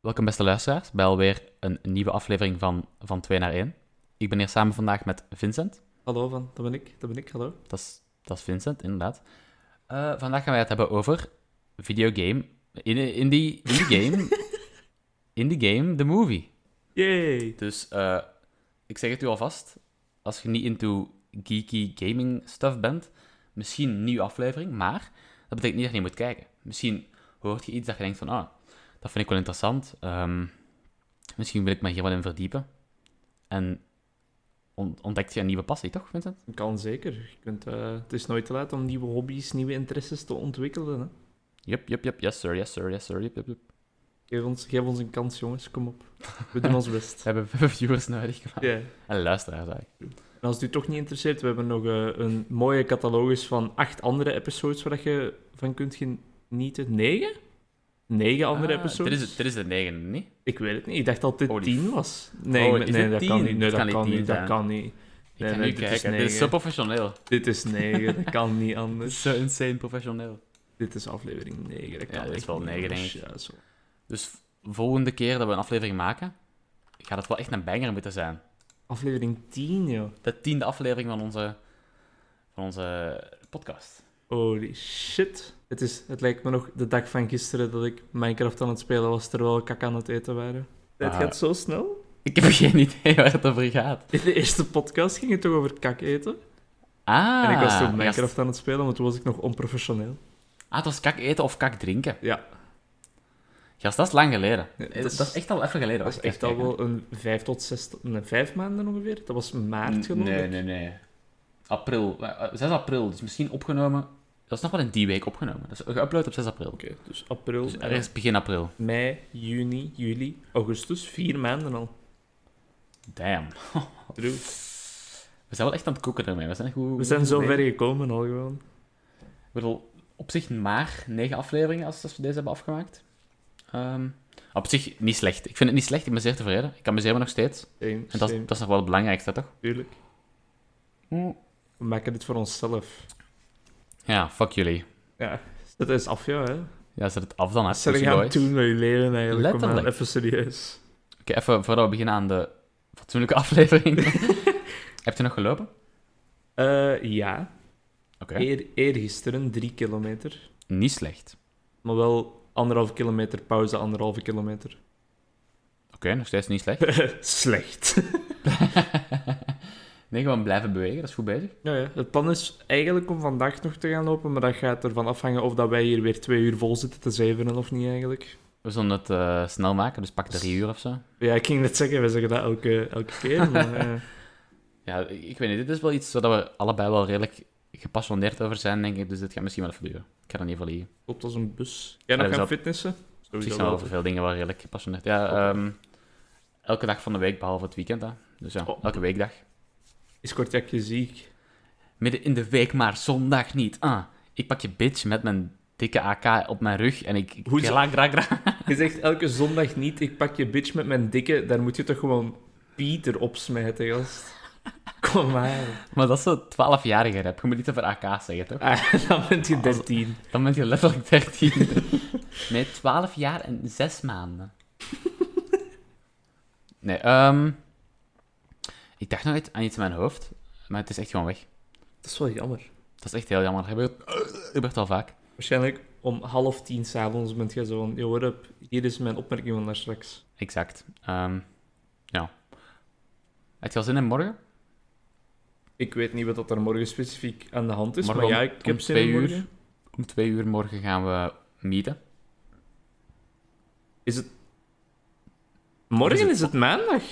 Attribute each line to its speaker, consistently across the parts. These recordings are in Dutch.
Speaker 1: Welkom beste luisteraars bij alweer een nieuwe aflevering van Van 2 naar 1. Ik ben hier samen vandaag met Vincent.
Speaker 2: Hallo, van, dat ben ik. Dat ben ik, hallo.
Speaker 1: Dat is, dat is Vincent, inderdaad. Eh, vandaag gaan wij het hebben over videogame. In, in, die, in die game... in die game, the movie.
Speaker 2: Yay!
Speaker 1: Dus eh, ik zeg het u alvast. Als je niet into geeky gaming stuff bent, misschien een nieuwe aflevering, maar dat betekent niet dat je niet moet kijken. Misschien hoort je iets dat je denkt van, ah, dat vind ik wel interessant. ehm, misschien wil ik me hier wel in verdiepen. En on- ontdekt je een nieuwe passie, toch, Vincent?
Speaker 2: Kan zeker. Je kunt, eh, het is nooit te laat om nieuwe hobby's, nieuwe interesses te ontwikkelen. Hè.
Speaker 1: Yup, yup, yup, yes sir, yes sir, yes sir, yup, yup, yup.
Speaker 2: Geef, ons, geef ons een kans, jongens. Kom op. We doen ons best.
Speaker 1: We hebben viewers nodig, klaar.
Speaker 2: Ja.
Speaker 1: En luisteraars eigenlijk.
Speaker 2: En als het u toch niet interesseert, we hebben nog eh, een mooie catalogus van acht andere episodes waar dat je van kunt genieten. Negen? Negen andere
Speaker 1: Ah,
Speaker 2: episodes?
Speaker 1: Dit is, het- dit is de negende, niet?
Speaker 2: Ik weet het niet. Ik dacht dat dit
Speaker 1: Holy
Speaker 2: tien
Speaker 1: f-
Speaker 2: was. Nee,
Speaker 1: Oh,
Speaker 2: ik-
Speaker 1: is
Speaker 2: nee,
Speaker 1: het
Speaker 2: dat
Speaker 1: tien?
Speaker 2: kan niet. Nee,
Speaker 1: Het
Speaker 2: dat
Speaker 1: kan
Speaker 2: kan
Speaker 1: niet
Speaker 2: niet.
Speaker 1: tien
Speaker 2: Dat
Speaker 1: zijn.
Speaker 2: kan niet.
Speaker 1: Ik
Speaker 2: Nee,
Speaker 1: ga
Speaker 2: nee,
Speaker 1: nu
Speaker 2: dit is
Speaker 1: kijken, dit is zo
Speaker 2: negen.
Speaker 1: professioneel.
Speaker 2: Dit is negen. Dat kan niet anders.
Speaker 1: Zo insane professioneel.
Speaker 2: Dit is aflevering 9. Dat
Speaker 1: Ja,
Speaker 2: kan
Speaker 1: dit is
Speaker 2: echt
Speaker 1: wel
Speaker 2: niet
Speaker 1: negen,
Speaker 2: anders.
Speaker 1: denk
Speaker 2: Ja, zo.
Speaker 1: Dus v- volgende keer dat we een aflevering maken, gaat het wel echt een banger moeten zijn.
Speaker 2: Aflevering 10, joh.
Speaker 1: De tiende aflevering van onze, van onze podcast.
Speaker 2: Holy shit. Het, is, het lijkt me nog de dag van gisteren dat ik Minecraft aan het spelen was terwijl we kak aan het eten waren. Het
Speaker 1: Ah.
Speaker 2: gaat zo snel.
Speaker 1: Ik heb geen idee waar het over gaat.
Speaker 2: In de eerste podcast ging het toch over kak eten.
Speaker 1: Ah,
Speaker 2: en ik was
Speaker 1: je
Speaker 2: toen Minecraft aan het spelen, want toen was ik nog onprofessioneel.
Speaker 1: Ah, het was kak eten of kak drinken.
Speaker 2: Ja.
Speaker 1: Gast, dat is lang geleden. Eh,
Speaker 2: Ja, dat
Speaker 1: dat,
Speaker 2: is-
Speaker 1: is, echt al even geleden.
Speaker 2: Dat is
Speaker 1: Wacht, ik
Speaker 2: echt
Speaker 1: ga
Speaker 2: al
Speaker 1: eens
Speaker 2: wel een vijf tot zes, nee, vijf maanden ongeveer. Dat was
Speaker 1: kijken.
Speaker 2: maart, geloof ik.
Speaker 1: Nee, nee, nee. April. Eh, eh, 6 april, dus misschien opgenomen. Dat is nog wel in die week opgenomen. Dat is geüpload op 6 april.
Speaker 2: Oké, dus april,
Speaker 1: Dus
Speaker 2: eh,
Speaker 1: ergens begin april.
Speaker 2: mei, juni, juli, augustus. Vier maanden al.
Speaker 1: Damn.
Speaker 2: True.
Speaker 1: We zijn wel echt aan het koeken ermee. We zijn, goed,
Speaker 2: We zijn zo
Speaker 1: goed
Speaker 2: ver gekomen al gewoon.
Speaker 1: Ik bedoel, op zich maar negen afleveringen als, als we deze hebben afgemaakt. Ehm, op zich niet slecht. Ik vind het niet slecht, ik ben zeer tevreden. Ik amuseer me nog steeds.
Speaker 2: Same,
Speaker 1: En dat, is-
Speaker 2: same, Mm.
Speaker 1: dat is nog wel het belangrijkste, toch?
Speaker 2: tuurlijk. We maken dit voor onszelf.
Speaker 1: Ja, fuck jullie.
Speaker 2: Ja, dat is af, ja. Hè.
Speaker 1: Ja, zet het af dan, hè.
Speaker 2: Wat zullen
Speaker 1: Pussy
Speaker 2: gaan
Speaker 1: boys.
Speaker 2: doen met je leven eigenlijk? Kom aan,
Speaker 1: Letterlijk.
Speaker 2: even serieus.
Speaker 1: Oké, even voordat we beginnen aan de fatsoenlijke aflevering. Heb je nog gelopen?
Speaker 2: Eh, ja,
Speaker 1: Oké.
Speaker 2: Eer, eergisteren drie kilometer.
Speaker 1: Niet slecht.
Speaker 2: Maar wel anderhalve kilometer pauze, anderhalve kilometer.
Speaker 1: Oké, nog steeds niet slecht.
Speaker 2: Slecht.
Speaker 1: Nee, gewoon blijven bewegen, dat is goed bezig.
Speaker 2: ja, ja. Het plan is eigenlijk om vandaag nog te gaan lopen, maar dat gaat ervan afhangen of dat wij hier weer twee uur vol zitten te zevenen of niet eigenlijk.
Speaker 1: We zullen het eh, snel maken, dus pak drie uur of zo.
Speaker 2: Ja, ik ging net zeggen, we zeggen dat elke, elke keer. Maar, eh,
Speaker 1: Ja, ik ik weet niet. Dit is wel iets waar we allebei wel redelijk gepassioneerd over zijn, denk ik. Dus dit gaat misschien wel even duren. Ik ga dat niet verliezen.
Speaker 2: klopt als een bus. Jij nog
Speaker 1: Ja, we
Speaker 2: gaan
Speaker 1: zouden-
Speaker 2: fitnessen?
Speaker 1: Op zich
Speaker 2: Sowieso
Speaker 1: zijn
Speaker 2: wel.
Speaker 1: wel veel dingen wel redelijk gepassioneerd. Ja,
Speaker 2: Oké.
Speaker 1: ehm, elke dag van de week, behalve het weekend. Hè. Dus ja,
Speaker 2: Oh.
Speaker 1: elke weekdag.
Speaker 2: Is Kortjakje ziek?
Speaker 1: Midden in de week, maar zondag niet. Ah, ik pak je bitch met mijn dikke AK op mijn rug en ik... ik
Speaker 2: Hoezo?
Speaker 1: Gra, gra, gra.
Speaker 2: Je zegt elke zondag niet, ik pak je bitch met mijn dikke. Daar moet je toch gewoon Pieter op smijten, gast. Kom maar.
Speaker 1: Maar dat is zo'n 12-jarige rap. Je moet niet over AK zeggen, toch?
Speaker 2: Ah, dan bent je 13.
Speaker 1: Dan ben je letterlijk 13. nee, 12 jaar en 6 maanden. Nee, ehm... Ik dacht nog iets- aan iets in mijn hoofd, maar het is echt gewoon weg.
Speaker 2: Dat is wel jammer.
Speaker 1: Dat is echt heel jammer. Dat gebeurt, eh, gebeurt al vaak.
Speaker 2: Waarschijnlijk om half tien s'avonds bent jij zo van... Yo, what up? Hier is mijn opmerking van daar straks.
Speaker 1: Exact. Ehm, ja. Heb je al zin in morgen?
Speaker 2: Ik weet niet wat dat er morgen specifiek aan de hand is,
Speaker 1: Morgen
Speaker 2: maar ja,
Speaker 1: om-
Speaker 2: ik
Speaker 1: om
Speaker 2: heb zin in
Speaker 1: twee uur.
Speaker 2: morgen.
Speaker 1: Om twee uur morgen gaan we meeten.
Speaker 2: Is het... Morgen
Speaker 1: Is het-
Speaker 2: is het, maandag?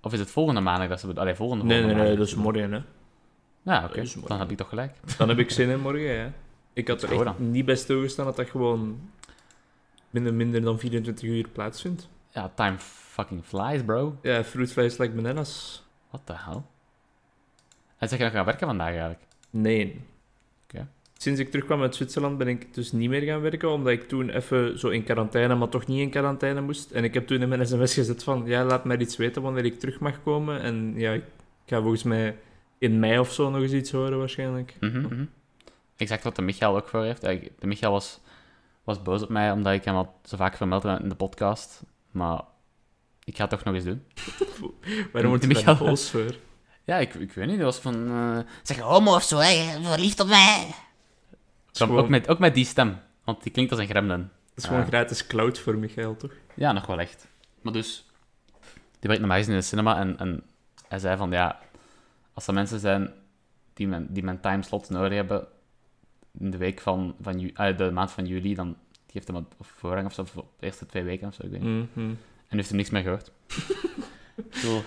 Speaker 1: Of is het volgende maandag dat ze... bedo- Allee, volgende,
Speaker 2: Nee, nee,
Speaker 1: volgende
Speaker 2: nee, dat
Speaker 1: maandag.
Speaker 2: is morgen, hè.
Speaker 1: Ja, oké.
Speaker 2: dat is morgen.
Speaker 1: Dan heb ik toch gelijk.
Speaker 2: Dan heb ik zin in morgen, ja. Ik had
Speaker 1: Let's
Speaker 2: er
Speaker 1: go
Speaker 2: echt niet bij stilgestaan dat dat gewoon binnen minder dan 24 uur plaatsvindt.
Speaker 1: Ja, time fucking flies, bro.
Speaker 2: Ja, fruitvlees lijkt bananas.
Speaker 1: What the hell? En zeg je nog gaan werken vandaag eigenlijk?
Speaker 2: Nee.
Speaker 1: Oké.
Speaker 2: Sinds ik terugkwam uit Zwitserland ben ik dus niet meer gaan werken, omdat ik toen even zo in quarantaine, maar toch niet in quarantaine moest. En ik heb toen in mijn sms gezet van, ja, laat mij iets weten wanneer ik terug mag komen. En ja, ik ga volgens mij in mei of zo nog eens iets horen waarschijnlijk.
Speaker 1: Mhm, mhm. Exact wat de Michael ook voor heeft. Eigenlijk, De Michael was, was boos op mij omdat ik hem al zo vaak vermeld heb in de podcast. Maar ik ga het toch nog eens doen.
Speaker 2: Waarom wordt
Speaker 1: Die
Speaker 2: het een
Speaker 1: Michael.
Speaker 2: pols voor?
Speaker 1: Ja, ik, ik weet niet. Dat was van... eh, zeg je homo of zo, hè? Verliefd op mij. Ook,
Speaker 2: gewoon-
Speaker 1: met, ook met die stem. Want die klinkt als een gremlin.
Speaker 2: Dat is gewoon
Speaker 1: Ah.
Speaker 2: gratis cloud voor Michael, toch?
Speaker 1: Ja, nog wel echt. Maar dus, die werkt normaal gezien in de cinema en, en hij zei van, ja, als er mensen zijn die mijn, die mijn timeslots nodig hebben in de week van, van ju- ah, de maand van juli, dan geeft hem wat voorrang of zo, voor de eerste twee weken of zo, ik weet niet.
Speaker 2: Mhm.
Speaker 1: En heeft hem niks meer gehoord. Ik bedoel,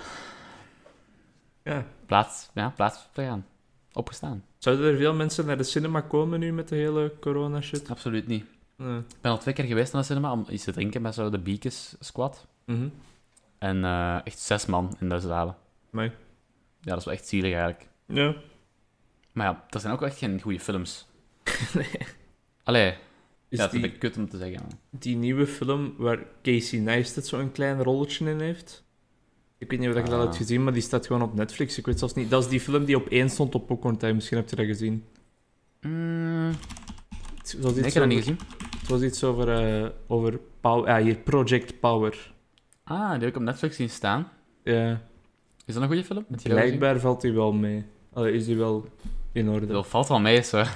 Speaker 2: Ja.
Speaker 1: plaats, ja, plaats vergaan. Opgestaan.
Speaker 2: Zouden er veel mensen naar de cinema komen nu met de hele corona-shit?
Speaker 1: Absoluut niet.
Speaker 2: Nee.
Speaker 1: Ik ben al twee keer geweest naar de cinema om iets te drinken met zo de Beakers Squad.
Speaker 2: Mhm.
Speaker 1: En eh, echt zes man in de zalen.
Speaker 2: Amai.
Speaker 1: Ja, dat is wel echt zielig eigenlijk.
Speaker 2: Ja.
Speaker 1: Maar ja, dat zijn ook echt geen goede films. Allee, ja,
Speaker 2: Is
Speaker 1: dat
Speaker 2: die,
Speaker 1: vind ik kut om te zeggen.
Speaker 2: die nieuwe film waar Casey Neistat zo'n klein rolletje in heeft? Ik weet niet of je dat
Speaker 1: Ah.
Speaker 2: hebt gezien, maar die staat gewoon op Netflix. Ik weet zelfs niet. Dat is die film die opeens stond op Popcorn Time. Misschien heb je dat gezien. Hmm,
Speaker 1: Mm,
Speaker 2: Het was
Speaker 1: nee, ik heb
Speaker 2: iets
Speaker 1: dat
Speaker 2: over-
Speaker 1: niet gezien.
Speaker 2: Het was iets over, eh, over power. Ah, hier, Project Power.
Speaker 1: Ah, die heb ik op Netflix zien staan.
Speaker 2: Ja.
Speaker 1: Is dat een goede film? Met die wel gezien?
Speaker 2: Blijkbaar valt hij wel mee. Allee, is hij wel in orde.
Speaker 1: Dat valt wel mee, zo.
Speaker 2: Ja,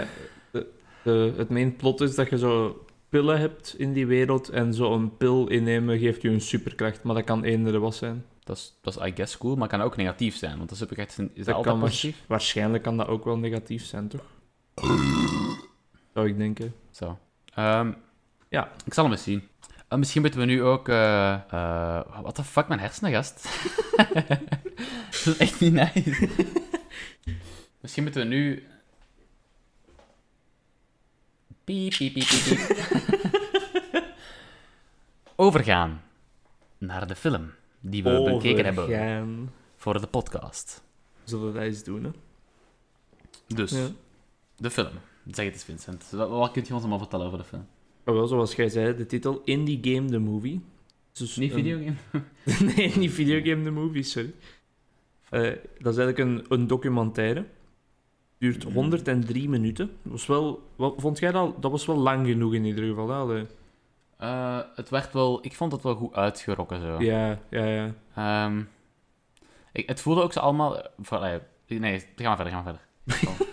Speaker 2: Eh, de- de- het main plot is dat je zo pillen hebt in die wereld en zo'n pil innemen geeft je een superkracht, maar dat kan eender wat zijn.
Speaker 1: Dat is, dat is, I guess, cool, maar kan ook negatief zijn. Want dat is, superkracht is dat,
Speaker 2: Dus Dat
Speaker 1: altijd
Speaker 2: kan
Speaker 1: positief.
Speaker 2: Waarschijnlijk kan dat ook wel negatief zijn, toch? Zou ik denken.
Speaker 1: Zo. Ehm,
Speaker 2: Ja.
Speaker 1: Ik zal hem eens zien. Eh, misschien moeten we nu ook... eh eh what the fuck, mijn hersenen, gast? dat is echt niet nice. misschien moeten we nu... Piep, piep, piep, piep, piep. Overgaan naar de film die we bekeken hebben
Speaker 2: Overgaan.
Speaker 1: voor de podcast.
Speaker 2: Zullen we dat eens doen, hè?
Speaker 1: Dus,
Speaker 2: Ja.
Speaker 1: de film. Zeg het eens, Vincent. Wat, wat kunt je ons allemaal vertellen over de film?
Speaker 2: Ah, wel, zoals jij zei, de titel Indie Game The Movie. Dus
Speaker 1: Niet
Speaker 2: een-
Speaker 1: videogame?
Speaker 2: nee, niet videogame The Movie, sorry. Eh, dat is eigenlijk een, een documentaire. Duurt 103 minuten. Was wel, wat, vond jij dat? al- Dat was wel lang genoeg in ieder geval. Hè? Allee.
Speaker 1: Eh, het werd wel... Ik vond het wel goed uitgerokken, zo.
Speaker 2: Ja, ja, ja.
Speaker 1: Ehm, ik, het voelde ook zo allemaal... eh, Voor, eh, nee, ga maar verder, ga maar verder. Kom.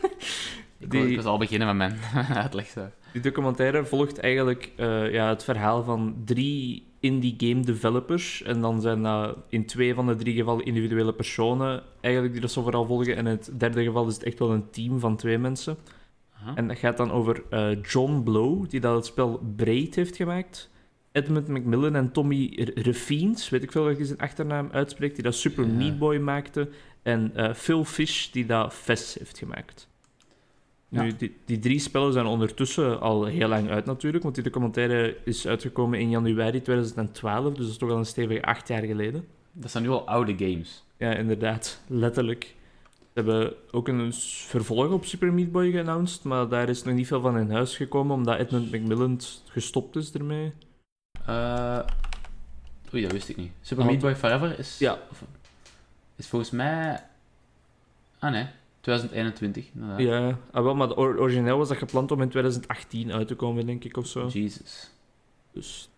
Speaker 1: ik, wil,
Speaker 2: Die-
Speaker 1: ik wil al beginnen met mijn uitleg, zo.
Speaker 2: Die documentaire volgt eigenlijk eh, ja, het verhaal van drie indie game developers. En dan zijn dat in twee van de drie gevallen individuele personen eigenlijk die dat zo vooral volgen. En in het derde geval is het echt wel een team van twee mensen.
Speaker 1: Aha.
Speaker 2: En dat gaat dan over eh, John Blow, die dat het spel Braid heeft gemaakt. Edmund McMillan en Tommy R- Refines, weet ik veel wat je zijn achternaam uitspreekt, die dat Super
Speaker 1: Ja.
Speaker 2: Meat Boy maakte. En eh, Phil Fish, die dat Fes heeft gemaakt.
Speaker 1: Ja.
Speaker 2: Nu, die, die drie spellen zijn ondertussen al heel lang uit natuurlijk, want die documentaire is uitgekomen in januari 2012, dus dat is toch al een stevige acht jaar geleden.
Speaker 1: Dat zijn nu al oude games.
Speaker 2: Ja, inderdaad. Letterlijk. Ze hebben ook een s- vervolg op Super Meat Boy geannounced, maar daar is nog niet veel van in huis gekomen, omdat Edmund McMillan gestopt is ermee.
Speaker 1: Eh, oei, dat wist ik niet. Super
Speaker 2: Oh.
Speaker 1: Meat Boy Forever is...
Speaker 2: Ja.
Speaker 1: of- Is volgens mij... Ah, nee. 2021, inderdaad.
Speaker 2: Ja, ah, wel, maar de or- origineel was dat gepland om in 2018 uit te komen, denk ik, of zo.
Speaker 1: Jesus.
Speaker 2: Dus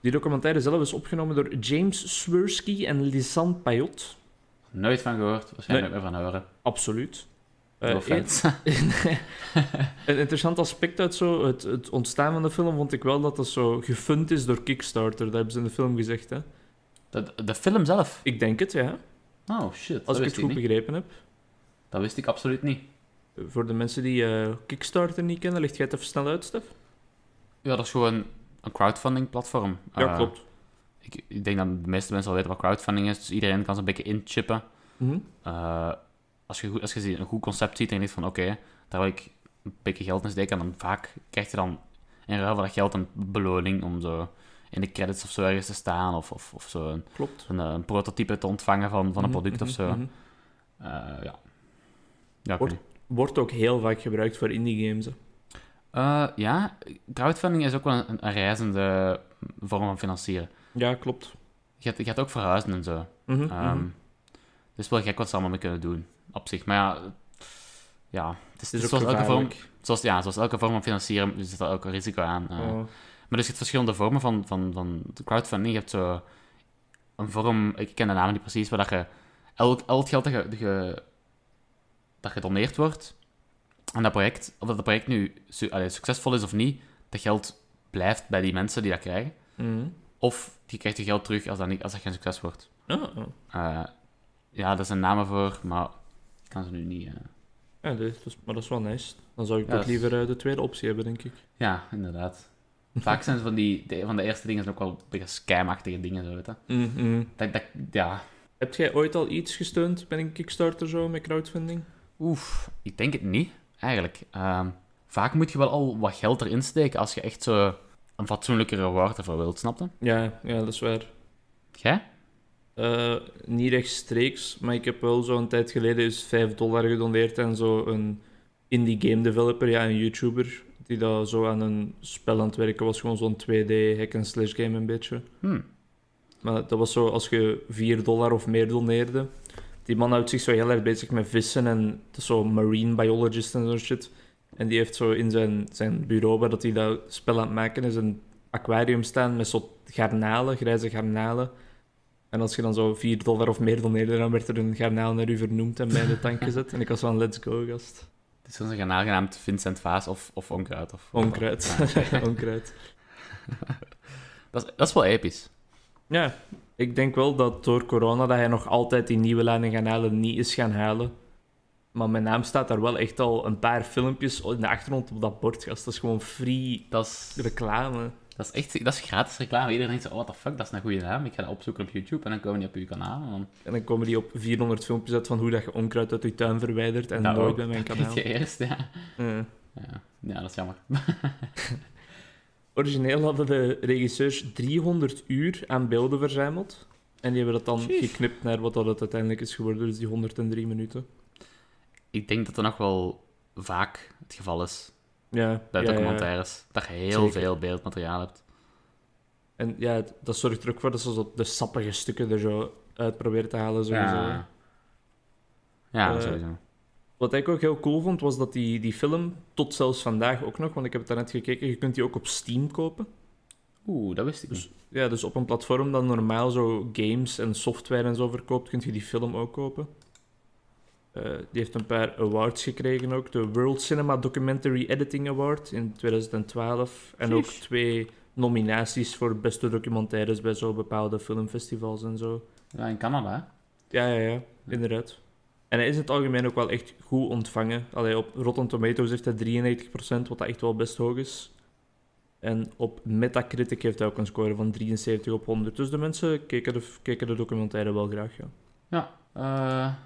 Speaker 2: die documentaire zelf is opgenomen door James Swirsky en Lisanne Payot.
Speaker 1: Nooit van gehoord, waarschijnlijk ook meer van horen.
Speaker 2: Absoluut. Eh,
Speaker 1: No
Speaker 2: e-
Speaker 1: offense.
Speaker 2: Een interessant aspect uit zo, het, het ontstaan van de film vond ik wel dat dat zo gefund is door Kickstarter. Dat hebben ze in de film gezegd, hè.
Speaker 1: de, de film zelf?
Speaker 2: Ik denk het, ja.
Speaker 1: Oh shit,
Speaker 2: Als
Speaker 1: dat
Speaker 2: ik
Speaker 1: wist
Speaker 2: het
Speaker 1: ik,
Speaker 2: goed
Speaker 1: niet.
Speaker 2: begrepen heb.
Speaker 1: Dat wist ik absoluut niet.
Speaker 2: Voor de mensen die eh, Kickstarter niet kennen, ligt jij het even snel uit, Stef?
Speaker 1: Ja, dat is gewoon een crowdfunding platform. Eh, Ik, ik denk dat de meeste mensen al weten wat crowdfunding is, dus iedereen kan zo'n beetje inchippen.
Speaker 2: Mhm.
Speaker 1: Eh, als je, goed- als je zie- een goed concept ziet en je denkt van oké, daar wil ik een beetje geld in steken, en dan vaak krijg je dan in ruil voor dat geld een beloning om zo in de credits of zo ergens te staan of, of, of zo een,
Speaker 2: Klopt.
Speaker 1: een, eh, prototype te ontvangen van, van een
Speaker 2: Mhm,
Speaker 1: product of
Speaker 2: mhm,
Speaker 1: zo.
Speaker 2: mhm.
Speaker 1: Eh, ja. Ja, ik
Speaker 2: Wordt-
Speaker 1: weet niet.
Speaker 2: Wordt ook heel vaak gebruikt voor indie games. hè.
Speaker 1: Eh, ja, crowdfunding is ook wel een, een reizende vorm van financieren.
Speaker 2: Ja, klopt.
Speaker 1: Je gaat, je gaat ook verhuizen en zo.
Speaker 2: Mhm,
Speaker 1: Ehm,
Speaker 2: mhm.
Speaker 1: Het is wel gek wat ze allemaal mee kunnen doen, op zich. Maar ja, ja het is,
Speaker 2: Het is
Speaker 1: het is
Speaker 2: ook
Speaker 1: zoals, elke vorm,
Speaker 2: gevaarlijk.
Speaker 1: zoals, ja, zoals elke vorm van financieren zit er ook een risico aan. eh.
Speaker 2: Oh.
Speaker 1: Maar dus je hebt verschillende vormen van, van, van crowdfunding. Je hebt zo een vorm, ik ken de naam niet precies, waar dat je elk, al het geld dat, je, dat, je, dat gedoneerd wordt aan dat project, of dat het project nu su- allee, succesvol is of niet, dat geld blijft bij die mensen die dat krijgen.
Speaker 2: Mhm.
Speaker 1: Of je krijgt je geld terug als dat, niet, als dat geen succes wordt.
Speaker 2: Ah, ah.
Speaker 1: Eh, ja, daar zijn namen voor, maar ik kan ze nu niet. eh.
Speaker 2: Ja, dit is- maar dat is wel nice. Dan zou ik
Speaker 1: Ja,
Speaker 2: toch
Speaker 1: dat is-
Speaker 2: liever eh, de tweede optie hebben, denk ik.
Speaker 1: Ja, inderdaad. Vaak zijn ze van die de- van de eerste dingen zijn ook wel een beetje scamachtige dingen, zo weet je.
Speaker 2: Mhm.
Speaker 1: Dat, dat, ja,
Speaker 2: Heb jij ooit al iets gesteund bij een Kickstarter zo met crowdfunding?
Speaker 1: oef, ik denk het niet, eigenlijk. Ehm, vaak moet je wel al wat geld erin steken als je echt zo een fatsoenlijke reward ervoor wilt, snapte?
Speaker 2: Ja, ja dat is waar.
Speaker 1: Jij?
Speaker 2: Eh, niet rechtstreeks, maar ik heb wel zo'n tijd geleden eens 5 dollar gedoneerd aan zo'n indie game developer, ja, een YouTuber, die daar zo aan een spel aan het werken was. Gewoon zo'n 2D hack-and-slash game een beetje.
Speaker 1: Hm.
Speaker 2: Maar dat was zo, als je 4 dollar of meer doneerde. Die man houdt zich zo heel erg bezig met vissen en het is zo marine biologist en zo'n shit. En die heeft zo in zijn, zijn bureau, waar dat hij dat spel aan het maken is, een aquarium staan met zo garnalen, grijze garnalen. En als je dan zo 4 dollar of meer doneerde, dan werd er een garnaal naar u vernoemd en mij in de tank gezet. En ik was van let's go, gast.
Speaker 1: Het is onze kanaal genaamd Vincent Vaas of, of Onkruid. Of,
Speaker 2: Onkruid.
Speaker 1: Ja.
Speaker 2: Onkruid.
Speaker 1: dat, is, dat is wel episch.
Speaker 2: Ja, ik denk wel dat door corona dat hij nog altijd die nieuwe lading gaan halen niet is gaan halen. Maar mijn naam staat daar wel echt al een paar filmpjes in de achtergrond op dat bord, gast. Dat is gewoon free
Speaker 1: Dat is,
Speaker 2: reclame.
Speaker 1: dat is echt dat is gratis reclame. Iedereen denkt zo, oh, what the fuck, dat is een goede naam. Ik ga dat opzoeken op YouTube en dan komen die op uw kanaal. En dan
Speaker 2: En dan komen die op 400 filmpjes uit van hoe dat je onkruid uit je tuin verwijdert en
Speaker 1: Dat
Speaker 2: nooit
Speaker 1: ook.
Speaker 2: bij mijn
Speaker 1: Krijg
Speaker 2: kanaal.
Speaker 1: je eerst, ja.
Speaker 2: Ja.
Speaker 1: ja. Ja, dat is jammer.
Speaker 2: Origineel hadden de regisseurs 300 uur aan beelden verzameld. En die hebben dat dan
Speaker 1: Jeez.
Speaker 2: geknipt naar wat dat het uiteindelijk is geworden, dus die 103 minuten.
Speaker 1: Ik denk dat dat nog wel vaak het geval is
Speaker 2: Ja,
Speaker 1: bij
Speaker 2: ja, ja.
Speaker 1: documentaires. Dat je heel
Speaker 2: Zeker.
Speaker 1: veel beeldmateriaal hebt.
Speaker 2: En ja, het- dat zorgt er ook voor dat ze zo de sappige stukken er zo uit proberen te halen. Sowieso.
Speaker 1: Ja, ja
Speaker 2: Eh,
Speaker 1: sowieso.
Speaker 2: Wat ik ook heel cool vond, was dat die, die film, tot zelfs vandaag ook nog, want ik heb het daarnet gekeken, je kunt die ook op Steam kopen.
Speaker 1: Oeh, dat wist ik
Speaker 2: Dus-
Speaker 1: niet.
Speaker 2: Ja, dus op een platform dat normaal zo games en software en zo verkoopt, kun je die film ook kopen. Eh, die heeft een paar awards gekregen ook. De World Cinema Documentary Editing Award in 2012. En ook
Speaker 1: Jeez.
Speaker 2: twee nominaties voor beste documentaires bij zo bepaalde filmfestivals en zo.
Speaker 1: Ja, in Canada, hè?
Speaker 2: Ja, ja, ja, inderdaad. En hij is in het algemeen ook wel echt goed ontvangen. Allee, op Rotten Tomatoes heeft hij 93%, wat dat echt wel best hoog is. En op Metacritic heeft hij ook een score van 73 op 100. Dus de mensen keken de, keken de documentaire wel graag, ja.
Speaker 1: Eh,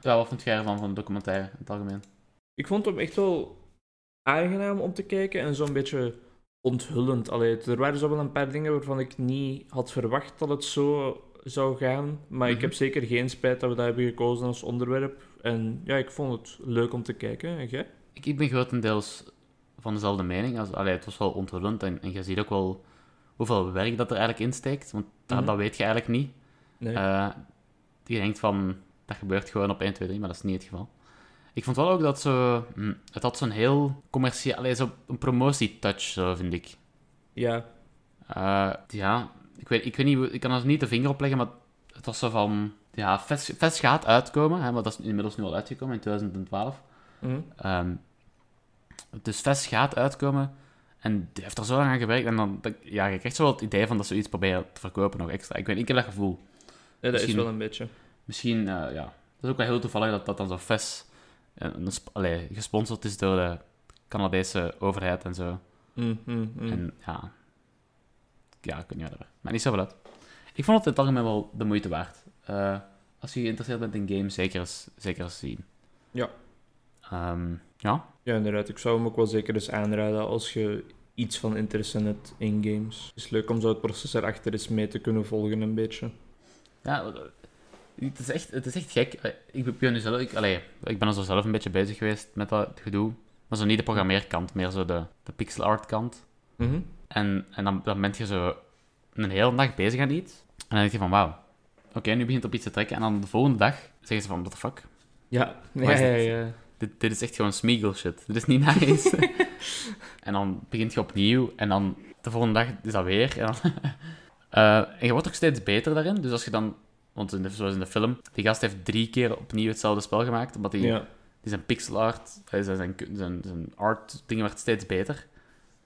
Speaker 1: ja, wat vind jij ervan, van de documentaire in het algemeen?
Speaker 2: Ik vond hem echt wel aangenaam om te kijken en zo'n beetje onthullend. Allee, het- er waren zo wel een paar dingen waarvan ik niet had verwacht dat het zo zou gaan. Maar ik
Speaker 1: Mhm.
Speaker 2: heb zeker geen spijt dat we dat hebben gekozen als onderwerp. En ja, ik vond het leuk om te kijken. En jij?
Speaker 1: Ik, ik ben grotendeels van dezelfde mening. Als, allee, het was wel onthullend en, en je ziet ook wel hoeveel werk dat er eigenlijk insteekt. Want dat,
Speaker 2: Mhm.
Speaker 1: dat weet je eigenlijk niet.
Speaker 2: Nee.
Speaker 1: Eh, die denkt van, dat gebeurt gewoon op 1, 2, 3, maar dat is niet het geval. Ik vond wel ook dat ze... hm, het had zo'n heel commercieel... Allee, zo een promotietouch, zo vind ik.
Speaker 2: ja,
Speaker 1: Eh, ja, ik weet, ik weet niet... hoe- Ik kan er niet de vinger op leggen, maar het was zo van... Ja, Fest, Fest gaat uitkomen, hè, maar dat is inmiddels nu al uitgekomen in 2012.
Speaker 2: Mhm.
Speaker 1: Ehm, dus Fest gaat uitkomen en die heeft er zo lang aan gewerkt. En dan, dat- ja, je krijgt zo wel het idee van dat ze iets proberen te verkopen nog extra. Ik weet niet, ik heb dat gevoel.
Speaker 2: Ja, dat is
Speaker 1: Misschien-
Speaker 2: wel een beetje.
Speaker 1: Misschien, eh, ja. Het is ook wel heel toevallig dat dat dan zo'n fest een, een sp- allee, gesponsord is door de Canadese overheid en zo.
Speaker 2: Mm, mm, mm.
Speaker 1: En ja, ja, ik weet niet verder. Maar niet zoveel uit. Ik vond het in het algemeen wel de moeite waard. Eh, als je geïnteresseerd bent in games, zeker eens, zeker eens zien.
Speaker 2: Ja.
Speaker 1: Ehm, ja,
Speaker 2: Ja, inderdaad. Ik zou hem ook wel zeker eens aanraden als je iets van interesse hebt in games. Het is leuk om zo het proces erachter eens mee te kunnen volgen een beetje.
Speaker 1: Ja, eh, het is echt, het is echt gek. Eh, Ik ben, nu zelf, ik, allee, ik ben er zo zelf een beetje bezig geweest met dat gedoe. Maar zo niet de programmeerkant, meer zo de, de pixel art kant.
Speaker 2: Mhm.
Speaker 1: En, en dan, dan ben je zo een hele dag bezig aan iets. En dan denk je van, wauw. Oké, nu begint het op iets te trekken. En dan de volgende dag zeggen ze van, what the fuck?
Speaker 2: Ja, ja,
Speaker 1: Waar is
Speaker 2: ja,
Speaker 1: het?
Speaker 2: ja.
Speaker 1: Dit, dit is echt gewoon smeagol shit. Dit is niet nice. en dan begint je opnieuw. En dan de volgende dag is dat weer. En, dan Eh, en je wordt ook steeds beter daarin. Dus als je dan... Want in de, zoals in de film, die gast heeft drie keer opnieuw hetzelfde spel gemaakt, omdat hij...
Speaker 2: Ja.
Speaker 1: Die zijn pixel art, eh, zijn, zijn, zijn, zijn art dingen werd steeds beter.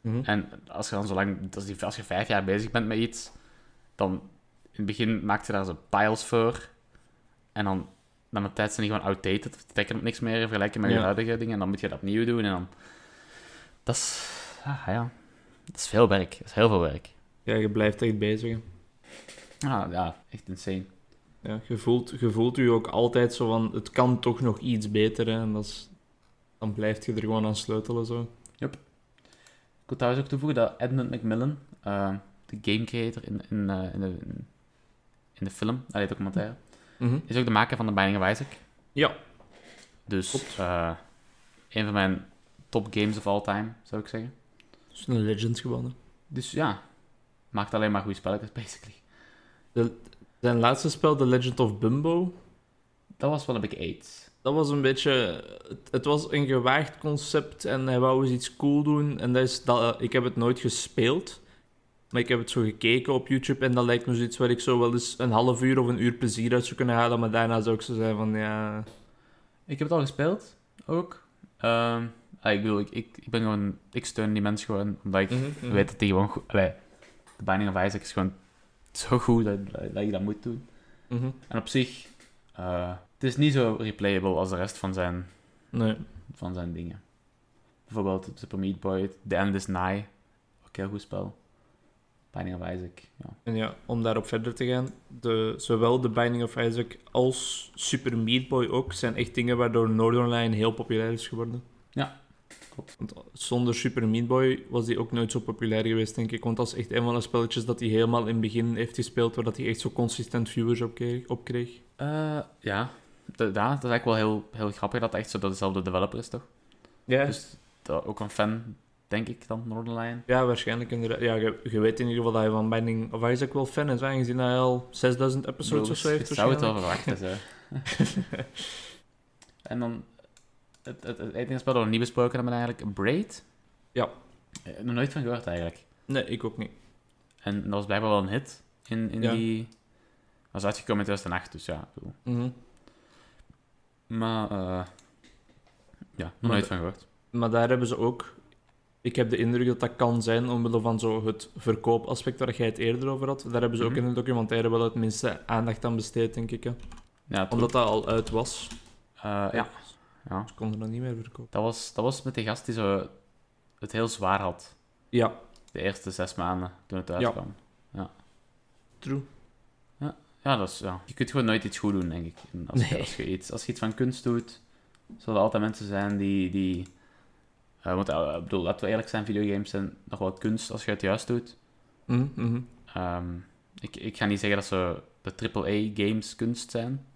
Speaker 2: Mhm.
Speaker 1: En als je dan zo lang, als, die, als je vijf jaar bezig bent met iets, dan in het begin maakt je daar zo piles voor. En dan, dan met tijd zijn die gewoon outdated, of die trekken op niks meer in vergelijking met je
Speaker 2: Ja.
Speaker 1: huidige dingen. En dan moet je dat opnieuw doen. En dan, dat is, ah, ja, dat is veel werk. Dat is heel veel werk.
Speaker 2: ja, je blijft echt bezig. hè.
Speaker 1: Ah, ja, echt insane.
Speaker 2: Ja, je, voelt, je voelt je ook altijd zo van, het kan toch nog iets beter. Hè, en dat is, dan blijf je er gewoon aan sleutelen. Zo.
Speaker 1: Ik wil trouwens ook toevoegen dat Edmund Macmillan, eh, de game creator in, in, eh, in, de, in de film, allee, documentaire,
Speaker 2: Mhm.
Speaker 1: is ook de maker van de Binding of Isaac.
Speaker 2: Ja.
Speaker 1: Dus
Speaker 2: Klopt.
Speaker 1: eh, een van mijn top games of all time, zou ik zeggen.
Speaker 2: Dat is een Legends gewonnen.
Speaker 1: Dus ja, maakt alleen maar goede spelletjes, basically.
Speaker 2: Zijn laatste spel, The Legend of Bumbo,
Speaker 1: Dat was wel een beetje aids.
Speaker 2: dat was een beetje... Het, het was een gewaagd concept en hij wou eens iets cool doen. En dat is dat, eh, ik heb het nooit gespeeld, maar ik heb het zo gekeken op YouTube. En dat lijkt me zoiets waar ik zo wel eens een half uur of een uur plezier uit zou kunnen halen. Maar daarna zou ik zo zijn van, ja...
Speaker 1: Ik heb het al gespeeld, ook. Ehm, ah, ik bedoel, ik, ik, ik ben gewoon, ik steun die mensen gewoon, omdat ik
Speaker 2: Mhm,
Speaker 1: weet dat die gewoon goed... allee, de Binding of Isaac is gewoon zo goed dat, dat ik dat moet doen.
Speaker 2: Mhm.
Speaker 1: En op zich, eh, het is niet zo replayable als de rest van zijn,
Speaker 2: Nee.
Speaker 1: van zijn dingen. Bijvoorbeeld Super Meat Boy, The End is Nigh. Ook heel goed spel. Binding of Isaac. Ja.
Speaker 2: En ja, om daarop verder te gaan, de, zowel The Binding of Isaac als Super Meat Boy ook zijn echt dingen waardoor Northern Line heel populair is geworden.
Speaker 1: Ja, klopt.
Speaker 2: Want zonder Super Meat Boy was die ook nooit zo populair geweest, denk ik. Want dat is echt een van de spelletjes dat hij helemaal in het begin heeft gespeeld, waar dat hij echt zo consistent viewers op kreeg. Op kreeg.
Speaker 1: Eh, ja, Da- da- dat is eigenlijk wel heel, heel grappig dat het echt zo door dezelfde developer is, toch?
Speaker 2: Ja.
Speaker 1: Dus dat, ook een fan, denk ik, dan Northern Lion.
Speaker 2: ja, waarschijnlijk inderdaad. Ja, je, je weet in ieder geval dat hij van Binding of Isaac wel fan is, aangezien hij al 6000 episodes of zo
Speaker 1: Ik
Speaker 2: heeft
Speaker 1: zou het wel
Speaker 2: waarschijnlijk.
Speaker 1: verwachten, zo. en dan... Het, het, het enige spel dat we nog niet besproken hebben eigenlijk, Braid.
Speaker 2: Ja.
Speaker 1: Eh, Nog nooit van gehoord, eigenlijk.
Speaker 2: Nee, ik ook niet.
Speaker 1: En dat was blijkbaar wel een hit in, in
Speaker 2: Ja.
Speaker 1: die... Dat was uitgekomen in 2008, dus ja. ik bedoel.
Speaker 2: Mhm.
Speaker 1: Maar, eh ja, nog
Speaker 2: Maar
Speaker 1: nooit
Speaker 2: de-
Speaker 1: van gehoord.
Speaker 2: Maar daar hebben ze ook... Ik heb de indruk dat dat kan zijn, omwille van zo het verkoopaspect waar jij het eerder over had. Daar hebben ze
Speaker 1: Mhm.
Speaker 2: ook in de documentaire wel het minste aandacht aan besteed, denk ik. Hè.
Speaker 1: Ja,
Speaker 2: Omdat dat al uit was.
Speaker 1: Eh, ja, ja.
Speaker 2: Ze konden dat niet meer verkopen.
Speaker 1: Dat, was, dat was met die gast die zo het heel zwaar had.
Speaker 2: Ja,
Speaker 1: De eerste zes maanden toen het
Speaker 2: Ja.
Speaker 1: uitkwam.
Speaker 2: true.
Speaker 1: Ja, dat is... Ja. Je kunt gewoon nooit iets goed doen, denk ik. En Als, je,
Speaker 2: Nee.
Speaker 1: als, je iets, als je iets van kunst doet, zullen er altijd mensen zijn die... die eh, want eh, ik bedoel, laten we eerlijk zijn, videogames zijn nog wel kunst als je het juist doet.
Speaker 2: Mhm, mhm.
Speaker 1: Ehm, ik, ik ga niet zeggen dat ze de AAA-games kunst zijn,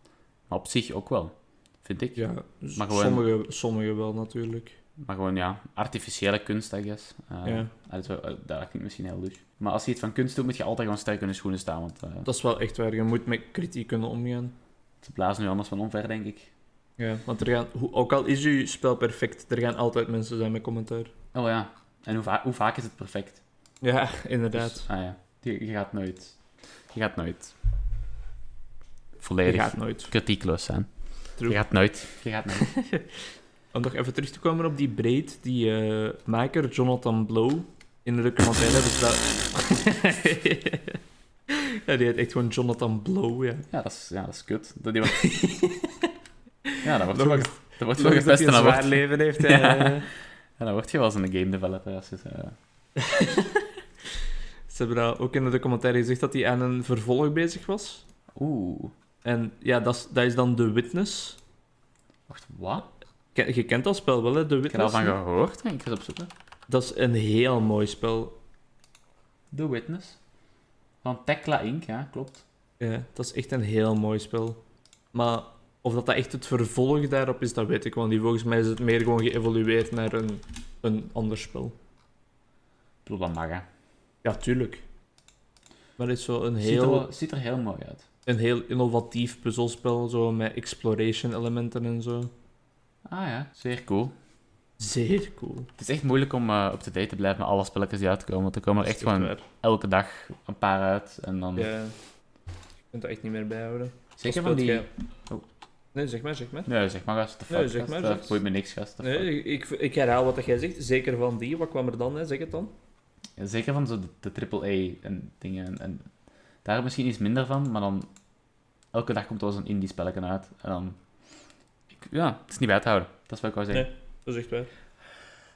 Speaker 1: maar op zich ook wel, vind ik.
Speaker 2: Ja,
Speaker 1: Maar gewoon-
Speaker 2: Dus sommige, sommige wel natuurlijk.
Speaker 1: Maar gewoon, ja, artificiële kunst, I guess. Eh,
Speaker 2: Ja.
Speaker 1: dat, is wel- eh, dat klinkt misschien heel douche. Maar als je iets van kunst doet, moet je altijd gewoon sterk in de schoenen staan, want eh,
Speaker 2: Dat is wel echt waar. Je moet met kritiek kunnen omgaan.
Speaker 1: ze blazen nu anders van omver, denk ik.
Speaker 2: Ja. Want er gaan, hoe- ook al is je spel perfect, er gaan altijd mensen zijn met commentaar.
Speaker 1: Oh ja, en hoe, va- hoe vaak is het perfect?
Speaker 2: Ja, inderdaad.
Speaker 1: Dus, ah, ja. je, je gaat nooit... Je gaat nooit...
Speaker 2: je
Speaker 1: Volledig
Speaker 2: gaat nooit.
Speaker 1: kritiekloos zijn.
Speaker 2: True.
Speaker 1: Je gaat nooit... Je gaat nooit.
Speaker 2: Om nog even terug te komen op die breed, die eh, maker Jonathan Blow. In de documentaire hebben ze dus dat. ja, die heet echt gewoon Jonathan Blow, ja.
Speaker 1: Ja, dat is, ja, dat is kut. Dat die wordt... ja, dat wordt
Speaker 2: Nog-
Speaker 1: wel- dat wordt wel gepest en
Speaker 2: een
Speaker 1: dan
Speaker 2: zwaar
Speaker 1: wordt
Speaker 2: leven heeft.
Speaker 1: Ja.
Speaker 2: eh.
Speaker 1: Ja, dan word je wel eens een game developer. Als je, eh,
Speaker 2: Ze hebben dat ook in de documentaire gezegd dat hij aan een vervolg bezig was.
Speaker 1: Oeh,
Speaker 2: En ja, dat is, dat is dan The Witness.
Speaker 1: wacht, wat?
Speaker 2: Ken- Je kent dat spel wel, hè? The
Speaker 1: Ik heb er
Speaker 2: Witness.
Speaker 1: van gehoord. Ik ga het opzoeken.
Speaker 2: dat is een heel mooi spel.
Speaker 1: The Witness. Van Tekla Inc., ja, klopt.
Speaker 2: Ja, dat is echt een heel mooi spel. Maar of dat, dat echt het vervolg daarop is, dat weet ik wel niet. Volgens mij is het meer gewoon geëvolueerd naar een, een ander spel.
Speaker 1: Ik bedoel, dat mag, hè.
Speaker 2: Ja, tuurlijk. Maar het is zo een
Speaker 1: Ziet, er,
Speaker 2: heel,
Speaker 1: wel- ziet er heel mooi uit.
Speaker 2: een heel innovatief puzzelspel, zo met exploration elementen en zo.
Speaker 1: Ah ja, zeer cool.
Speaker 2: Zeer cool.
Speaker 1: Het is echt moeilijk om eh, op de date te blijven met alle spelletjes die uitkomen. Want er komen er echt
Speaker 2: Dat is
Speaker 1: gewoon
Speaker 2: waar.
Speaker 1: elke dag een paar uit. En dan...
Speaker 2: Ja. Je kunt dat echt niet meer bijhouden.
Speaker 1: Zeker van
Speaker 2: Speelt
Speaker 1: die...
Speaker 2: jij-
Speaker 1: Oh.
Speaker 2: Nee, zeg maar, zeg maar.
Speaker 1: Nee, zeg maar gast. de
Speaker 2: Nee,
Speaker 1: fuck,
Speaker 2: zeg
Speaker 1: gast.
Speaker 2: maar,
Speaker 1: Dat
Speaker 2: gast.
Speaker 1: boeit me niks, gast. de fuck.
Speaker 2: Nee, ik, ik herhaal wat dat jij zegt. Zeker van die. Wat kwam er dan? Hè? Zeg het dan.
Speaker 1: Ja, Zeker van zo de, de triple A en dingen. En, en daar misschien iets minder van, maar dan... Elke dag komt er wel zo'n indie spelletje uit. En dan... Ik, ja, het is niet bij te houden. Dat is wat ik wou zeggen.
Speaker 2: Dat is echt waar.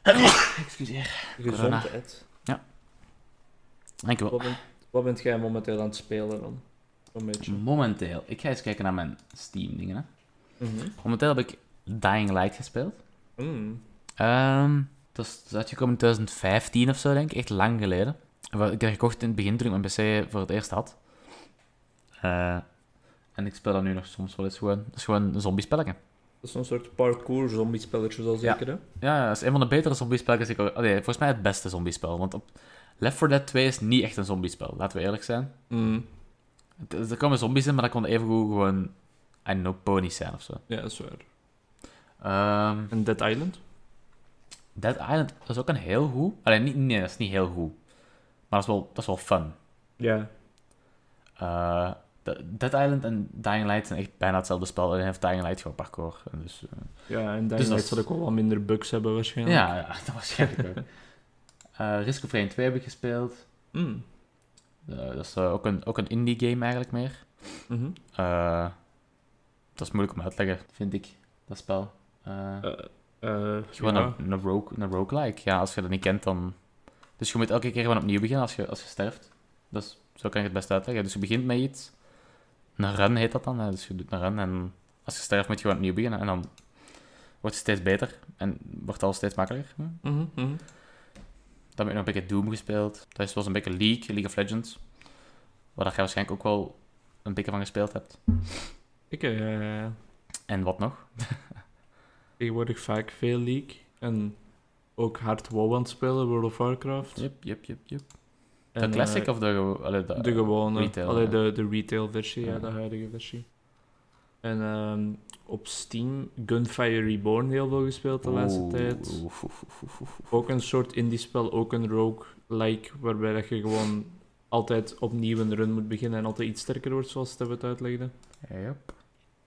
Speaker 1: Excuseer. Corona.
Speaker 2: Gezond, Ed.
Speaker 1: Dankjewel.
Speaker 2: Wat, bent- wat bent jij momenteel aan het spelen dan? Een beetje.
Speaker 1: Momenteel. Ik ga eens kijken naar mijn Steam-dingen, hè.
Speaker 2: Mhm.
Speaker 1: Momenteel heb ik Dying Light gespeeld.
Speaker 2: Mm.
Speaker 1: Ehm, dat is dat is uitgekomen in 2015 of zo, denk ik. Echt lang geleden. Wat ik dat gekocht in het begin toen ik mijn PC voor het eerst had. Eh, en ik speel dat nu nog soms wel eens gewoon. Het is gewoon een zombiespelletje.
Speaker 2: Dat is zo'n soort parkour zombie spelletje zo zeker, hè?
Speaker 1: Ja, dat is een van de betere zombiespelletjes. die Ik... ooit- Nee, volgens mij het beste zombiespel. Want op Left 4 Dead 2 is niet echt een zombiespel, laten we eerlijk zijn.
Speaker 2: Mm.
Speaker 1: Het- Er komen zombies in, maar dat kon evengoed gewoon... I don't know, ponies zijn of zo.
Speaker 2: Ja, dat is waar.
Speaker 1: Ehm,
Speaker 2: En Dead Island?
Speaker 1: Dead Island dat is ook een heel goed... Alleen, niet, nee, dat is niet heel goed. Maar dat is wel, dat is wel fun.
Speaker 2: Ja.
Speaker 1: Eh, De- Dead Island en Dying Light zijn echt bijna hetzelfde spel. Alleen heeft Dying Light gewoon parkour. En dus, eh,
Speaker 2: Ja, en Dying
Speaker 1: dat
Speaker 2: Light
Speaker 1: is-
Speaker 2: zal ook wel wat minder bugs hebben waarschijnlijk.
Speaker 1: ja, ja, dat waarschijnlijk ook. Eh Risk of Rain 2 heb ik gespeeld.
Speaker 2: Mm.
Speaker 1: Eh, dat is eh, ook, een, ook een indie game eigenlijk meer.
Speaker 2: Mhm.
Speaker 1: Eh, dat is moeilijk om uit te leggen, vind ik, dat spel. Eh, het
Speaker 2: Eh,
Speaker 1: is gewoon
Speaker 2: ja.
Speaker 1: een, een, rogue, een roguelike. Ja, als je dat niet kent, dan... Dus je moet elke keer gewoon opnieuw beginnen als je, als je sterft. Dat is, zo kan ik het best uitleggen. Dus je begint met iets. Een run heet dat dan. hè. Dus je doet een run en als je sterft moet je gewoon opnieuw beginnen. En dan wordt het steeds beter en wordt alles steeds makkelijker. Hm.
Speaker 2: Mhm, mhm.
Speaker 1: Dan heb ik nog een beetje Doom gespeeld. Dat is wel een beetje League, League of Legends. Waar dat jij waarschijnlijk ook wel een beetje van gespeeld hebt.
Speaker 2: Ik, eh,
Speaker 1: En wat nog?
Speaker 2: tegenwoordig vaak veel League en ook hard WoW aan het spelen, World of Warcraft.
Speaker 1: Jup, jup, jup, jup.
Speaker 2: En,
Speaker 1: De
Speaker 2: eh,
Speaker 1: classic of de... gewo- allee, de,
Speaker 2: de gewone,
Speaker 1: retail,
Speaker 2: allee,
Speaker 1: ja.
Speaker 2: de, de retail versie, ja.
Speaker 1: Ja.
Speaker 2: de huidige versie. En ehm, op Steam Gunfire Reborn heel veel gespeeld de laatste
Speaker 1: Oeh,
Speaker 2: tijd.
Speaker 1: oef, oef, oef, oef, oef.
Speaker 2: Ook een soort indie spel, ook een rogue-like, waarbij dat je gewoon altijd opnieuw een run moet beginnen en altijd iets sterker wordt, zoals dat we het uitlegden.
Speaker 1: Jup.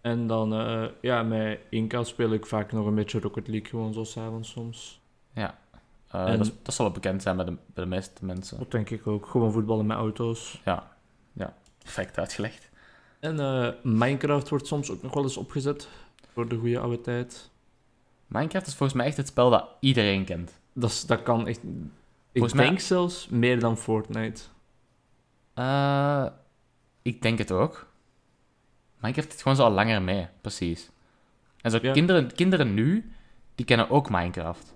Speaker 2: En dan, eh, ja, met Inca speel ik vaak nog een beetje Rocket League, gewoon zo s'avonds soms.
Speaker 1: Eh,
Speaker 2: En-
Speaker 1: dat, is- dat zal wel bekend zijn bij de, bij de meeste mensen.
Speaker 2: Dat denk ik ook, gewoon voetballen met auto's.
Speaker 1: Ja, ja. Perfect uitgelegd.
Speaker 2: En eh, Minecraft wordt soms ook nog wel eens opgezet, voor de goede oude tijd.
Speaker 1: Minecraft is volgens mij echt het spel dat iedereen kent.
Speaker 2: Dat, is- dat kan echt, ik
Speaker 1: Volgens mij-
Speaker 2: denk zelfs meer dan Fortnite.
Speaker 1: Eh, ik denk het ook. Minecraft is gewoon zo al langer mee, precies. En zo
Speaker 2: Ja.
Speaker 1: kinderen, kinderen nu, die kennen ook Minecraft.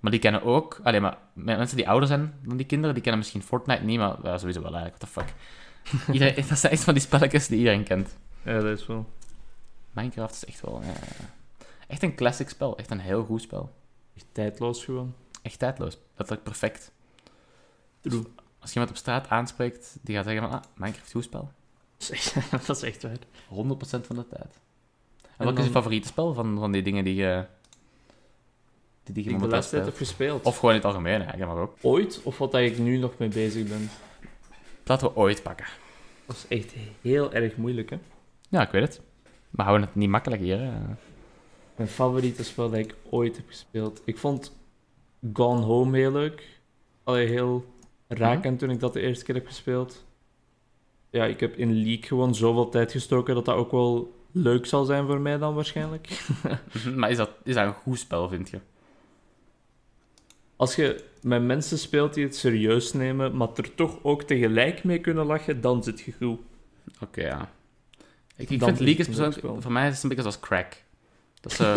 Speaker 1: Maar die kennen ook... Alleen maar mensen die ouder zijn dan die kinderen, die kennen misschien Fortnite niet, maar ja, sowieso wel eigenlijk. What the fuck. Iedereen, dat zijn echt van die spelletjes die iedereen kent.
Speaker 2: Ja, dat is wel.
Speaker 1: Minecraft is echt wel... eh, echt een classic spel. Echt een heel goed spel.
Speaker 2: Echt tijdloos gewoon.
Speaker 1: Echt tijdloos. Letterlijk perfect.
Speaker 2: True.
Speaker 1: Als je iemand op straat aanspreekt, die gaat zeggen van... Ah, Minecraft, goed spel.
Speaker 2: Dat is echt, dat is echt waar.
Speaker 1: 100% van de tijd. En,
Speaker 2: En
Speaker 1: wat is je
Speaker 2: dan-
Speaker 1: favoriete spel van, van die dingen die je... Die, die je
Speaker 2: Die ik de
Speaker 1: momenteel
Speaker 2: laatste tijd heb
Speaker 1: speelt?
Speaker 2: gespeeld.
Speaker 1: Of gewoon in het algemeen, hè, maar ook.
Speaker 2: ooit, of wat dat ik nu nog mee bezig ben.
Speaker 1: Laten we ooit pakken.
Speaker 2: Dat is echt heel erg moeilijk, hè.
Speaker 1: Ja, ik weet het. We houden het niet makkelijk hier. eh. hè.
Speaker 2: Mijn favoriete spel dat ik ooit heb gespeeld. Ik vond Gone Home heel leuk. Allee, heel rakend toen ik dat de eerste keer heb gespeeld. Ja, ik heb in League gewoon zoveel tijd gestoken dat dat ook wel leuk zal zijn voor mij dan waarschijnlijk.
Speaker 1: Mhm, maar is dat, is dat een goed spel, vind je?
Speaker 2: Als je met mensen speelt die het serieus nemen, maar er toch ook tegelijk mee kunnen lachen, dan zit je goed.
Speaker 1: Oké, ja. Ik, ik
Speaker 2: Dan
Speaker 1: vind League is
Speaker 2: is het een leuk
Speaker 1: persoonlijk...
Speaker 2: spel.
Speaker 1: Voor mij is het een beetje zoals crack. Dat is, eh,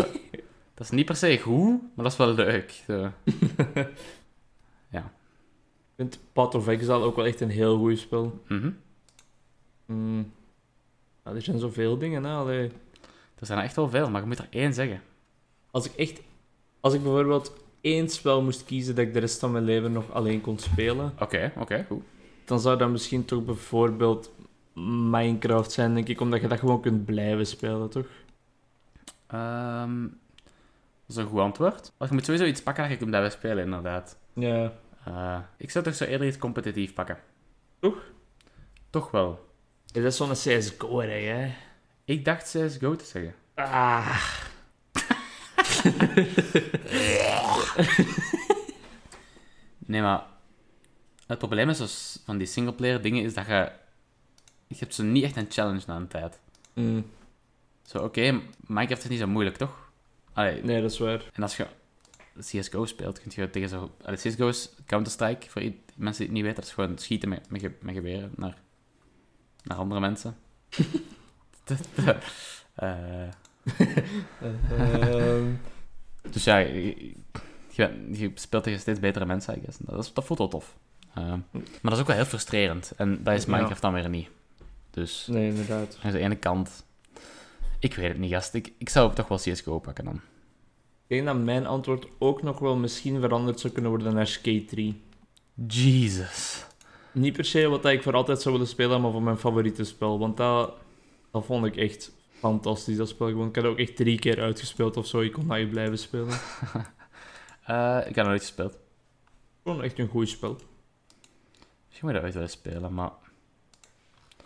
Speaker 1: dat is niet per se goed, maar dat is wel leuk. Zo.
Speaker 2: Ik vind Path of Exile ook wel echt een heel goed spel.
Speaker 1: Mhm.
Speaker 2: Mm. Ja, er zijn zoveel dingen, hè. Allee.
Speaker 1: Er zijn er echt wel veel, maar je moet er één zeggen.
Speaker 2: Als ik echt... Als ik bijvoorbeeld één spel moest kiezen dat ik de rest van mijn leven nog alleen kon spelen,
Speaker 1: Oké, oké, goed.
Speaker 2: dan zou dat misschien toch bijvoorbeeld Minecraft zijn, denk ik. Omdat je dat gewoon kunt blijven spelen, toch?
Speaker 1: Ehm, is een goed antwoord. Maar je moet sowieso iets pakken dat je kunt blijven spelen, inderdaad.
Speaker 2: Ja.
Speaker 1: Eh, ik zou toch zo eerder iets competitief pakken.
Speaker 2: Toch?
Speaker 1: Toch wel.
Speaker 2: Dat is zo'n CSGO, hè?
Speaker 1: Ik dacht CSGO te zeggen.
Speaker 2: Ah.
Speaker 1: Nee, maar het probleem is dus van die singleplayer dingen is dat je... Je hebt zo niet echt een challenge na een tijd.
Speaker 2: Mm.
Speaker 1: Zo, oké, Minecraft is niet zo moeilijk, toch? Allee,
Speaker 2: Nee, dat is waar.
Speaker 1: en als je CSGO speelt, kun je tegen zo... Allee, CSGO is Counter-Strike, voor i- mensen die het niet weten. Dat is gewoon schieten met, met, ge- met geweren naar, naar andere mensen. Eh, dus ja, je, je- je speelt tegen steeds betere mensen, I guess. Dat, is, dat voelt wel tof. Eh, maar dat is ook wel heel frustrerend. En dat is
Speaker 2: Ja.
Speaker 1: Minecraft dan weer niet. Dus...
Speaker 2: nee, inderdaad.
Speaker 1: Aan de ene kant. Ik weet het niet, gast. Ik, ik zou toch wel CSGO pakken dan.
Speaker 2: Ik denk dat mijn antwoord ook nog wel misschien veranderd zou kunnen worden naar Skate 3.
Speaker 1: Jesus.
Speaker 2: Niet per se wat ik voor altijd zou willen spelen, maar voor mijn favoriete spel. Want dat, dat vond ik echt fantastisch, dat spel. Gewoon, ik had het ook echt drie keer uitgespeeld of zo. Ik kon dat je blijven spelen.
Speaker 1: Eh, ik heb nog nooit gespeeld.
Speaker 2: Gewoon echt een goed spel.
Speaker 1: Misschien moet ik dat ooit wel eens spelen, maar...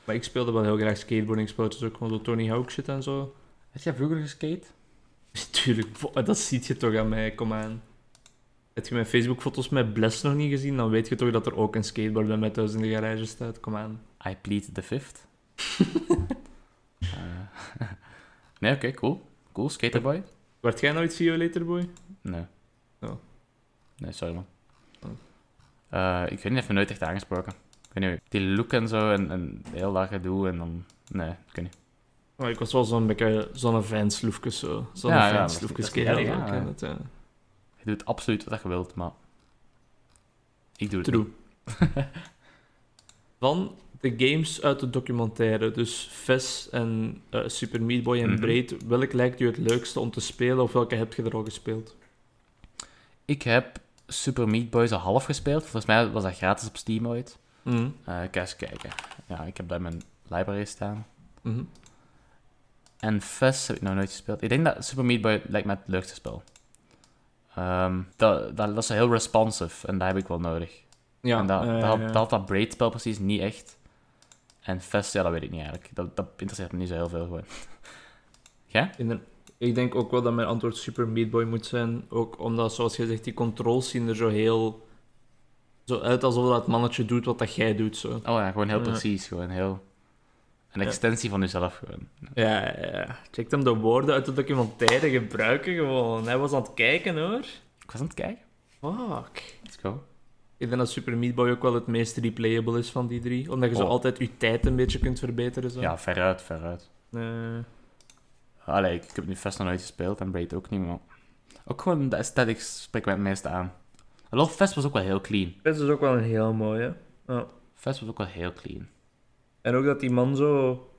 Speaker 2: Maar ik speelde wel heel graag skateboarding spelletjes, ook gewoon zo Tony Hawk shit en zo.
Speaker 1: Heb jij vroeger geskate?
Speaker 2: Tuurlijk, vo- dat ziet je toch aan mij, kom aan. Heb je mijn Facebook-foto's met Bless nog niet gezien? Dan weet je toch dat er ook een skateboard bij mij thuis in de garage staat, kom aan.
Speaker 1: I plead the fifth. Eh, nee, oké, cool. Cool, skaterboy.
Speaker 2: Werd jij nooit Violator Boy?
Speaker 1: Nee.
Speaker 2: Oh.
Speaker 1: Nee, sorry man.
Speaker 2: Oh.
Speaker 1: Eh, ik weet niet, even nooit echt aangesproken. Ik weet niet, die look en zo en, en heel dat gedoe en dan... Nee, ik weet niet.
Speaker 2: Maar ik was wel zo'n beetje zo'n fansloefke zo. Zo'n
Speaker 1: Ja, ja,
Speaker 2: ja,
Speaker 1: dat is-
Speaker 2: fansloefke
Speaker 1: dat is
Speaker 2: kerel.
Speaker 1: erg,
Speaker 2: zo,
Speaker 1: ja.
Speaker 2: ik ken het, ja.
Speaker 1: Je doet absoluut wat je wilt, maar... Ik doe het
Speaker 2: True. Dan de games uit de documentaire. Dus Ves en eh, Super Meat Boy en
Speaker 1: Mhm.
Speaker 2: Braid. Welk lijkt u het leukste om te spelen of welke heb je er al gespeeld?
Speaker 1: Ik heb Super Meat Boy zo half gespeeld. Volgens mij was dat gratis op Steam ooit.
Speaker 2: Mhm.
Speaker 1: Eh ik ga eens kijken. Ja, ik heb dat in mijn library staan.
Speaker 2: Mhm.
Speaker 1: En Fest heb ik nog nooit gespeeld. Ik denk dat Super Meat Boy lijkt me het leukste spel. Ehm, dat, dat, dat is heel responsive en dat heb ik wel nodig.
Speaker 2: Ja, eh,
Speaker 1: en dat,
Speaker 2: ja,
Speaker 1: dat,
Speaker 2: ja,
Speaker 1: had-
Speaker 2: ja.
Speaker 1: dat had dat braid spel precies niet echt. En Fest, ja, dat weet ik niet eigenlijk. Dat, dat interesseert me niet zo heel veel gewoon.
Speaker 2: Inder- Ik denk ook wel dat mijn antwoord Super Meat Boy moet zijn. Ook omdat, zoals jij zegt, die controls zien er zo heel... Zo uit alsof dat mannetje doet wat dat jij doet, zo.
Speaker 1: Oh ja, gewoon heel
Speaker 2: Ja.
Speaker 1: precies. Gewoon heel... Een
Speaker 2: Ja.
Speaker 1: extensie van jezelf gewoon.
Speaker 2: Ja, ja, ja. Check hem de woorden uit de documentaire gebruiken gewoon. Hij was aan het kijken, hoor.
Speaker 1: Ik was aan het kijken.
Speaker 2: Fuck.
Speaker 1: Let's go.
Speaker 2: Ik denk dat Super Meat Boy ook wel het meest replayable is van die drie. Omdat je zo
Speaker 1: Oh.
Speaker 2: altijd je tijd een beetje kunt verbeteren, zo.
Speaker 1: Ja, veruit, veruit.
Speaker 2: Eh,
Speaker 1: Allee, ik, ik heb nu Fest nog nooit gespeeld en Braid ook niet, maar... Ook gewoon de aesthetics spreekt mij het meeste aan. Alhoewel, Fest was ook wel heel clean.
Speaker 2: dat is ook wel een heel mooie.
Speaker 1: Fest was ook wel heel clean.
Speaker 2: En ook dat die man zo...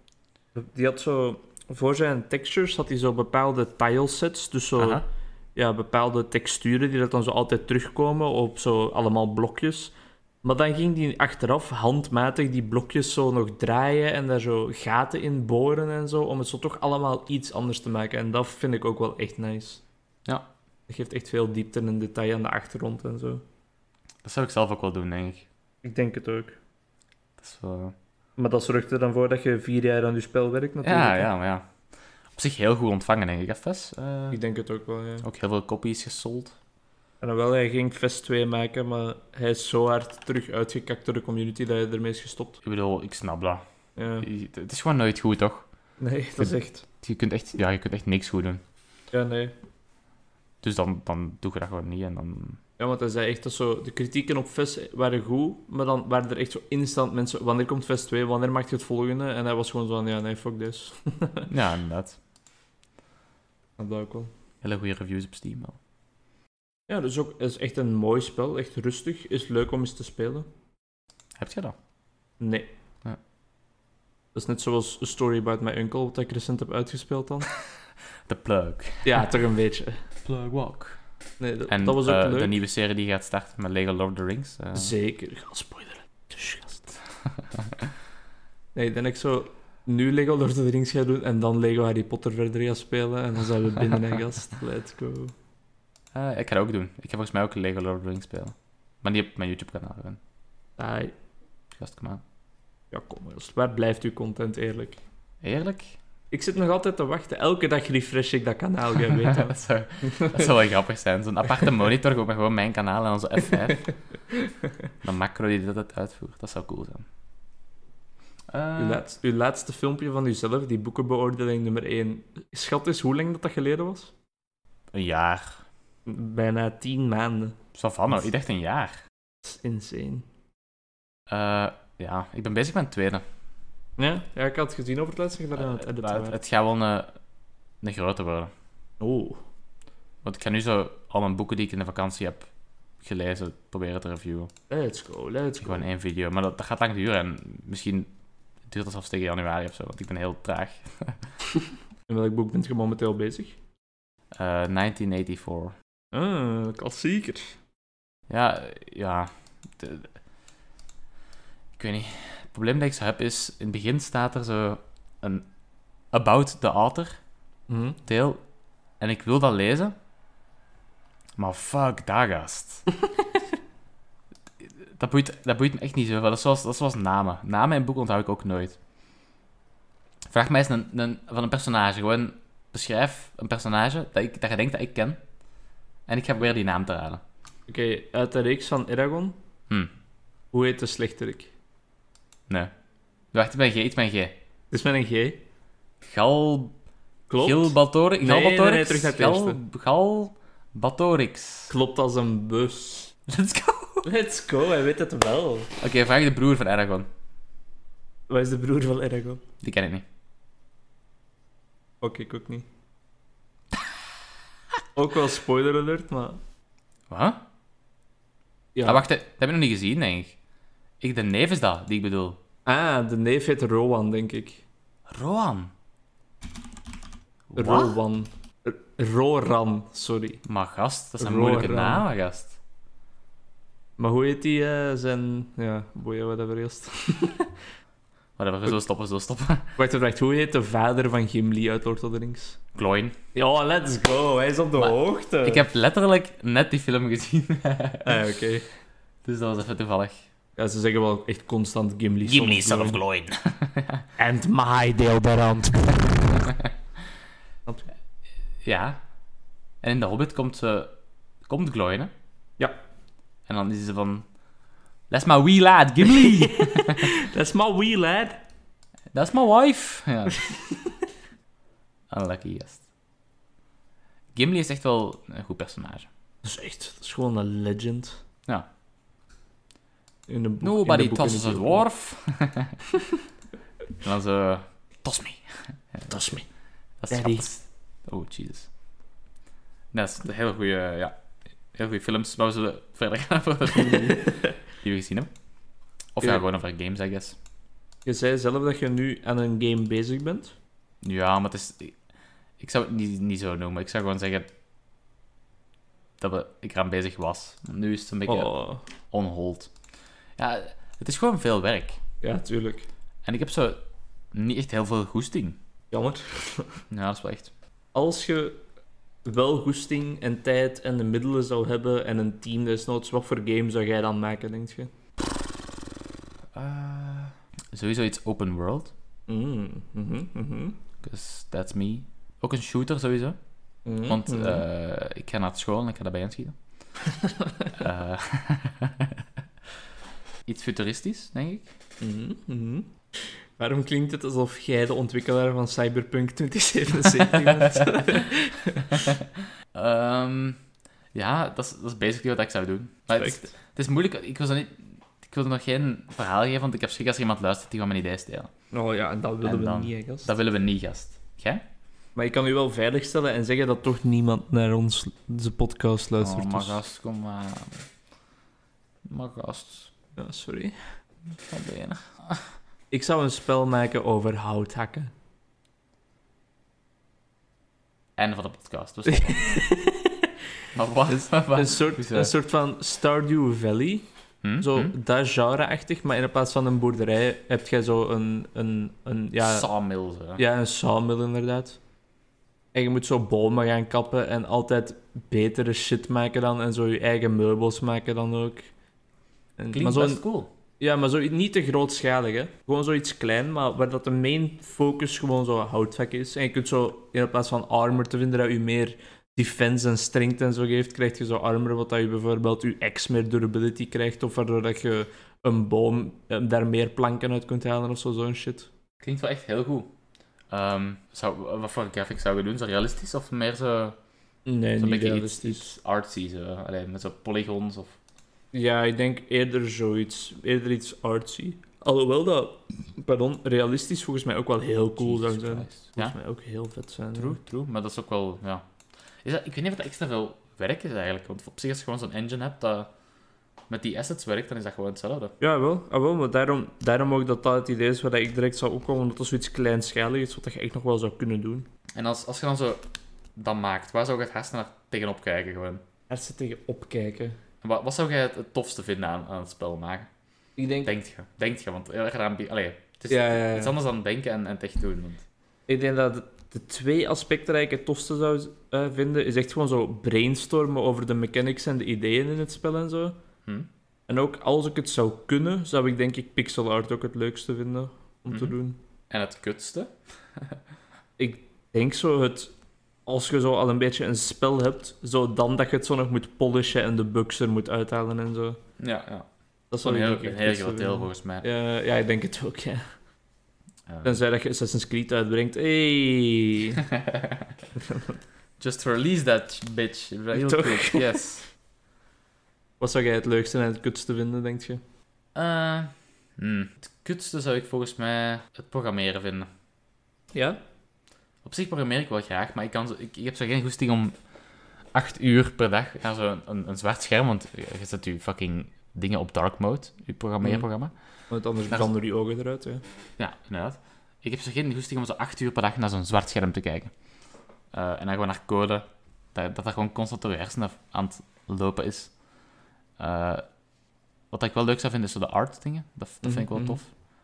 Speaker 2: Die had zo... Voor zijn textures had hij zo bepaalde tilesets. Dus zo
Speaker 1: Aha.
Speaker 2: ja, bepaalde texturen die dat dan zo altijd terugkomen op zo allemaal blokjes. Maar dan ging die achteraf handmatig die blokjes zo nog draaien en daar zo gaten in boren en zo. Om het zo toch allemaal iets anders te maken. En dat vind ik ook wel echt nice.
Speaker 1: Ja.
Speaker 2: Dat geeft echt veel diepte en detail aan de achtergrond en zo.
Speaker 1: Dat zou ik zelf ook wel doen, denk ik.
Speaker 2: Ik denk het ook.
Speaker 1: Dat is wel...
Speaker 2: Maar dat zorgt er dan voor dat je vier jaar aan je spel werkt natuurlijk.
Speaker 1: Ja, ja, maar ja. Op zich heel goed ontvangen, denk ik, hè, Fest? Eh,
Speaker 2: Ik denk het ook wel, ja.
Speaker 1: Ook heel veel kopies gesold.
Speaker 2: En dan wel, hij ging Fest 2 maken, maar hij is zo hard terug uitgekakt door de community dat hij ermee is gestopt.
Speaker 1: Ik bedoel, ik snap dat.
Speaker 2: Ja.
Speaker 1: Je- Het is gewoon nooit goed, toch?
Speaker 2: Nee, dat is echt...
Speaker 1: Je kunt echt, ja, je kunt echt niks goed doen.
Speaker 2: Ja, nee.
Speaker 1: Dus dan, dan doe je dat gewoon niet en dan...
Speaker 2: Ja, want hij zei echt dat zo... De kritieken op Fest waren goed, maar dan waren er echt zo instant mensen... Wanneer komt Fest 2? Wanneer maakt je het volgende? En hij was gewoon zo van, ja, nee, fuck this.
Speaker 1: Ja, inderdaad.
Speaker 2: Dat ook wel.
Speaker 1: Hele goede reviews op Steam wel.
Speaker 2: Ja, dus ook, is echt een mooi spel. Echt rustig. Is leuk om eens te spelen.
Speaker 1: Heb je dat?
Speaker 2: Nee.
Speaker 1: Ja.
Speaker 2: Dat is net zoals A Story About My Uncle, wat ik recent heb uitgespeeld dan.
Speaker 1: The Plug.
Speaker 2: ja, toch een beetje.
Speaker 1: Plug Walk.
Speaker 2: Nee, dat,
Speaker 1: En
Speaker 2: dat was ook
Speaker 1: eh,
Speaker 2: leuk.
Speaker 1: de nieuwe serie die gaat starten met Lego Lord of the Rings. eh,
Speaker 2: Zeker, ga spoileren. Dus gast. nee, dan ik zo nu Lego Lord of the Rings ga doen en dan Lego Harry Potter verder ga spelen. En dan zijn we binnen en gast. Let's go.
Speaker 1: Eh, ik ga dat ook doen. Ik ga volgens mij ook Lego Lord of the Rings spelen. Maar niet op mijn YouTube-kanaal. gewoon.
Speaker 2: Ai,
Speaker 1: Gast, kom aan.
Speaker 2: ja, kom eens. Waar blijft uw content, eerlijk?
Speaker 1: Eerlijk?
Speaker 2: Ik zit nog altijd te wachten. Elke dag refresh ik dat kanaal, jij weet dat.
Speaker 1: dat, zou, dat zou wel grappig zijn. Zo'n aparte monitor gewoon met gewoon mijn kanaal en onze F5. Een macro die dat uitvoert. Dat zou cool zijn. Eh,
Speaker 2: Uw, laatst- uw laatste filmpje van uzelf, die boekenbeoordeling nummer 1. Schat eens, hoe lang dat, dat geleden was?
Speaker 1: een jaar.
Speaker 2: Bijna tien maanden.
Speaker 1: Savanno, ik dacht een jaar.
Speaker 2: Dat is insane.
Speaker 1: Eh, ja, ik ben bezig met een tweede.
Speaker 2: Ja, ja ik had het gezien over het laatste gedaan aan
Speaker 1: Eh,
Speaker 2: het
Speaker 1: maar
Speaker 2: editen.
Speaker 1: het,
Speaker 2: waren.
Speaker 1: het gaat wel een, een grote worden.
Speaker 2: Oh,
Speaker 1: Want ik ga nu zo al mijn boeken die ik in de vakantie heb gelezen proberen te reviewen.
Speaker 2: let's go, let's go.
Speaker 1: Gewoon één video. Maar dat, dat gaat lang duren en misschien duurt dat zelfs tegen januari of zo, want ik ben heel traag.
Speaker 2: In welk boek bent je momenteel bezig?
Speaker 1: Eh, 1984.
Speaker 2: Ah, klassieker.
Speaker 1: Ja, eh, ja. De- de- ik weet niet. Het probleem dat ik zo heb is, in het begin staat er zo een about the author
Speaker 2: Hm?
Speaker 1: deel. En ik wil dat lezen. Maar fuck daar gast. dat, boeit, dat boeit me echt niet zoveel. Dat is zoals, dat is zoals namen. Namen in boeken onthoud ik ook nooit. Vraag mij eens een, een, van een personage. Gewoon beschrijf een personage dat, ik, dat je denkt dat ik ken. En ik ga proberen die naam te raden.
Speaker 2: Oké, uit de reeks van Eragon,
Speaker 1: Hm.
Speaker 2: hoe heet de slechterik?
Speaker 1: Nee. Wacht, ik ben G, iets ben G.
Speaker 2: Het is met een G.
Speaker 1: Gal...
Speaker 2: Klopt.
Speaker 1: Gilbatorix?
Speaker 2: Nee, nee, nee,
Speaker 1: Galbatorix?
Speaker 2: terug naar het
Speaker 1: Gal... Galbatorix.
Speaker 2: Klopt als een bus.
Speaker 1: Let's go.
Speaker 2: Let's go, hij weet het wel.
Speaker 1: Oké, vraag de broer van Aragorn.
Speaker 2: Wat is de broer van Eragon?
Speaker 1: Die ken ik niet.
Speaker 2: Oké, ik ook niet. ook wel spoiler alert, maar...
Speaker 1: Wat?
Speaker 2: Ja.
Speaker 1: Ah, wacht, dat heb ik nog niet gezien, denk ik. Ik, de neef is dat, die ik bedoel.
Speaker 2: Ah, de neef heet Rowan, denk ik.
Speaker 1: Roan. Wat?
Speaker 2: Rowan. R- Roran, sorry.
Speaker 1: Maar gast, dat is een
Speaker 2: Roran.
Speaker 1: moeilijke naam, gast.
Speaker 2: Maar hoe heet die eh, zijn... Ja, boeien, whatever eerst.
Speaker 1: Whatever, zo stoppen, zo stoppen.
Speaker 2: Wacht, hij vraagt, hoe heet de vader van Gimli uit Lord of the Rings?
Speaker 1: Kloin.
Speaker 2: Ja, let's go. Hij is op de
Speaker 1: Maar
Speaker 2: hoogte.
Speaker 1: Ik heb letterlijk net die film gezien.
Speaker 2: Ah, oké.
Speaker 1: dus dat was even toevallig.
Speaker 2: Ja, ze zeggen wel echt constant Gimli.
Speaker 1: son of Gloin.
Speaker 2: And my deel daarand.
Speaker 1: Ja. En in de Hobbit komt ze... Komt Gloin, hè?
Speaker 2: Ja.
Speaker 1: En dan is ze van... That's my wee lad, Gimli!
Speaker 2: That's my wee lad.
Speaker 1: That's my wife! Ja. Unlucky guest. Gimli is echt wel een goed personage.
Speaker 2: Dat is echt... Dat is gewoon een legend.
Speaker 1: Ja.
Speaker 2: In de boek, in de
Speaker 1: Nobody
Speaker 2: boek,
Speaker 1: tosses
Speaker 2: in
Speaker 1: a
Speaker 2: de
Speaker 1: dwarf. en dan zo... Toss me.
Speaker 2: film. Dat is me.
Speaker 1: Dat is
Speaker 2: Daddy.
Speaker 1: schat. Oh, Jesus. Nee, Dat is een hele goede... Ja, heel goede films. Maar we zullen verder gaan voor de films die we gezien hebben. Of ja,
Speaker 2: Ja.
Speaker 1: gewoon over games, I guess.
Speaker 2: Je zei zelf dat je nu aan een game bezig bent.
Speaker 1: Ja, maar het is... ik- Ik zou het niet, niet zo noemen. Ik zou gewoon zeggen... Dat we, ik eraan bezig was. Nu is het een beetje
Speaker 2: Oh.
Speaker 1: on hold. Ja, het is gewoon veel werk.
Speaker 2: Ja, tuurlijk.
Speaker 1: En ik heb zo niet echt heel veel goesting.
Speaker 2: Jammer.
Speaker 1: Ja, dat is wel echt.
Speaker 2: Als je wel goesting en tijd en de middelen zou hebben en een team desnoods, wat voor game zou jij dan maken, denk je?
Speaker 1: Eh, sowieso iets open world.
Speaker 2: Mm, mhm, mhm.
Speaker 1: Because that's me. Ook een shooter sowieso.
Speaker 2: Mhm,
Speaker 1: Want
Speaker 2: mhm.
Speaker 1: eh, ik ga naar school en ik ga daarbij inschieten. Eh, iets futuristisch, denk ik.
Speaker 2: Mhm, mhm. Waarom klinkt het alsof jij de ontwikkelaar van Cyberpunk 2077 bent?
Speaker 1: Ehm, ja, dat is, dat is basically wat ik zou doen. Maar het, is-
Speaker 2: Respect.
Speaker 1: het is moeilijk. Ik wil, zo niet, ik wil er nog geen verhaal geven, want ik heb schrik als er iemand luistert die van mijn idee stelen.
Speaker 2: Oh ja, en dat
Speaker 1: En
Speaker 2: willen
Speaker 1: dan-
Speaker 2: we niet, hè, gast.
Speaker 1: Dat willen we niet, gast. Jij?
Speaker 2: Maar ik kan u wel veiligstellen en zeggen dat toch niemand naar ons onze podcast luistert.
Speaker 1: Oh, maar
Speaker 2: dus-
Speaker 1: gast, kom maar. Maar gast,
Speaker 2: Ja, sorry.
Speaker 1: van benen.
Speaker 2: Ik zou een spel maken over houthakken.
Speaker 1: Einde van de podcast. We stoppen. maar wat?
Speaker 2: Een soort,
Speaker 1: Hoezo?
Speaker 2: een soort van Stardew Valley.
Speaker 1: Hm?
Speaker 2: Zo
Speaker 1: Hm?
Speaker 2: dat genre-achtig, maar in plaats van een boerderij heb jij zo een... een, een ja,
Speaker 1: Sawmill. Zo.
Speaker 2: ja, een sawmill inderdaad. En je moet zo bomen gaan kappen en altijd betere shit maken dan. En zo je eigen meubels maken dan ook. En, maar
Speaker 1: Klinkt
Speaker 2: zo,
Speaker 1: best cool.
Speaker 2: ja, maar zo niet te grootschalig, hè. Gewoon zoiets klein, maar waar dat de main focus gewoon zo houtvak is. En je kunt zo, in plaats van armor te vinden dat u meer defense en strength en zo geeft, krijg je zo armor wat dat je bijvoorbeeld je ex meer durability krijgt, of waardoor dat je een boom eh, daar meer planken uit kunt halen of zo, zo'n shit.
Speaker 1: Klinkt wel echt heel goed. Ehm, zou, wat voor graphics zou je doen? Zo realistisch of meer zo...
Speaker 2: Nee,
Speaker 1: Zo'n
Speaker 2: niet
Speaker 1: beetje iets,
Speaker 2: realistisch.
Speaker 1: iets artsy, zo. Allee, met zo'n polygons of...
Speaker 2: Ja, ik denk eerder zoiets. Eerder iets artsy. Alhoewel dat, pardon, realistisch volgens mij ook wel heel cool zou
Speaker 1: Jesus
Speaker 2: zijn.
Speaker 1: Christ. Ja,
Speaker 2: Volgens mij ook heel vet zijn. ja.
Speaker 1: true, true. Maar dat is ook wel, ja... Is dat, ik weet niet of dat extra veel werk is eigenlijk. Want op zich als je gewoon zo'n engine hebt dat met die assets werkt, dan is dat gewoon hetzelfde.
Speaker 2: Ja, wel, ah, wel maar daarom, daarom ook dat dat het idee is waar ik direct zou opkomen, omdat dat zoiets kleinschaligs is, wat je echt nog wel zou kunnen doen.
Speaker 1: En als, als je dan zo dat maakt, waar zou je het hersen naar tegenop kijken gewoon?
Speaker 2: Er zit tegen opkijken.
Speaker 1: En wat, wat zou jij het, het tofste vinden aan, aan het spel maken?
Speaker 2: Ik denk,
Speaker 1: Denkt je? Denkt je? Want heel erg aan... Allee, het is
Speaker 2: ja, ja, ja.
Speaker 1: iets anders dan denken en, en het echt doen. Want...
Speaker 2: ik denk dat de, de twee aspecten die ik het tofste zou eh, vinden, is echt gewoon zo brainstormen over de mechanics en de ideeën in het spel en zo.
Speaker 1: Hm?
Speaker 2: En ook als ik het zou kunnen, zou ik denk ik pixel art ook het leukste vinden om te
Speaker 1: Mhm.
Speaker 2: doen.
Speaker 1: En het kutste?
Speaker 2: Ik denk zo het, als je zo al een beetje een spel hebt, zo dan dat je het zo nog moet polishen en de bugs er moet uithalen en zo.
Speaker 1: Ja, ja.
Speaker 2: Dat
Speaker 1: Zo'n
Speaker 2: zou ik
Speaker 1: heel,
Speaker 2: denk ik
Speaker 1: een
Speaker 2: het
Speaker 1: heel
Speaker 2: beste
Speaker 1: groot deel
Speaker 2: vinden.
Speaker 1: volgens mij.
Speaker 2: Ja, ja, ik denk het ook, ja.
Speaker 1: Ja.
Speaker 2: Tenzij dat je Assassin's Creed uitbrengt. Hey.
Speaker 1: Just release that bitch. Real
Speaker 2: Toch?
Speaker 1: quick, yes.
Speaker 2: Wat zou jij het leukste en het kutste vinden, denk je?
Speaker 1: Eh, hmm. Het kutste zou ik volgens mij het programmeren vinden.
Speaker 2: Ja?
Speaker 1: Op zich programmeer ik wel graag, maar ik, kan zo, ik, ik heb zo geen goesting om acht uur per dag naar zo'n een, een zwart scherm, want je zet je fucking dingen op dark mode, je programmeerprogramma.
Speaker 2: Want anders
Speaker 1: Daar-
Speaker 2: branden die ogen eruit, ja.
Speaker 1: Ja, inderdaad. Ik heb zo geen goesting om zo acht uur per dag naar zo'n zwart scherm te kijken. Eh, en dan gewoon naar code, dat dat, dat gewoon constant door je hersenen aan het lopen is. Eh, wat ik wel leuk zou vinden, is zo de art dingen. Dat, dat vind ik wel
Speaker 2: Mhm,
Speaker 1: tof.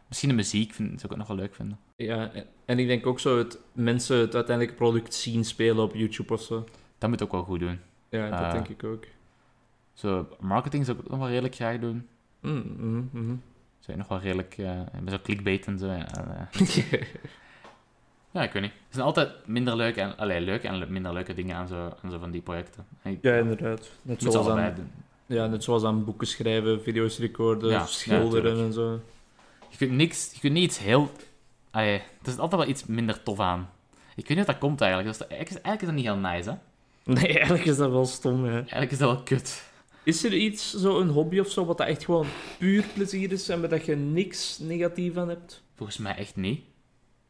Speaker 1: Misschien de muziek vind, zou ik ook nog wel leuk vinden.
Speaker 2: Ja, en- en ik denk ook zo het mensen het uiteindelijke product zien spelen op YouTube of zo.
Speaker 1: Dat moet ook wel goed doen.
Speaker 2: Ja, dat
Speaker 1: Ah.
Speaker 2: denk ik ook.
Speaker 1: Zo, marketing zou ik ook nog wel redelijk graag doen.
Speaker 2: Mm, mhm, mhm.
Speaker 1: Zou je nog wel redelijk... eh met zo'n clickbait en zo. en, eh, ja, ik weet niet. Er zijn altijd minder leuke en... Allee, leuke en le- minder leuke dingen aan zo, aan zo van die projecten. En ik-
Speaker 2: ja, inderdaad. Net
Speaker 1: Ik moet ze
Speaker 2: zoals,
Speaker 1: allebei
Speaker 2: aan,
Speaker 1: doen.
Speaker 2: ja, net zoals aan boeken schrijven, video's recorden,
Speaker 1: Ja, ja,
Speaker 2: schilderen
Speaker 1: tuurlijk.
Speaker 2: en zo.
Speaker 1: Je kunt niks... Je kunt niet iets heel... Allee, er is altijd wel iets minder tof aan. Ik weet niet of dat komt eigenlijk. Dat is, eigenlijk, eigenlijk is dat niet heel nice, hè?
Speaker 2: Nee, eigenlijk is dat wel stom, hè.
Speaker 1: Eigenlijk is dat wel kut.
Speaker 2: Is er iets, zo een hobby of zo, wat dat echt gewoon puur plezier is en waar dat je niks negatief aan hebt?
Speaker 1: Volgens mij echt niet.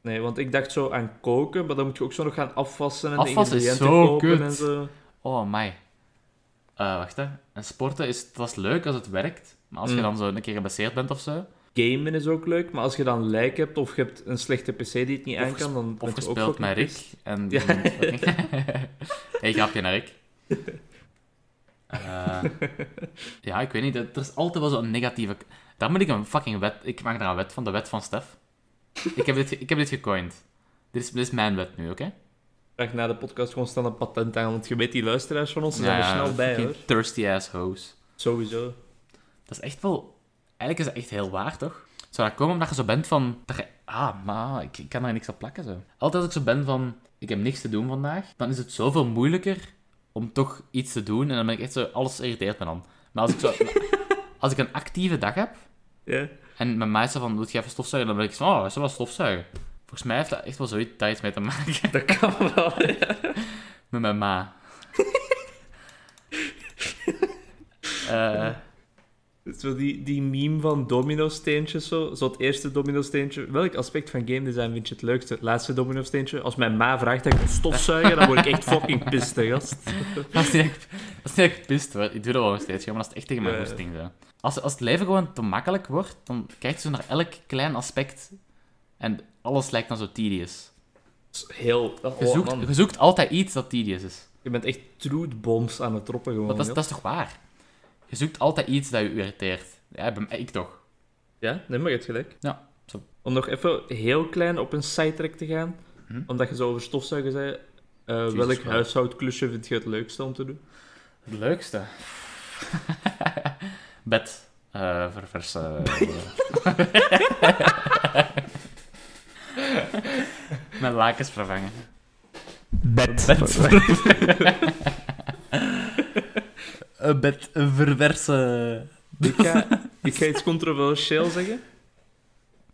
Speaker 2: Nee, want ik dacht zo aan koken, maar dan moet je ook zo nog gaan afwassen en
Speaker 1: Afwassen
Speaker 2: de
Speaker 1: is
Speaker 2: ingrediënten
Speaker 1: zo
Speaker 2: kopen
Speaker 1: kut.
Speaker 2: en zo.
Speaker 1: Oh, my. wacht, hè. En sporten is... Dat is leuk als het werkt. Maar als je
Speaker 2: Mm.
Speaker 1: dan zo een keer geblesseerd bent of zo...
Speaker 2: Gamen is ook leuk, maar als je dan lijk hebt of je hebt een slechte pc die het niet
Speaker 1: Of
Speaker 2: aan kan, dan ben
Speaker 1: Of
Speaker 2: je ook
Speaker 1: gespeeld
Speaker 2: fucking
Speaker 1: met Rick.
Speaker 2: pissed.
Speaker 1: En
Speaker 2: Ja.
Speaker 1: hey, grapje naar Rick. Eh, ja, ik weet niet. Er is altijd wel zo'n negatieve... Daar moet ik een fucking wet... Ik maak daar een wet van. De wet van Stef. Ik heb dit, ge- ik heb dit gecoind. Dit is, dit is mijn wet nu, oké?
Speaker 2: Vraag na de podcast gewoon snel een patent aan, want je weet die luisteraars van ons, die
Speaker 1: Ja,
Speaker 2: zijn er snel bij,
Speaker 1: fucking
Speaker 2: hoor.
Speaker 1: Thirsty ass hoes.
Speaker 2: Sowieso.
Speaker 1: Dat is echt wel... Eigenlijk is dat echt heel waar, toch? Zou dat komen omdat je zo bent van... Dat je, ah, maar ik, ik kan daar niks aan plakken, zo. Altijd als ik zo ben van... Ik heb niks te doen vandaag. Dan is het zoveel moeilijker om toch iets te doen. En dan ben ik echt zo... Alles irriteert me dan. Maar als ik zo... als ik een actieve dag heb...
Speaker 2: Ja.
Speaker 1: En mijn meisje van... Doet je even stofzuigen? Dan ben ik zo... Oh, is dat wel stofzuigen? Volgens mij heeft dat echt wel zoiets daar iets mee te maken.
Speaker 2: Dat kan wel, ja.
Speaker 1: Met mijn ma. Eh...
Speaker 2: Zo die, die meme van domino-steentjes, zo. zo het eerste domino-steentje. Welk aspect van game design vind je het leukste? Het laatste domino-steentje. Als mijn ma vraagt dat ik moet stofzuigen, dan word ik echt fucking pissed, hè, gast.
Speaker 1: Dat is niet echt- dat is niet echt pist hoor. Ik doe dat wel nog steeds, ja, maar dat is echt tegen mijn
Speaker 2: Ja, ja.
Speaker 1: goesting. zo. Als, als het leven gewoon te makkelijk wordt, dan kijkt ze naar elk klein aspect. En alles lijkt dan zo tedious.
Speaker 2: Dat is Heel... Oh,
Speaker 1: Je zoekt,
Speaker 2: man.
Speaker 1: je zoekt altijd iets dat tedious is.
Speaker 2: Je bent echt truthbombs aan het droppen, gewoon.
Speaker 1: Want dat, is-
Speaker 2: joh.
Speaker 1: dat is toch waar? Je zoekt altijd iets dat je irriteert. Ja, bij mij, ik toch.
Speaker 2: Ja, nee, maar je hebt gelijk.
Speaker 1: Ja, zo.
Speaker 2: Om nog even heel klein op een sidetrack te gaan,
Speaker 1: Hm?
Speaker 2: omdat je zo over stofzuigen zei. Eh,
Speaker 1: Jesus
Speaker 2: welk
Speaker 1: Christ.
Speaker 2: huishoudklusje vind je het leukste om te doen?
Speaker 1: Het leukste? Bed. eh verversen. Mijn lakens vervangen.
Speaker 2: Bed.
Speaker 1: Een bed verversen.
Speaker 2: Ik ga, ik ga iets controversieel zeggen.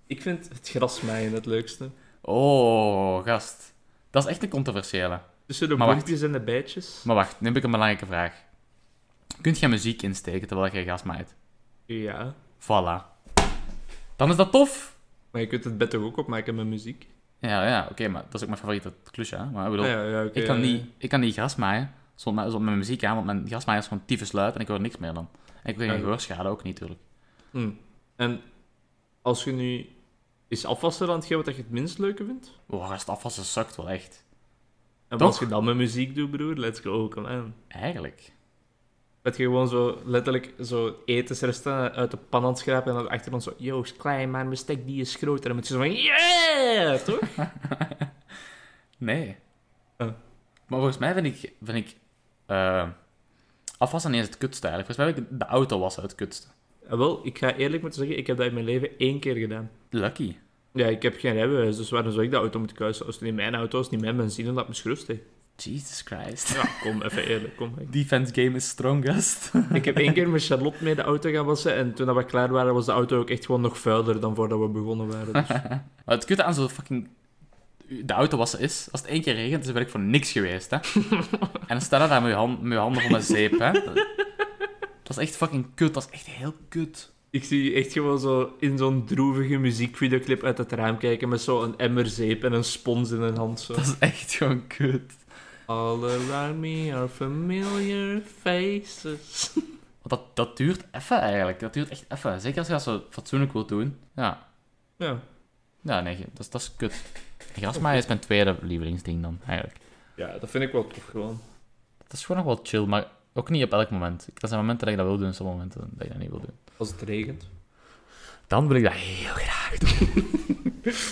Speaker 2: Ik vind het grasmaaien het leukste.
Speaker 1: Oh, gast. Dat is echt een controversiële.
Speaker 2: Tussen de
Speaker 1: Maar wacht.
Speaker 2: Dus boekjes en de bijtjes.
Speaker 1: Maar wacht, nu heb ik een belangrijke vraag. Kunt jij muziek insteken terwijl je gas maait?
Speaker 2: Ja.
Speaker 1: Voilà. Dan is dat tof.
Speaker 2: Maar je kunt het bed toch ook opmaken met muziek?
Speaker 1: Ja, ja, oké, maar dat is ook mijn favoriete klusje. Hè? Maar ik bedoel,
Speaker 2: Ah, ja, ja, oké,
Speaker 1: ik, kan
Speaker 2: ja, ja.
Speaker 1: niet, ik kan niet gras maaien zonder, zonder mijn muziek aan, want mijn grasmaaier is gewoon tyfus luid en ik hoor niks meer dan. En ik wil geen
Speaker 2: Ja.
Speaker 1: gehoorschade ook niet, natuurlijk.
Speaker 2: Hm. En als je nu is afwassen aan hetgeen wat je het minst leuke vindt?
Speaker 1: Oh, gast, afwassen sukt wel echt.
Speaker 2: En
Speaker 1: Toch?
Speaker 2: als je dat met muziek doet, broer, let's go, come on.
Speaker 1: Eigenlijk.
Speaker 2: Dat je gewoon zo letterlijk zo etensresten uit de pan aan het schrapen en dan achter ons zo, yo, is klein, maar mijn stek die is groter. En dan moet je zo van, yeah, toch?
Speaker 1: Nee.
Speaker 2: Eh.
Speaker 1: Maar volgens mij vind ik, vind ik eh, afwassen niet eens het kutste eigenlijk. Volgens mij vind ik de auto wassen het kutste.
Speaker 2: En Eh, wel, ik ga eerlijk moeten zeggen, ik heb dat in mijn leven één keer gedaan.
Speaker 1: Lucky.
Speaker 2: Ja, ik heb geen rijbewijs, dus waarom zou ik de auto moeten kuisen? Als het niet mijn auto is, niet mijn benzine, laat me schrusten.
Speaker 1: Jesus Christ.
Speaker 2: Ja, kom, even eerlijk, kom.
Speaker 1: Defense game is strong, gast.
Speaker 2: Ik heb één keer met Charlotte mee de auto gaan wassen en toen dat we klaar waren, was de auto ook echt gewoon nog vuiler dan voordat we begonnen waren. Dus.
Speaker 1: Maar het kutte aan zo'n fucking... De auto wassen is, als het één keer regent, dan ben ik voor niks geweest, hè. en dan staan daar met je, hand, met je handen vol met zeep, hè. Dat is echt fucking kut. Dat is echt heel kut.
Speaker 2: Ik zie je echt gewoon zo in zo'n droevige muziekvideoclip uit het raam kijken met zo'n emmer zeep en een spons in hun hand. Zo.
Speaker 1: Dat is echt gewoon kut.
Speaker 2: All around me are familiar faces.
Speaker 1: Want dat, dat duurt even, eigenlijk. Dat duurt echt even. Zeker als je dat zo fatsoenlijk wilt doen. Ja.
Speaker 2: Ja.
Speaker 1: Ja, Nou, nee, dat is, dat is kut. Grasmaaien is mijn tweede lievelingsding dan, eigenlijk.
Speaker 2: ja, dat vind ik wel tof gewoon.
Speaker 1: Dat is gewoon nog wel chill, maar ook niet op elk moment. Er zijn momenten dat ik dat wil doen, en sommige momenten dat ik dat niet wil doen.
Speaker 2: Als het regent.
Speaker 1: Dan wil ik dat heel graag.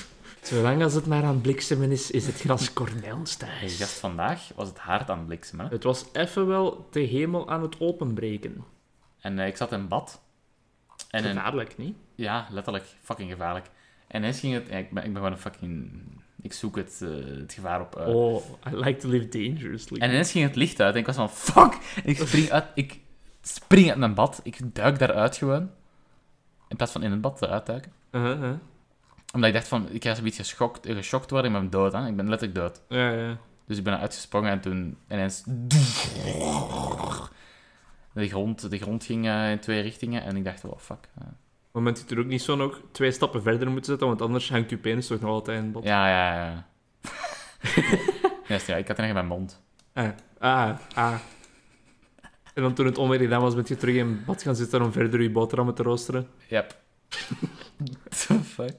Speaker 2: Zolang als het maar aan bliksemen is, is het gras Cornels
Speaker 1: Hey,
Speaker 2: thuis.
Speaker 1: gast, vandaag was het hard aan het bliksemen. hè.
Speaker 2: Het was even wel de hemel aan het openbreken.
Speaker 1: En eh, ik zat in bad. En een-
Speaker 2: Gevaarlijk, niet?
Speaker 1: ja, letterlijk. Fucking gevaarlijk. En eens ging het... ja, ik, ben, ik ben gewoon een fucking... Ik zoek het, eh, het gevaar op. eh.
Speaker 2: Oh, I like to live dangerously.
Speaker 1: En ineens ging het licht uit en ik was van... Fuck! En ik spring uit... Ik spring uit mijn bad. Ik duik daaruit gewoon. In plaats van in het bad te uitduiken.
Speaker 2: Uh-huh, uh.
Speaker 1: Omdat ik dacht van... Ik ga zo'n beetje geschokt, eh, geschokt worden. Ik ben dood, hè. Ik ben letterlijk dood.
Speaker 2: Ja, ja.
Speaker 1: Dus ik ben eruit gesprongen en toen ineens... De grond, de grond ging eh, in twee richtingen en ik dacht, oh fuck. eh.
Speaker 2: Maar moet je er ook niet zo nog twee stappen verder moeten zetten, want anders hangt je penis toch nog altijd in het bad.
Speaker 1: Ja, ja, ja, ja. Juist, ja, ik had er nog in mijn mond.
Speaker 2: Ah, ah, ah. En dan toen het onweer gedaan was, ben je terug in bad gaan zitten om verder je boterhammen te roosteren.
Speaker 1: Yep. The fuck?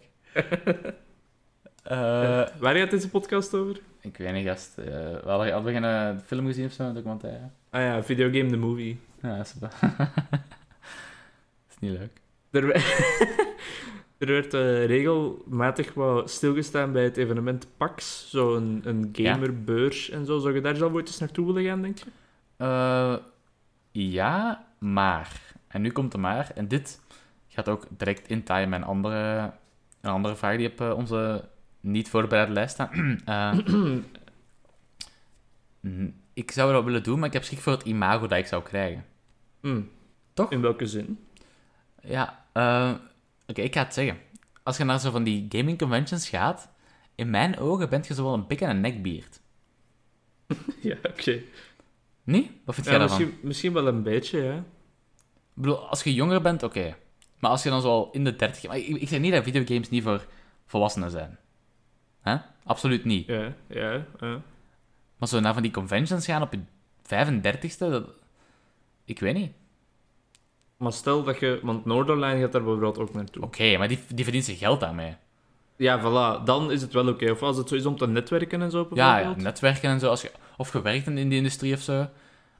Speaker 1: Eh,
Speaker 2: Waar gaat deze podcast over?
Speaker 1: ik weet niet, gast. Eh, we hadden, hadden we geen eh, film gezien of zo, een documentaire?
Speaker 2: Ah ja, videogame the movie.
Speaker 1: Ja, dat is wel. Dat is niet leuk.
Speaker 2: Er, we- er werd eh, regelmatig wat stilgestaan bij het evenement PAX, zo'n een
Speaker 1: Ja.
Speaker 2: gamerbeurs en zo. Zou je daar zelf ooit eens naartoe willen gaan, denk je?
Speaker 1: Eh, ja, maar. En nu komt de maar. En dit gaat ook direct in time mijn andere, een andere vraag die op eh, onze niet voorbereide lijst staat. Eh, n- ik zou dat willen doen, maar ik heb schrik voor het imago dat ik zou krijgen.
Speaker 2: Hm.
Speaker 1: Hmm. Toch?
Speaker 2: In welke zin?
Speaker 1: Ja, eh, oké, ik ga het zeggen. Als je naar zo van die gaming conventions gaat, in mijn ogen bent je zowel een pik en een nekbeard.
Speaker 2: ja, oké.
Speaker 1: Nee? Wat vind jij
Speaker 2: Ja,
Speaker 1: daarvan?
Speaker 2: misschien, misschien wel een beetje, ja.
Speaker 1: Ik bedoel, als je jonger bent, oké. Maar als je dan zo al in de 30. Maar ik, ik zeg niet dat videogames niet voor volwassenen zijn. Hè? Absoluut niet.
Speaker 2: Ja, ja, ja.
Speaker 1: Maar zo naar van die conventions gaan op je 35ste, dat... ik weet niet.
Speaker 2: Maar stel dat je... Want Noorderlijn gaat daar bijvoorbeeld ook naartoe.
Speaker 1: Oké, maar die, die verdient zijn geld daarmee.
Speaker 2: Ja, voilà. Dan is het wel oké. Of als het zo is om te netwerken en zo,
Speaker 1: Ja,
Speaker 2: bijvoorbeeld.
Speaker 1: ja, netwerken en zo. Als je, of gewerkt in, in die industrie of zo.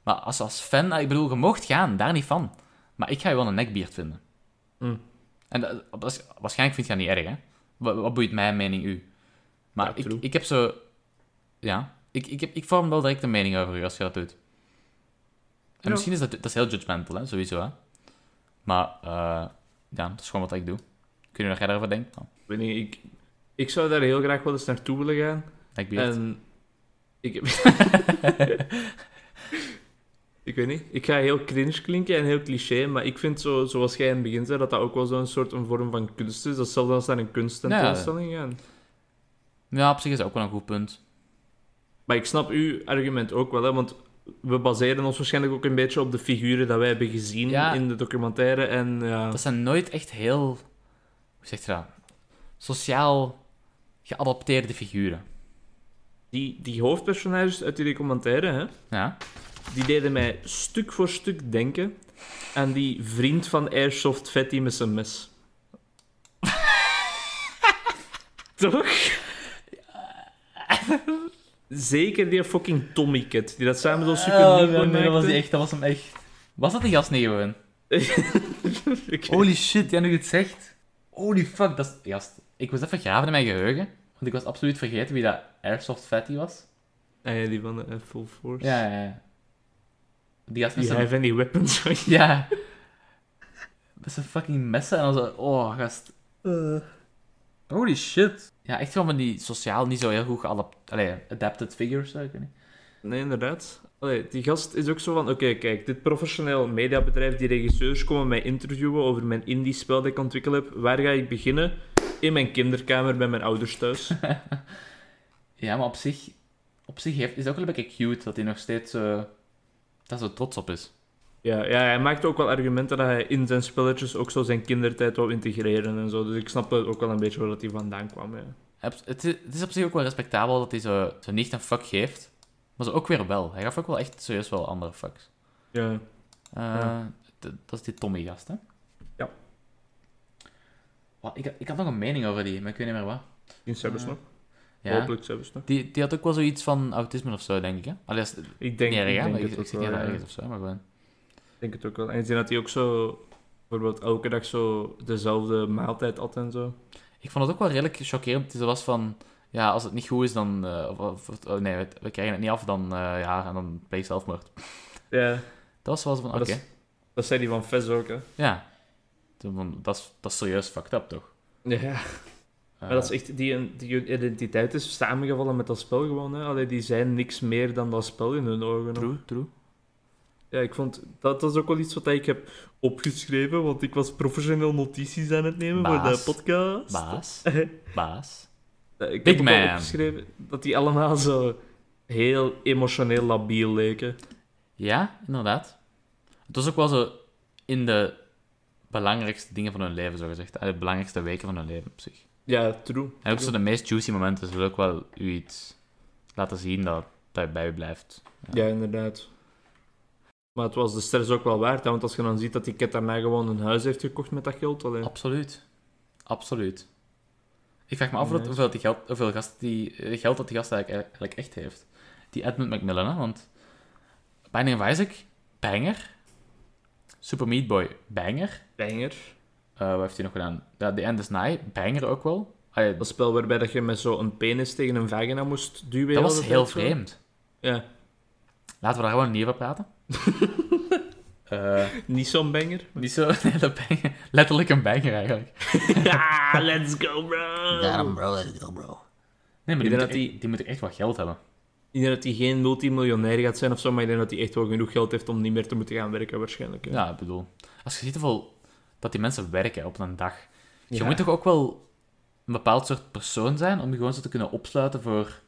Speaker 1: Maar als, als fan, ah, ik bedoel, je mocht gaan, daar niet van. Maar ik ga je wel een nekbeard vinden.
Speaker 2: Mm.
Speaker 1: En dat, dat is- waarschijnlijk vind je dat niet erg, hè? Wat, wat boeit mijn mening u? Maar
Speaker 2: Ja,
Speaker 1: ik,
Speaker 2: true.
Speaker 1: ik heb zo... Ja, Ik, ik, heb, ik vorm wel direct een mening over u als je dat doet. En
Speaker 2: Ja.
Speaker 1: misschien is dat, dat is heel judgmental, hè, sowieso. Hè? Maar eh, ja, dat is gewoon wat ik doe. Kun je nog jij daarover denken? Nou,
Speaker 2: Ik weet niet, ik, ik zou daar heel graag wel eens naartoe willen gaan.
Speaker 1: lijkt me echt.
Speaker 2: En ik heb... ik weet niet. Ik ga heel cringe klinken en heel cliché, maar ik vind zo, zoals jij in het begin zei, dat dat ook wel zo'n soort een vorm van kunst is. Dat zal dan naar een kunsttentoonstelling gaan.
Speaker 1: Ja, op zich is dat ook wel een goed punt.
Speaker 2: Maar ik snap uw argument ook wel, hè, want we baseren ons waarschijnlijk ook een beetje op de figuren dat wij hebben gezien
Speaker 1: Ja.
Speaker 2: in de documentaire. En ja,
Speaker 1: Dat zijn nooit echt heel... Hoe zeg je dat? Sociaal geadapteerde figuren.
Speaker 2: die, die hoofdpersonages uit die documentaire, hè,
Speaker 1: Ja,
Speaker 2: die deden mij stuk voor stuk denken aan die vriend van Airsoft Fatty met zijn mes. Toch? Zeker die fucking Tommy Cat, die dat samen zo super
Speaker 1: Oh, nee, dat was die
Speaker 2: maakte.
Speaker 1: echt, dat was hem echt. Was dat die gast niet gewoon?
Speaker 2: Ik-
Speaker 1: Holy shit, jij nu het zegt. Holy fuck, dat is... Gast, ik was even graven in mijn geheugen. Want ik was absoluut vergeten wie dat Airsoft Fatty was.
Speaker 2: Ah ja, die van de eh, Full Force.
Speaker 1: Ja, ja, ja. Die gast met
Speaker 2: Die
Speaker 1: zijn...
Speaker 2: heeft en die weapons.
Speaker 1: Ja. Met zijn fucking messen en dan zo... Oh, gast. Holy shit. Ja, echt gewoon van die sociaal niet zo heel goed geadapt... Allee, adapted figures, eh, ik weet niet.
Speaker 2: Nee, inderdaad. Allee, die gast is ook zo van, oké, kijk, dit professioneel mediabedrijf, die regisseurs komen mij interviewen over mijn indie spel dat ik ontwikkeld heb. Waar ga ik beginnen? In mijn kinderkamer bij mijn ouders thuis.
Speaker 1: Ja, maar op zich... Op zich heeft, is het ook wel een beetje cute dat hij nog steeds... eh dat zo trots op is.
Speaker 2: ja, ja, hij maakt ook wel argumenten dat hij in zijn spelletjes ook zo zijn kindertijd wou integreren en zo. Dus ik snap ook wel een beetje waar dat hij vandaan kwam. Ja.
Speaker 1: Abs- Het is, het is op zich ook wel respectabel dat hij zo, zo niet een fuck geeft. Maar zo ook weer wel. Hij gaf ook wel echt serieus wel andere fucks.
Speaker 2: ja.
Speaker 1: Eh,
Speaker 2: Ja.
Speaker 1: d- Dat is die Tommy-gast, hè?
Speaker 2: Ja.
Speaker 1: Wat, ik, ik had nog een mening over die, maar ik weet niet meer wat.
Speaker 2: In Sebus nog.
Speaker 1: Ja.
Speaker 2: Hopelijk Sebus nog.
Speaker 1: Die, die had ook wel zoiets van autisme of zo, denk ik, hè? Allee, dat is
Speaker 2: Ik denk,
Speaker 1: niet erg,
Speaker 2: ik
Speaker 1: hè,
Speaker 2: denk
Speaker 1: maar
Speaker 2: het
Speaker 1: ik,
Speaker 2: ook
Speaker 1: ik zeg
Speaker 2: wel,
Speaker 1: niet dat
Speaker 2: ja.
Speaker 1: erg is of zo, maar gewoon...
Speaker 2: Ik denk het ook wel. En ik denk dat hij ook zo... Bijvoorbeeld elke dag zo dezelfde maaltijd at en zo.
Speaker 1: Ik vond het ook wel redelijk chockerend. dat hij zo was van... Ja, als het niet goed is, dan... eh, of- of, of- oh, nee, we, we krijgen het niet af, dan... eh, ja, en dan pleeg zelfmoord.
Speaker 2: Ja.
Speaker 1: Dat was wel zo van...
Speaker 2: Maar
Speaker 1: Oké,
Speaker 2: dat is- Dat zei die van Fez ook, hè?
Speaker 1: ja. Toen van, Dat is- dat is serieus fucked up, toch?
Speaker 2: Ja.
Speaker 1: Eh,
Speaker 2: Maar dat is echt, die, die identiteit is samengevallen met dat spel gewoon. Hè. Allee, die zijn niks meer dan dat spel in hun ogen. hoor.
Speaker 1: True, true.
Speaker 2: Ja, ik vond dat, dat is ook wel iets wat ik heb opgeschreven, want ik was professioneel notities aan het nemen voor de
Speaker 1: Baas.
Speaker 2: podcast.
Speaker 1: Baas. Baas.
Speaker 2: Ja, ik
Speaker 1: Big
Speaker 2: heb ook wel
Speaker 1: man.
Speaker 2: opgeschreven dat die allemaal zo heel emotioneel labiel leken.
Speaker 1: Ja, inderdaad. Het was ook wel zo in de belangrijkste dingen van hun leven, zo gezegd. eh, De belangrijkste weken van hun leven op zich.
Speaker 2: Ja, true.
Speaker 1: En ook zo de meest juicy momenten. Ze willen ook wel u iets laten zien dat, dat bij u blijft.
Speaker 2: Ja, inderdaad. Maar het was de stress ook wel waard, hè, want als je dan ziet dat die kat daarna gewoon een huis heeft gekocht met dat geld. Allee.
Speaker 1: Oh. Absoluut. Absoluut. Ik vraag me af
Speaker 2: Nice.
Speaker 1: hoeveel, die geld, hoeveel gast die, eh, geld dat die gast eigenlijk, eigenlijk echt heeft. Die Edmund Macmillan, hè, want Binding of Isaac, banger. Super Meat Boy, banger.
Speaker 2: Banger.
Speaker 1: Eh, wat heeft hij nog gedaan? Ja, The End is Nigh, banger ook wel. Ah ja, dat,
Speaker 2: Dat spel waarbij dat je met zo'n penis tegen een vagina moest duwen.
Speaker 1: dat was
Speaker 2: altijd,
Speaker 1: heel
Speaker 2: zo.
Speaker 1: vreemd.
Speaker 2: Ja,
Speaker 1: Laten we daar gewoon niet over praten. Eh,
Speaker 2: niet zo'n banger.
Speaker 1: niet zo nee, dat banger. Letterlijk een banger eigenlijk.
Speaker 2: ja, let's go, bro.
Speaker 1: bro, let's go, bro. Nee, maar die
Speaker 2: Ik denk
Speaker 1: moet,
Speaker 2: dat
Speaker 1: echt,
Speaker 2: die-
Speaker 1: die... moet echt wat geld hebben.
Speaker 2: Ik denk dat hij geen multimiljonair gaat zijn of zo, maar ik denk dat hij echt wel genoeg geld heeft om niet meer te moeten gaan werken, waarschijnlijk. hè.
Speaker 1: Ja, ik bedoel. Als je ziet hoeveel dat die mensen werken op een dag. Je
Speaker 2: Ja.
Speaker 1: moet toch ook wel een bepaald soort persoon zijn om je gewoon zo te kunnen opsluiten voor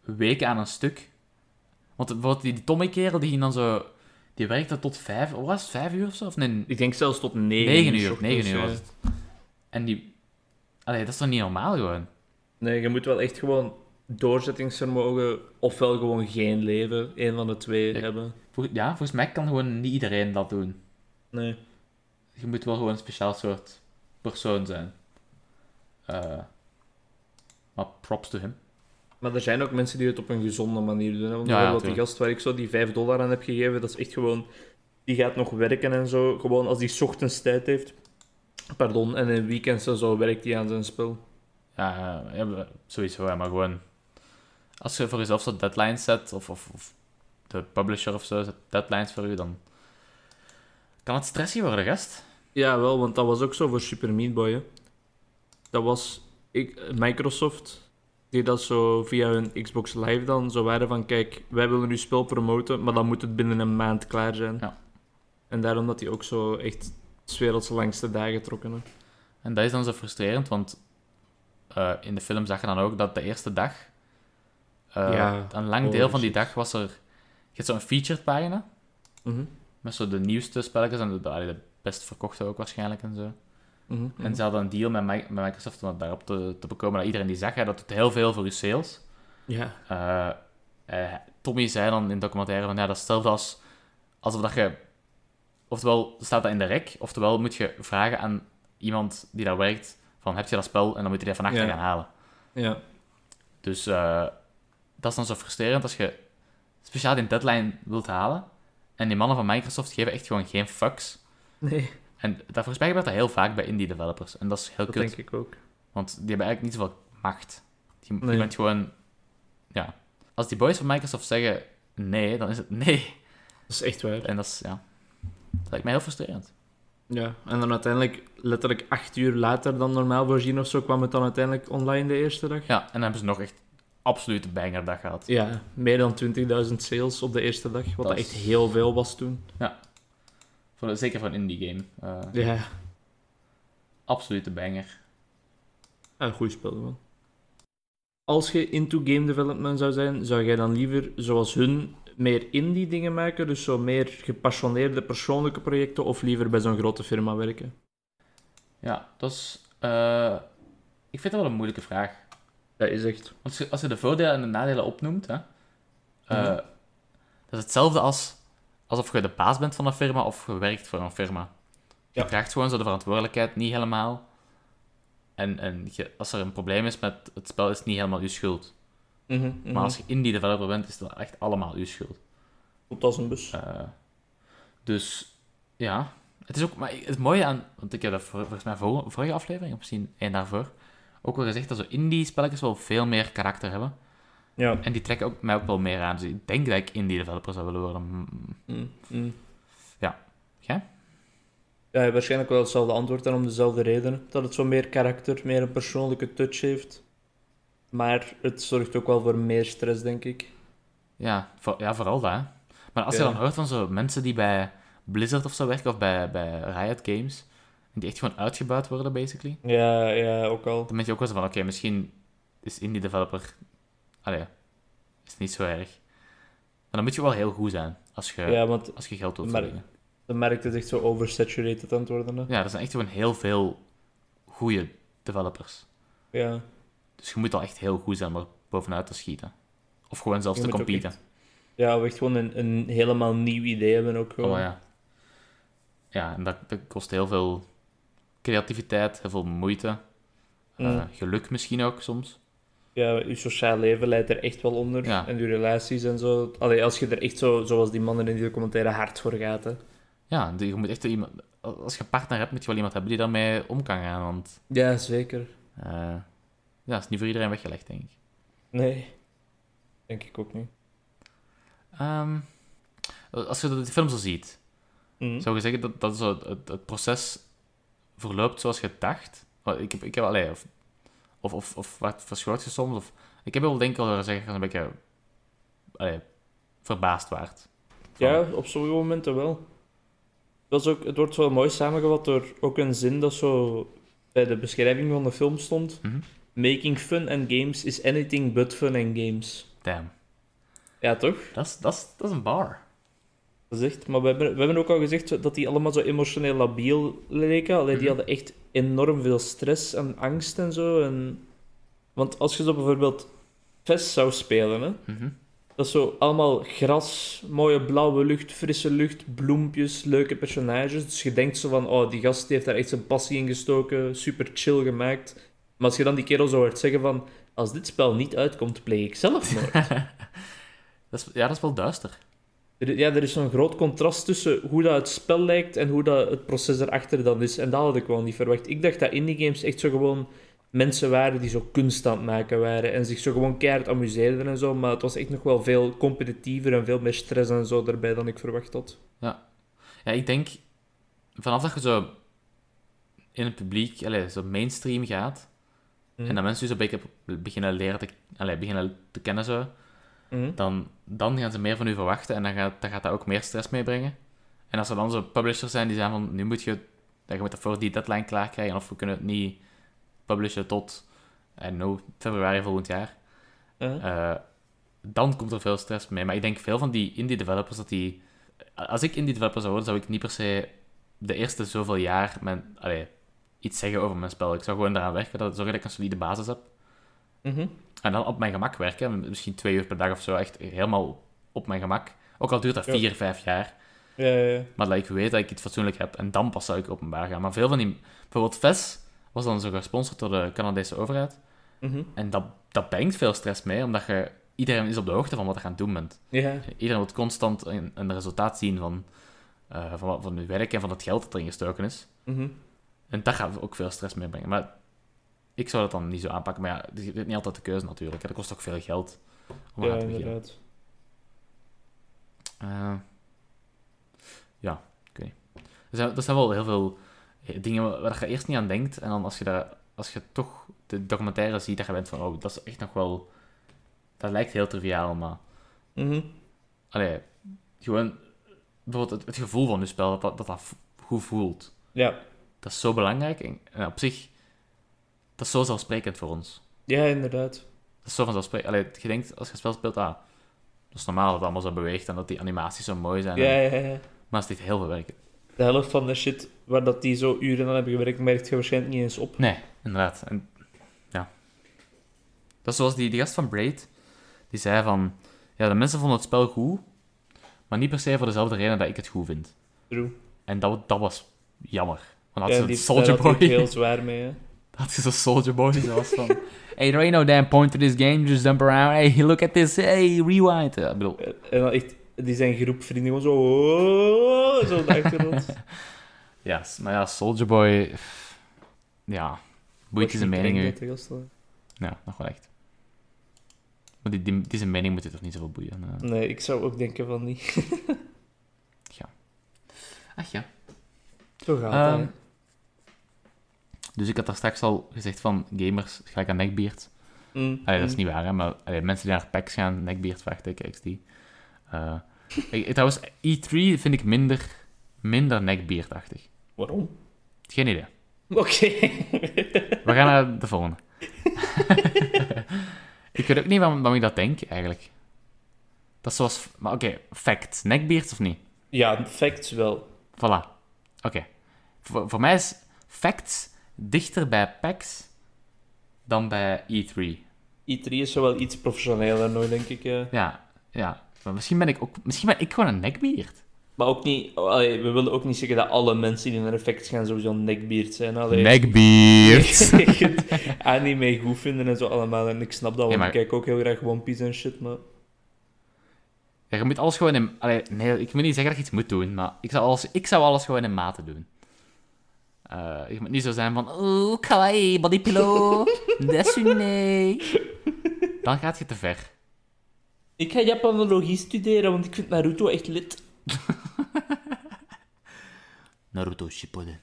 Speaker 1: weken aan een stuk. Want bijvoorbeeld die, die Tommy kerel, die ging dan zo... Die werkte tot vijf... Wat was het? Vijf uur of zo? Of nee,
Speaker 2: Ik denk zelfs tot 9
Speaker 1: Negen uur, negen uur was het. En die... Allee, dat is toch niet normaal gewoon?
Speaker 2: Nee, je moet wel echt gewoon doorzettingsvermogen ofwel gewoon geen leven, een van de twee
Speaker 1: Ja.
Speaker 2: hebben.
Speaker 1: Vol- ja, volgens mij kan gewoon niet iedereen dat doen.
Speaker 2: Nee.
Speaker 1: Je moet wel gewoon een speciaal soort persoon zijn. Eh, maar props to him.
Speaker 2: Maar er zijn ook mensen die het op een gezonde manier doen. Hè? Want
Speaker 1: Ja, ja,
Speaker 2: bijvoorbeeld die
Speaker 1: tuurlijk.
Speaker 2: gast waar ik zo die 5 dollar aan heb gegeven, dat is echt gewoon... Die gaat nog werken en zo. Gewoon als hij 's ochtends tijd heeft. Pardon, en in weekends en zo werkt hij aan zijn spel.
Speaker 1: Ja, eh, ja, sowieso, ja, maar gewoon... Als je voor jezelf zo deadlines zet, of, of, of de publisher of zo zet deadlines voor je, dan kan het stressy worden, gast.
Speaker 2: Ja, wel, want dat was ook zo voor Super Meat Boy. hè. Dat was ik, Microsoft die dat zo via hun Xbox Live dan zo waren van kijk, wij willen uw spel promoten, maar dan moet het binnen een maand klaar zijn.
Speaker 1: Ja.
Speaker 2: En daarom dat die ook zo echt 's werelds langste dagen trokken. hè.
Speaker 1: En dat is dan zo frustrerend, want eh, in de film zag je dan ook dat de eerste dag, eh,
Speaker 2: Ja.
Speaker 1: een lang
Speaker 2: Oh,
Speaker 1: deel van die
Speaker 2: shit.
Speaker 1: dag was er, je hebt zo'n featured pagina,
Speaker 2: Mhm,
Speaker 1: met zo de nieuwste spelletjes en de, de best verkochte ook waarschijnlijk en zo.
Speaker 2: mhm, mhm.
Speaker 1: En ze hadden een deal met, Mi- met Microsoft om het daarop te, te bekomen. Dat iedereen die zag, hè, dat doet heel veel voor je sales.
Speaker 2: Ja.
Speaker 1: Eh, eh, Tommy zei dan in het documentaire van, ja, dat is hetzelfde als alsof dat je... Oftewel staat dat in de rek, oftewel moet je vragen aan iemand die daar werkt van, heb je dat spel? En dan moet je dat van achter
Speaker 2: Ja.
Speaker 1: gaan halen.
Speaker 2: ja.
Speaker 1: Dus eh, dat is dan zo frustrerend als je speciaal die deadline wilt halen. En die mannen van Microsoft geven echt gewoon geen fucks.
Speaker 2: Nee,
Speaker 1: En dat, volgens mij gebeurt dat heel vaak bij indie developers. En dat is heel
Speaker 2: dat
Speaker 1: kut.
Speaker 2: denk ik ook.
Speaker 1: Want die hebben eigenlijk niet zoveel macht. Die, je
Speaker 2: Nee.
Speaker 1: bent gewoon... Ja. Als die boys van Microsoft zeggen nee, dan is het nee.
Speaker 2: Dat is echt waar.
Speaker 1: En dat is... Ja. Dat lijkt mij heel frustrerend.
Speaker 2: Ja, en dan uiteindelijk, letterlijk acht uur later dan normaal voorzien of zo, kwam het dan uiteindelijk online de eerste dag.
Speaker 1: Ja, en dan hebben ze nog echt absolute bangerdag gehad.
Speaker 2: Ja, meer dan 20.000 sales op de eerste dag, wat
Speaker 1: Dat
Speaker 2: dat
Speaker 1: is-
Speaker 2: echt heel veel was toen.
Speaker 1: Voor, zeker voor een indie game. Eh,
Speaker 2: Ja,
Speaker 1: Absolute banger.
Speaker 2: een goed spel wel. Als je into game development zou zijn, zou jij dan liever, zoals hun, meer indie dingen maken? Dus zo meer gepassioneerde persoonlijke projecten, of liever bij zo'n grote firma werken?
Speaker 1: Ja, dat is... eh, ik vind dat wel een moeilijke vraag.
Speaker 2: Dat is echt...
Speaker 1: Want als je, als je de voordelen en de nadelen opnoemt, hè, eh,
Speaker 2: Mhm.
Speaker 1: dat is hetzelfde als alsof je de baas bent van een firma of je werkt voor een firma. Je
Speaker 2: Ja.
Speaker 1: draagt gewoon zo de verantwoordelijkheid niet helemaal. En, en je- als er een probleem is met het spel, is het niet helemaal je schuld.
Speaker 2: Mhm,
Speaker 1: Maar als je indie developer bent, is dat echt allemaal je schuld.
Speaker 2: Komt als een bus.
Speaker 1: Eh, dus ja, het is ook. Maar het mooie aan. Want ik heb dat voor- volgens mij voor, vorige aflevering, of misschien één daarvoor, ook wel gezegd dat zo indie spelletjes wel veel meer karakter hebben.
Speaker 2: Ja.
Speaker 1: En die trekken ook, mij ook wel meer aan. Dus ik denk dat ik indie developer zou willen worden. Mm.
Speaker 2: Mm, mm.
Speaker 1: Ja. Jij?
Speaker 2: Ja, waarschijnlijk wel hetzelfde antwoord en om dezelfde reden. Dat het zo meer karakter, meer een persoonlijke touch heeft. Maar het zorgt ook wel voor meer stress, denk ik.
Speaker 1: Ja, voor- ja, vooral dat. hè. Maar als je
Speaker 2: Ja.
Speaker 1: dan hoort van zo mensen die bij Blizzard of zo werken, of bij, bij Riot Games, en die echt gewoon uitgebuit worden, basically.
Speaker 2: Ja, ja, ook al.
Speaker 1: Dan ben je ook wel zo van, oké, misschien is indie developer... Allee, is niet zo erg. Maar dan moet je wel heel goed zijn, als je,
Speaker 2: Ja, want
Speaker 1: als je geld wilt
Speaker 2: Maar-
Speaker 1: verdienen.
Speaker 2: de markt is echt zo oversaturated aan het worden. hè.
Speaker 1: Ja, er zijn echt gewoon heel veel goede developers.
Speaker 2: Ja.
Speaker 1: Dus je moet al echt heel goed zijn om er bovenuit te schieten. Of gewoon zelfs
Speaker 2: Je
Speaker 1: te
Speaker 2: moet ook
Speaker 1: competen.
Speaker 2: Ja, we echt gewoon een, een helemaal nieuw idee hebben ook gewoon.
Speaker 1: Oh ja. Ja, en dat, dat kost heel veel creativiteit, heel veel moeite. eh,
Speaker 2: Mm.
Speaker 1: geluk misschien ook soms.
Speaker 2: Ja, je sociaal leven leidt er echt wel onder.
Speaker 1: Ja.
Speaker 2: En je relaties en zo. Allee, als je er echt zo, zoals die mannen in die documentaire, hard voor gaat. Hè.
Speaker 1: Ja, die- je moet echt wel iemand... Als je een partner hebt, moet je wel iemand hebben die daarmee om kan gaan. Want
Speaker 2: Ja, zeker.
Speaker 1: eh, ja, dat is niet voor iedereen weggelegd, denk ik.
Speaker 2: Nee. Denk ik ook niet.
Speaker 1: Ehm, als je de film zo ziet,
Speaker 2: Mhm.
Speaker 1: zou je zeggen dat, dat zo het, het proces verloopt zoals je dacht? Want Ik heb, ik heb allee, of, of, of, of wat verschoot je soms? Of, ik heb wel denk ik al horen zeggen dat je een beetje allee, verbaasd waard.
Speaker 2: Ja, op sommige momenten wel. Dat is ook, het wordt wel mooi samengevat door ook een zin dat zo bij de beschrijving van de film stond.
Speaker 1: Mhm.
Speaker 2: Making fun and games is anything but fun and games.
Speaker 1: Damn.
Speaker 2: Ja, toch?
Speaker 1: Dat is, dat is, dat is een bar.
Speaker 2: Dat is echt. Maar we hebben, we hebben ook al gezegd zo- dat die allemaal zo emotioneel labiel leken. Alleen die
Speaker 1: Mhm.
Speaker 2: hadden echt enorm veel stress en angst en zo. En... Want als je zo bijvoorbeeld Fest zou spelen, hè,
Speaker 1: Mhm.
Speaker 2: Dat is zo allemaal gras, mooie blauwe lucht, frisse lucht, bloempjes, leuke personages. Dus je denkt zo van, oh, die gast die heeft daar echt zijn passie in gestoken, super chill gemaakt. Maar als je dan die kerel zo hoort zeggen van, als dit spel niet uitkomt, pleeg ik zelfmoord.
Speaker 1: dat is, ja, dat is wel duister.
Speaker 2: Er i- ja, er is zo'n groot contrast tussen hoe dat het spel lijkt en hoe dat het proces erachter dan is. En dat had ik gewoon niet verwacht. Ik dacht dat indie games echt zo gewoon mensen waren die zo kunst aan het maken waren en zich zo gewoon keihard amuseerden en zo. Maar het was echt nog wel veel competitiever en veel meer stress en zo daarbij dan ik verwacht had.
Speaker 1: Ja, ik denk, vanaf dat je zo in het publiek, allez, zo mainstream gaat,
Speaker 2: Mhm.
Speaker 1: en dat mensen zo een beetje beginnen leren te, allez, beginnen te kennen, zo,
Speaker 2: Mhm.
Speaker 1: dan, dan gaan ze meer van u verwachten en dan gaat, dan gaat dat ook meer stress meebrengen. En als er dan zo publishers zijn die zijn van, nu moet je, dat je moet dat voor die deadline klaar krijgen of we kunnen het niet publishen tot, en no, februari volgend jaar.
Speaker 2: Eh?
Speaker 1: Eh, dan komt er veel stress mee. Maar ik denk veel van die indie developers dat die. eh, Als ik indie developer zou worden, zou ik niet per se de eerste zoveel jaar mijn, allee, iets zeggen over mijn spel. Ik zou gewoon eraan werken, dat, zorgen dat ik een solide basis heb.
Speaker 2: Mhm.
Speaker 1: En dan op mijn gemak werken, misschien twee uur per dag of zo, echt helemaal op mijn gemak. Ook al duurt dat
Speaker 2: Ja.
Speaker 1: vier, vijf jaar.
Speaker 2: Ja, ja, ja.
Speaker 1: Maar dat ik weet dat ik iets fatsoenlijk heb en dan pas zou ik openbaar gaan. Maar veel van die. Bijvoorbeeld VES was dan zo gesponsord door de Canadese overheid.
Speaker 2: Mhm.
Speaker 1: En dat, dat brengt veel stress mee, omdat je, iedereen is op de hoogte van wat je aan het doen bent.
Speaker 2: Ja.
Speaker 1: Iedereen wil constant een, een resultaat zien van, eh, van, wat- van je werk en van het geld dat erin gestoken is.
Speaker 2: Mhm.
Speaker 1: En dat gaat ook veel stress meebrengen. Maar ik zou dat dan niet zo aanpakken. Maar ja, je hebt niet altijd de keuze natuurlijk. hè. Dat kost ook veel geld om
Speaker 2: Ja,
Speaker 1: aan te beginnen.
Speaker 2: inderdaad.
Speaker 1: Eh, ja, ik weet niet. Er zijn, er zijn wel heel veel eh, dingen waar waar je eerst niet aan denkt. En dan als je, daar, als je toch de documentaire ziet, dat je bent van, oh, dat is echt nog wel... Dat lijkt heel triviaal, maar...
Speaker 2: Mhm.
Speaker 1: Allee, gewoon bijvoorbeeld het, het gevoel van je spel, dat dat, dat, dat vo- goed voelt.
Speaker 2: Ja.
Speaker 1: Dat is zo belangrijk. En, en op zich, dat is zo zelfsprekend voor ons.
Speaker 2: ja, inderdaad.
Speaker 1: Dat is zo vanzelfsprekend. Allee, je denkt, als je een spel speelt, ah, dat is normaal dat het allemaal zo beweegt en dat die animaties zo mooi zijn.
Speaker 2: Ja, ja, ja.
Speaker 1: Maar het is echt heel veel werk.
Speaker 2: De helft van de shit waar dat die zo uren aan hebben gewerkt, merkt je waarschijnlijk niet eens op.
Speaker 1: Nee, inderdaad. En, ja. Dat is zoals die, die gast van Braid. Die zei van... Ja, de mensen vonden het spel goed. Maar niet per se voor dezelfde reden dat ik het goed vind.
Speaker 2: True.
Speaker 1: En dat, dat was jammer. Want had
Speaker 2: Ja,
Speaker 1: ze
Speaker 2: die-
Speaker 1: een
Speaker 2: daar
Speaker 1: Soldier
Speaker 2: had ik
Speaker 1: Boy...
Speaker 2: heel zwaar mee, hè.
Speaker 1: Dat is een soldier boy die zoals van... hey, there ain't no damn point to this game. Just jump around. Hey, look at this. Hey, rewind. Ja, ik bedoel...
Speaker 2: En dan echt, die zijn groep vrienden gewoon zo... "Oh", Zo op de achtergrond.
Speaker 1: Ja, s- maar ja, soldier boy... pff, Ja, boeit je zijn mening nu. Ja, nog wel echt. Maar die, die, die zijn mening moet je toch niet zoveel boeien. eh.
Speaker 2: Nee, ik zou ook denken van niet.
Speaker 1: Ach ja.
Speaker 2: Zo gaat
Speaker 1: Ehm,
Speaker 2: dat, hè.
Speaker 1: Dus ik had daar straks al gezegd van... Gamers, ga ik aan nekbeard.
Speaker 2: Mm,
Speaker 1: Allee, ah dat is
Speaker 2: mm.
Speaker 1: niet waar, hè, maar allee, mensen die naar packs gaan, nekbeard, vraagteken, XD. Eh, ik, trouwens, E3 vind ik minder, minder nekbeardachtig.
Speaker 2: Mm. Waarom?
Speaker 1: Geen idee.
Speaker 2: Oké.
Speaker 1: We gaan naar de volgende. ik weet ook niet waarom, waarom ik dat denk, eigenlijk. Dat is zoals... Maar oké, fact. Neckbeards of niet?
Speaker 2: ja, facts wel.
Speaker 1: Voilà. Oké. Voor, voor mij is facts dichter bij PAX dan bij E E3.
Speaker 2: E3 E is zo wel iets professioneler nooit, denk ik. hè.
Speaker 1: Ja, ja. Maar misschien ben ik ook... Misschien ben ik gewoon een neckbeard.
Speaker 2: Maar ook niet... allee, we willen ook niet zeggen dat alle mensen die naar effects gaan sowieso nekbeard zijn. Allee.
Speaker 1: Neckbeard.
Speaker 2: Je kunt anime goed vinden en zo allemaal. En ik snap dat, want
Speaker 1: Ja, maar-
Speaker 2: ik kijk ook heel graag One Piece en shit, maar...
Speaker 1: ja, je moet alles gewoon in... Allee, nee, ik wil niet zeggen dat je iets moet doen, maar ik zou alles, ik zou alles gewoon in mate doen. Eh, je moet niet zo zijn van... Oeh, kawaii, body pillow, desune. Dan gaat je te ver.
Speaker 2: Ik ga Japanologie studeren, want ik vind Naruto echt lit.
Speaker 1: Naruto Shippuden.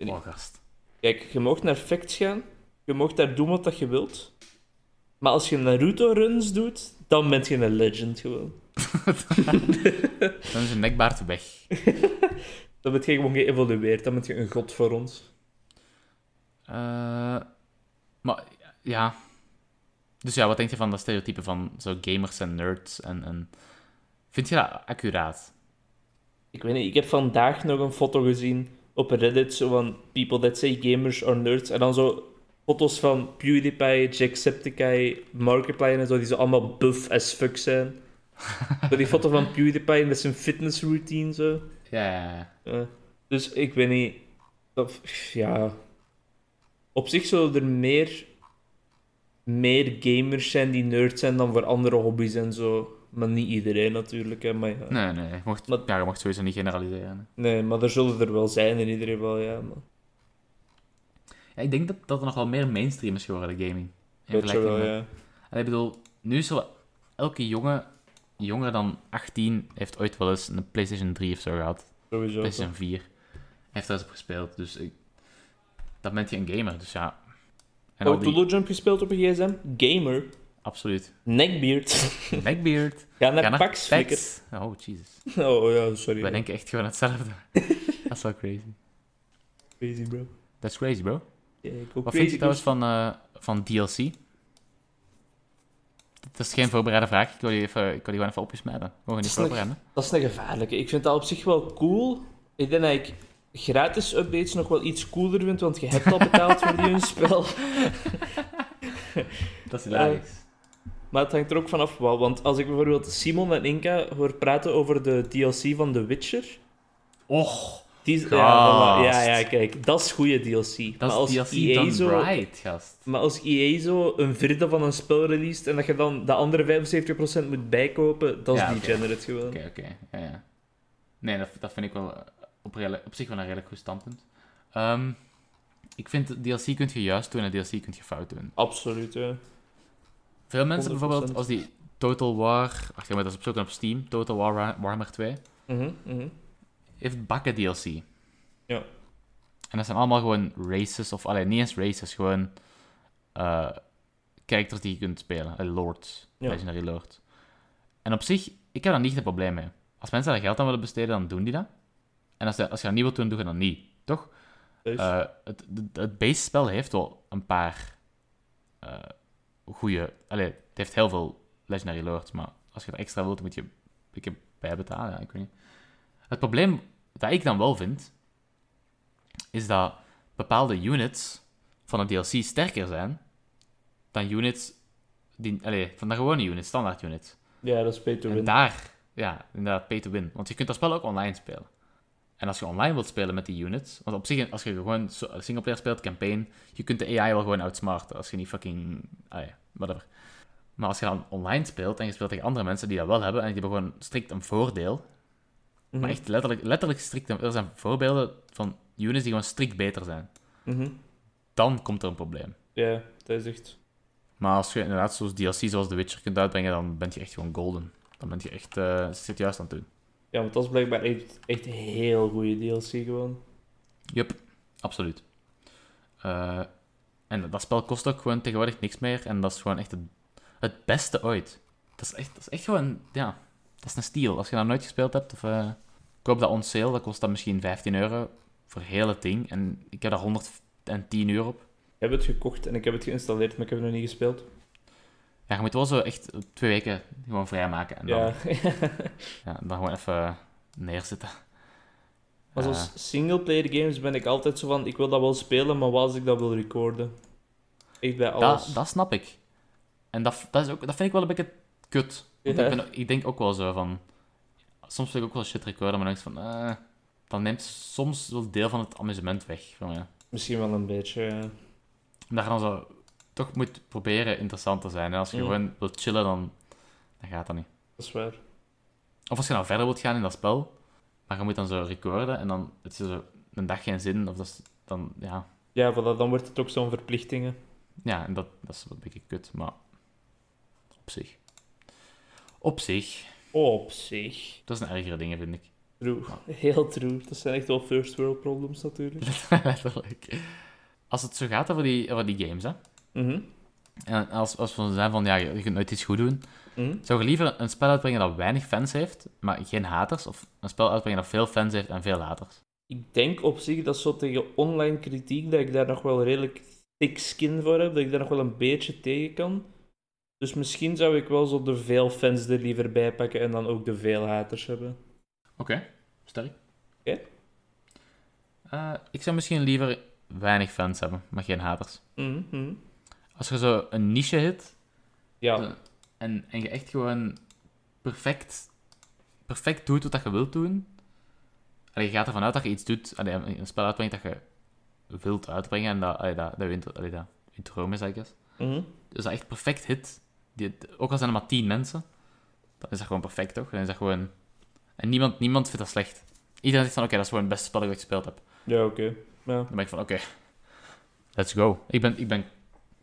Speaker 1: Oh, gast.
Speaker 2: Kijk, je mag naar facts gaan. Je mag daar doen wat dat je wilt. Maar als je Naruto-runs doet, dan ben je een legend gewoon.
Speaker 1: Dan is een nekbaard weg.
Speaker 2: Dan ben je gewoon geëvolueerd. Dan ben je een god voor ons.
Speaker 1: Eh, maar ja. Dus ja, wat denk je van dat stereotype van zo gamers en nerds? En, en... Vind je dat accuraat?
Speaker 2: Ik weet niet, ik heb vandaag nog een foto gezien op Reddit. Zo van people that say gamers are nerds. En dan zo foto's van PewDiePie, Jacksepticeye, Markiplier en zo. Die zo allemaal buff as fuck zijn. Zo die foto van PewDiePie met zijn fitnessroutine zo.
Speaker 1: Ja, ja, ja.
Speaker 2: Eh, dus ik weet niet. Of, ja. Op zich zullen er meer, meer gamers zijn die nerds zijn dan voor andere hobby's en zo. Maar niet iedereen natuurlijk. Hè, maar ja. nee.
Speaker 1: Nee, nee. Je mocht,
Speaker 2: Maar-
Speaker 1: ja, je mocht sowieso niet generaliseren.
Speaker 2: maar er zullen er wel zijn in ieder geval. Ja, maar.
Speaker 1: Ja, ik denk dat, dat er nog wel meer mainstream is geworden, gaming. In
Speaker 2: Beetje
Speaker 1: vergelijking
Speaker 2: wel,
Speaker 1: met-
Speaker 2: ja.
Speaker 1: En ik bedoel, nu is er wel- elke jongen, jonger dan 18, heeft ooit wel eens een PlayStation 3 of zo gehad.
Speaker 2: Sowieso.
Speaker 1: PlayStation 4 heeft daar eens op gespeeld. Dus ik... dan ben je een gamer, dus ja. En al
Speaker 2: Ook
Speaker 1: die-
Speaker 2: Doodle Jump gespeeld op een gsm. Gamer.
Speaker 1: Absoluut.
Speaker 2: Neckbeard.
Speaker 1: Neckbeard.
Speaker 2: Ga
Speaker 1: Ga
Speaker 2: naar
Speaker 1: naar
Speaker 2: Pax flikker.
Speaker 1: Pax. Oh, Jesus.
Speaker 2: Oh ja, sorry.
Speaker 1: Wij
Speaker 2: man.
Speaker 1: denken echt gewoon hetzelfde. Dat is wel crazy.
Speaker 2: Crazy, bro.
Speaker 1: Dat is crazy, bro.
Speaker 2: Ja, ik ook
Speaker 1: Wat vind
Speaker 2: crazy.
Speaker 1: je trouwens van, eh, van DLC? Dat is geen voorbereide vraag. Ik wil die, even, ik wil die gewoon even op je smijten. Gewoon niet
Speaker 2: is nog-
Speaker 1: voorbereiden.
Speaker 2: Dat is een gevaarlijke. Ik vind dat op zich wel cool. Ik denk dat ik gratis updates nog wel iets cooler vind, want je hebt al betaald voor die hun spel.
Speaker 1: Dat is
Speaker 2: hilarisch. Maar het hangt er ook vanaf wat. Want als ik bijvoorbeeld Simon en Inka hoor praten over de DLC van The Witcher.
Speaker 1: Och,
Speaker 2: Die, ja, voilà.
Speaker 1: Gast.
Speaker 2: ja, ja, kijk, dat is goede DLC. maar
Speaker 1: dat
Speaker 2: als
Speaker 1: is DLC
Speaker 2: EA
Speaker 1: done
Speaker 2: zo,
Speaker 1: right, gast.
Speaker 2: Maar als EA zo een vierde van een spel released en dat je dan de andere 75% moet bijkopen, dat is
Speaker 1: Ja, oké.
Speaker 2: degenerate gewoon.
Speaker 1: Oké, oké. Ja, ja. Nee, dat, dat vind ik wel eh, op, redelijk- op zich wel een redelijk goed standpunt. Ehm, ik vind DLC kunt je juist doen en DLC kunt je fout doen.
Speaker 2: Absoluut, ja.
Speaker 1: Veel mensen bijvoorbeeld,
Speaker 2: 100%.
Speaker 1: als die Total War... Wacht, ja, maar dat is op zoek op Steam. Total War Ra- Warhammer 2
Speaker 2: Mhm, mhm.
Speaker 1: heeft bakken DLC.
Speaker 2: Ja.
Speaker 1: En dat zijn allemaal gewoon races, of alleen niet eens races, gewoon eh characters die je kunt spelen. Eh, lords,
Speaker 2: Ja.
Speaker 1: legendary lords. En op zich, ik heb daar niet het probleem mee. Als mensen daar geld aan willen besteden, dan doen die dat. En als, je- als je dat niet wilt doen, doe je dat niet. Toch?
Speaker 2: Dus,
Speaker 1: Eh, het, het- het base spel heeft wel een paar eh goede... Allee, het heeft heel veel legendary lords, maar als je dat extra wilt, dan moet je een beetje bijbetalen. Ja, ik weet niet. Het probleem dat ik dan wel vind, is dat bepaalde units van een DLC sterker zijn dan units... Die, allee, van de gewone units, standaard units.
Speaker 2: ja, dat is pay to
Speaker 1: En
Speaker 2: win.
Speaker 1: daar, ja, inderdaad, pay to win. Want je kunt dat spel ook online spelen. En als je online wilt spelen met die units, want op zich, als je gewoon so- singleplayer speelt, campaign, je kunt de AI wel gewoon outsmarten. Als je niet fucking, ah ja, whatever. Maar als je dan online speelt en je speelt tegen andere mensen die dat wel hebben en die hebben gewoon strikt een voordeel,
Speaker 2: Mhm,
Speaker 1: maar echt letterlijk, letterlijk strikt, een- er zijn voorbeelden van units die gewoon strikt beter zijn,
Speaker 2: mhm.
Speaker 1: dan komt er een probleem.
Speaker 2: Ja, dat is echt...
Speaker 1: Maar als je inderdaad zoals DLC zoals The Witcher kunt uitbrengen, dan ben je echt gewoon golden. Dan ben je echt, eh zit juist aan het doen.
Speaker 2: Ja, want dat is blijkbaar echt, echt heel goede DLC gewoon.
Speaker 1: Yup, absoluut. Eh, en dat spel kost ook gewoon tegenwoordig niks meer. En dat is gewoon echt het, het beste ooit. Dat is, echt, dat is echt gewoon, ja, dat is een steal. Als je dat nooit gespeeld hebt, of eh, koop dat on sale, dat kost dan misschien 15 euro voor het hele ding. En ik heb daar 110 uur op.
Speaker 2: Ik heb het gekocht en ik heb het geïnstalleerd, maar ik heb het nog niet gespeeld.
Speaker 1: Ja, je moet wel zo echt twee weken gewoon vrijmaken. En dan,
Speaker 2: Ja.
Speaker 1: ja. en dan gewoon even neerzitten.
Speaker 2: maar
Speaker 1: Eh,
Speaker 2: zoals singleplayer games ben ik altijd zo van, ik wil dat wel spelen, maar wat als ik dat wil recorden? Echt bij alles.
Speaker 1: Dat, dat snap ik. En dat, dat, is ook, dat vind ik wel een beetje kut. Want
Speaker 2: Ja.
Speaker 1: ik, ben, ik denk ook wel zo van... Soms wil ik ook wel shit recorden, maar dan denk ik van... eh, dan neemt soms wel deel van het amusement weg van mij.
Speaker 2: Misschien wel een beetje, ja.
Speaker 1: Omdat je dan zo toch moet proberen interessant te zijn. En als je
Speaker 2: Mm.
Speaker 1: gewoon wilt chillen, dan, dan gaat dat niet.
Speaker 2: Dat is waar.
Speaker 1: Of als je nou verder wilt gaan in dat spel, maar je moet dan zo recorden en dan het is zo een dag geen zin. Of dat is dan, ja...
Speaker 2: Ja, voilà, dan wordt het ook zo'n verplichtingen.
Speaker 1: Ja, en dat, dat is wel een beetje kut, maar... Op zich. Op zich...
Speaker 2: Oh, Op zich.
Speaker 1: Dat zijn ergere dingen, vind ik.
Speaker 2: True. Heel true. Dat zijn echt wel first world problems natuurlijk.
Speaker 1: Letterlijk. Als het zo gaat over die, over die games, hè.
Speaker 2: Mhm.
Speaker 1: En als, als we zijn van, ja, je je kunt nooit iets goed doen.
Speaker 2: Mhm.
Speaker 1: Zou je liever een spel uitbrengen dat weinig fans heeft, maar geen haters? Of een spel uitbrengen dat veel fans heeft en veel haters?
Speaker 2: Ik denk op zich dat zo tegen online kritiek, dat ik daar nog wel redelijk thick skin voor heb, dat ik daar nog wel een beetje tegen kan. Dus misschien zou ik wel zo de veel fans er liever bij pakken en dan ook de veel haters hebben.
Speaker 1: Oké, sterk.
Speaker 2: Oké.
Speaker 1: Eh, ik zou misschien liever weinig fans hebben, maar geen haters.
Speaker 2: Mhm, mhm.
Speaker 1: Als je zo een niche hit,
Speaker 2: Ja,
Speaker 1: Zo. En, en je echt gewoon perfect, perfect doet wat je wilt doen. En je gaat ervan uit dat je iets doet, allee, een een spel uitbrengt dat je wilt uitbrengen en dat, allee, dat, dat, je, inter- allee, dat je droom is, I guess.
Speaker 2: Mhm.
Speaker 1: Dus dat echt perfect hit. Die, ook al zijn er maar tien mensen, dan is dat gewoon perfect, toch? Dan is dat gewoon... En niemand, niemand vindt dat slecht. Iedereen zegt van, oké, dat is gewoon het beste spel dat ik ooit gespeeld heb.
Speaker 2: ja oké. Ja.
Speaker 1: Dan ben ik van, oké, Let's go. Ik ben, ik ben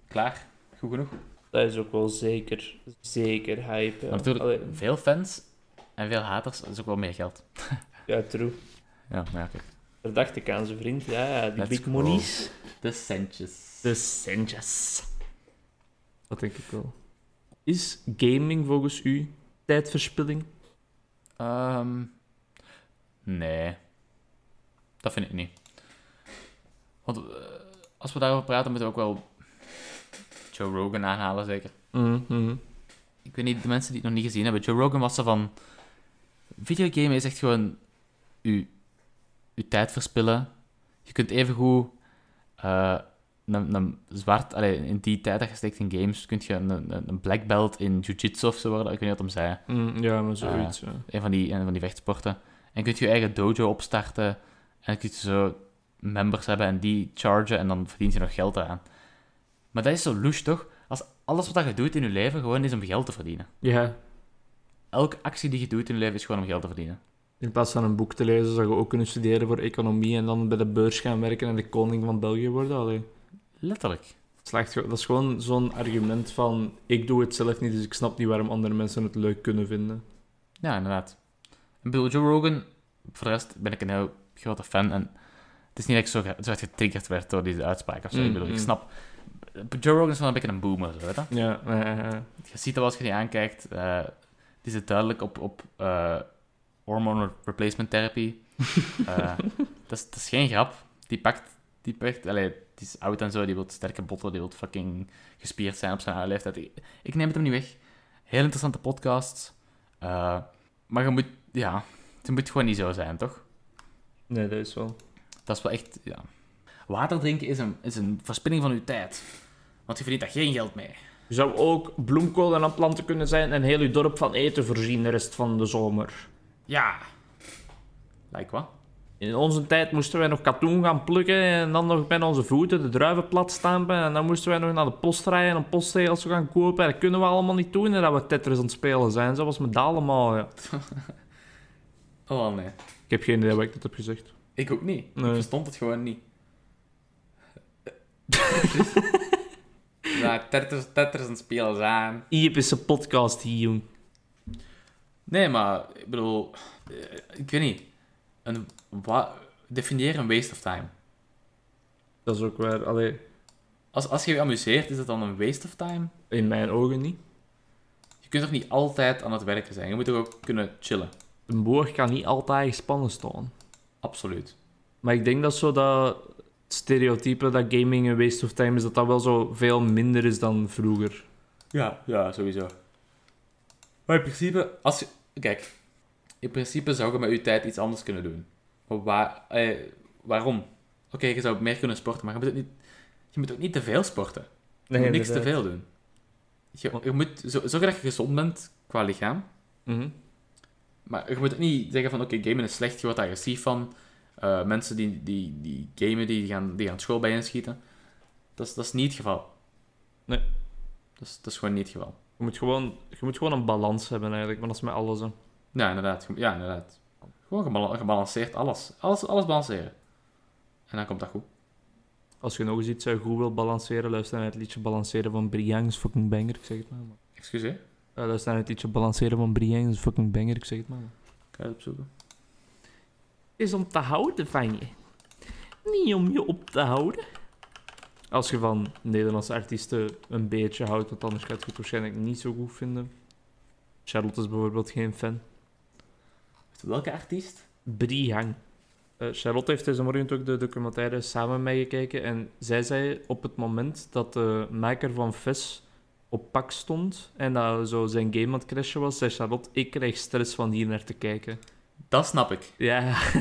Speaker 1: klaar. Goed genoeg.
Speaker 3: Dat is ook wel zeker, zeker hype. Ja.
Speaker 1: Maar natuurlijk,
Speaker 3: Allee,
Speaker 1: veel fans en veel haters, dat is ook wel meer geld.
Speaker 3: ja, true.
Speaker 1: Ja, maar ja, kijk.
Speaker 3: Daar dacht ik aan, zijn vriend. Ja, ja, die
Speaker 1: Let's
Speaker 3: big
Speaker 1: go.
Speaker 3: monies.
Speaker 1: De centjes.
Speaker 2: De centjes. Dat denk ik wel. Is gaming volgens u tijdverspilling?
Speaker 1: Ehm, nee. Dat vind ik niet. Want eh, als we daarover praten, moeten we ook wel Joe Rogan aanhalen, zeker.
Speaker 2: Mhm,
Speaker 1: Ik weet niet, de mensen die het nog niet gezien hebben. Joe Rogan was er van... Videogame is echt gewoon... Je, uw tijd verspillen. Je kunt evengoed... eh een, een zwart... Allee, in die tijd dat je steekt in games... Kun je een, een, een black belt in jiu-jitsu of zo worden. Ik weet niet wat hem zei.
Speaker 2: Mm, ja, maar zoiets. ja.
Speaker 1: Een van die, een van die vechtsporten. En kun je je eigen dojo opstarten. En kun je zo members hebben en die chargen. En dan verdient je nog geld aan. Maar dat is zo louche, toch? Als alles wat je doet in je leven gewoon is om geld te verdienen
Speaker 2: ja.
Speaker 1: elke actie die je doet in je leven is gewoon om geld te verdienen.
Speaker 2: In plaats van een boek te lezen, zou je ook kunnen studeren voor economie en dan bij de beurs gaan werken en de koning van België worden. Allee.
Speaker 1: Letterlijk.
Speaker 2: Slaagt, ge- dat is gewoon zo'n argument van ik doe het zelf niet, dus ik snap niet waarom andere mensen het leuk kunnen vinden.
Speaker 1: Ja, inderdaad. Ik bedoel, Joe Rogan, voor de rest ben ik een heel grote fan. En het is niet dat ik zo, ge- zo hard getriggerd werd door deze uitspraak of zo.
Speaker 2: Mm,
Speaker 1: ik bedoel,
Speaker 2: mm.
Speaker 1: ik snap... Joe Rogan is wel een beetje een boomer, zo, weet je?
Speaker 2: Ja, ja, ja, ja.
Speaker 1: Je ziet dat als je die aankijkt. eh, die zit duidelijk op, op eh, hormone replacement therapy. Eh, dat, is, dat is geen grap. Die pakt... Die pakt allee, die is oud en zo. Die wil sterke botten. Die wil fucking gespierd zijn op zijn oude leeftijd. Ik, ik neem het hem niet weg. Heel interessante podcasts. Eh, maar je moet... Ja, het moet gewoon niet zo zijn, toch?
Speaker 2: Nee, dat is wel.
Speaker 1: Dat is wel echt... Ja. Water drinken is een, is een verspilling van je tijd. Want je verdient daar geen geld mee.
Speaker 2: Je zou ook bloemkool en aan planten kunnen zijn en heel je dorp van eten voorzien de rest van de zomer.
Speaker 1: Ja. Lijkt wat?
Speaker 2: In onze tijd moesten wij nog katoen gaan plukken en dan nog met onze voeten de druiven plat stampen. En dan moesten wij nog naar de post rijden om postzegels te gaan kopen. Dat kunnen we allemaal niet doen en dat we Tetris aan het spelen zijn. Zoals met dat allemaal, ja.
Speaker 1: Oh nee.
Speaker 2: Ik heb geen idee wat ik dat heb gezegd.
Speaker 1: Ik ook niet.
Speaker 2: Nee.
Speaker 1: Ik verstond het gewoon niet. ja, Tetris, Tetris en spelen zijn.
Speaker 2: Iep is een podcast hier, jong.
Speaker 1: Nee, maar ik bedoel, eh, ik weet niet. Een, wa- definieer een waste of time.
Speaker 2: Dat is ook waar. Allee,
Speaker 1: Als, als je je amuseert, is dat dan een waste of time?
Speaker 2: in mijn ogen niet.
Speaker 1: Je kunt toch niet altijd aan het werken zijn? Je moet toch ook kunnen chillen?
Speaker 2: Een boer kan niet altijd gespannen staan.
Speaker 1: Absoluut.
Speaker 2: Maar ik denk dat zo dat stereotype dat gaming een waste of time is, dat dat wel zo veel minder is dan vroeger.
Speaker 1: Ja, ja, sowieso. Maar in principe, als je... Kijk, in principe zou je met je tijd iets anders kunnen doen. Maar waar, eh, waarom? Oké, je zou meer kunnen sporten, maar je moet, ook niet, je moet ook niet te veel sporten. Je moet niks te veel doen. Je, je moet zo- zorgen dat je gezond bent qua lichaam.
Speaker 2: Mhm.
Speaker 1: Maar je moet ook niet zeggen van, oké, gamen is slecht, je wordt daar agressief van. Eh, mensen die, die, die gamen, die gaan, die gaan school bij inschieten. Dat is, dat is niet het geval.
Speaker 2: Nee.
Speaker 1: Dat is, dat is gewoon niet het geval.
Speaker 2: Je moet, gewoon, je moet gewoon een balans hebben eigenlijk, maar dat is met alles. Hè.
Speaker 1: Ja, inderdaad. Ja, inderdaad. Gewoon gebal- gebalanceerd alles. alles. Alles balanceren. En dan komt dat goed.
Speaker 2: Als je nog eens iets eh, goed wil balanceren, luister naar het liedje Balanceren van Briang, is fucking banger, ik zeg het maar. man.
Speaker 1: Excuseer.
Speaker 2: Eh, luister naar het liedje Balanceren van Briang, is fucking banger, ik zeg het maar. man.
Speaker 1: Kan je het opzoeken?
Speaker 2: Is om te houden van je. Niet om je op te houden. Als je van Nederlandse artiesten een beetje houdt, want anders gaat je het waarschijnlijk niet zo goed vinden. Charlotte is bijvoorbeeld geen fan.
Speaker 1: Welke artiest?
Speaker 2: Brihang. Eh, Charlotte heeft deze morgen ook de documentaire samen met mij gekeken. En zij zei op het moment dat de maker van Ves op pak stond en dat zo zijn game aan het crashen was, zei Charlotte, ik krijg stress van hier naar te kijken.
Speaker 1: Dat snap ik.
Speaker 2: Ja,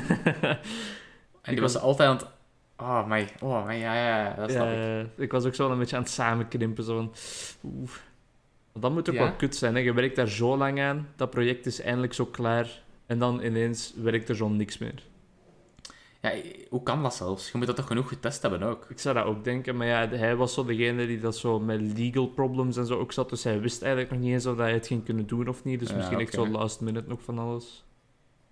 Speaker 1: En die was altijd aan het... Oh, my. Oh, my. Ja, ja, ja. Dat snap ik.
Speaker 2: eh, ik was ook zo een beetje aan het samenkrimpen. Zo van, oeh. Want dat moet ook
Speaker 1: Ja.
Speaker 2: wel kut zijn. Hè? Je werkt daar zo lang aan, dat project is eindelijk zo klaar. En dan ineens werkt er zo niks meer.
Speaker 1: Ja, hoe kan dat zelfs? Je moet dat toch genoeg getest hebben ook?
Speaker 2: Ik zou dat ook denken, maar ja, hij was zo degene die dat zo met legal problems en zo ook zat. Dus hij wist eigenlijk nog niet eens of hij het ging kunnen doen of niet. Dus
Speaker 1: Ja,
Speaker 2: misschien echt
Speaker 1: oké.
Speaker 2: zo last minute nog van alles.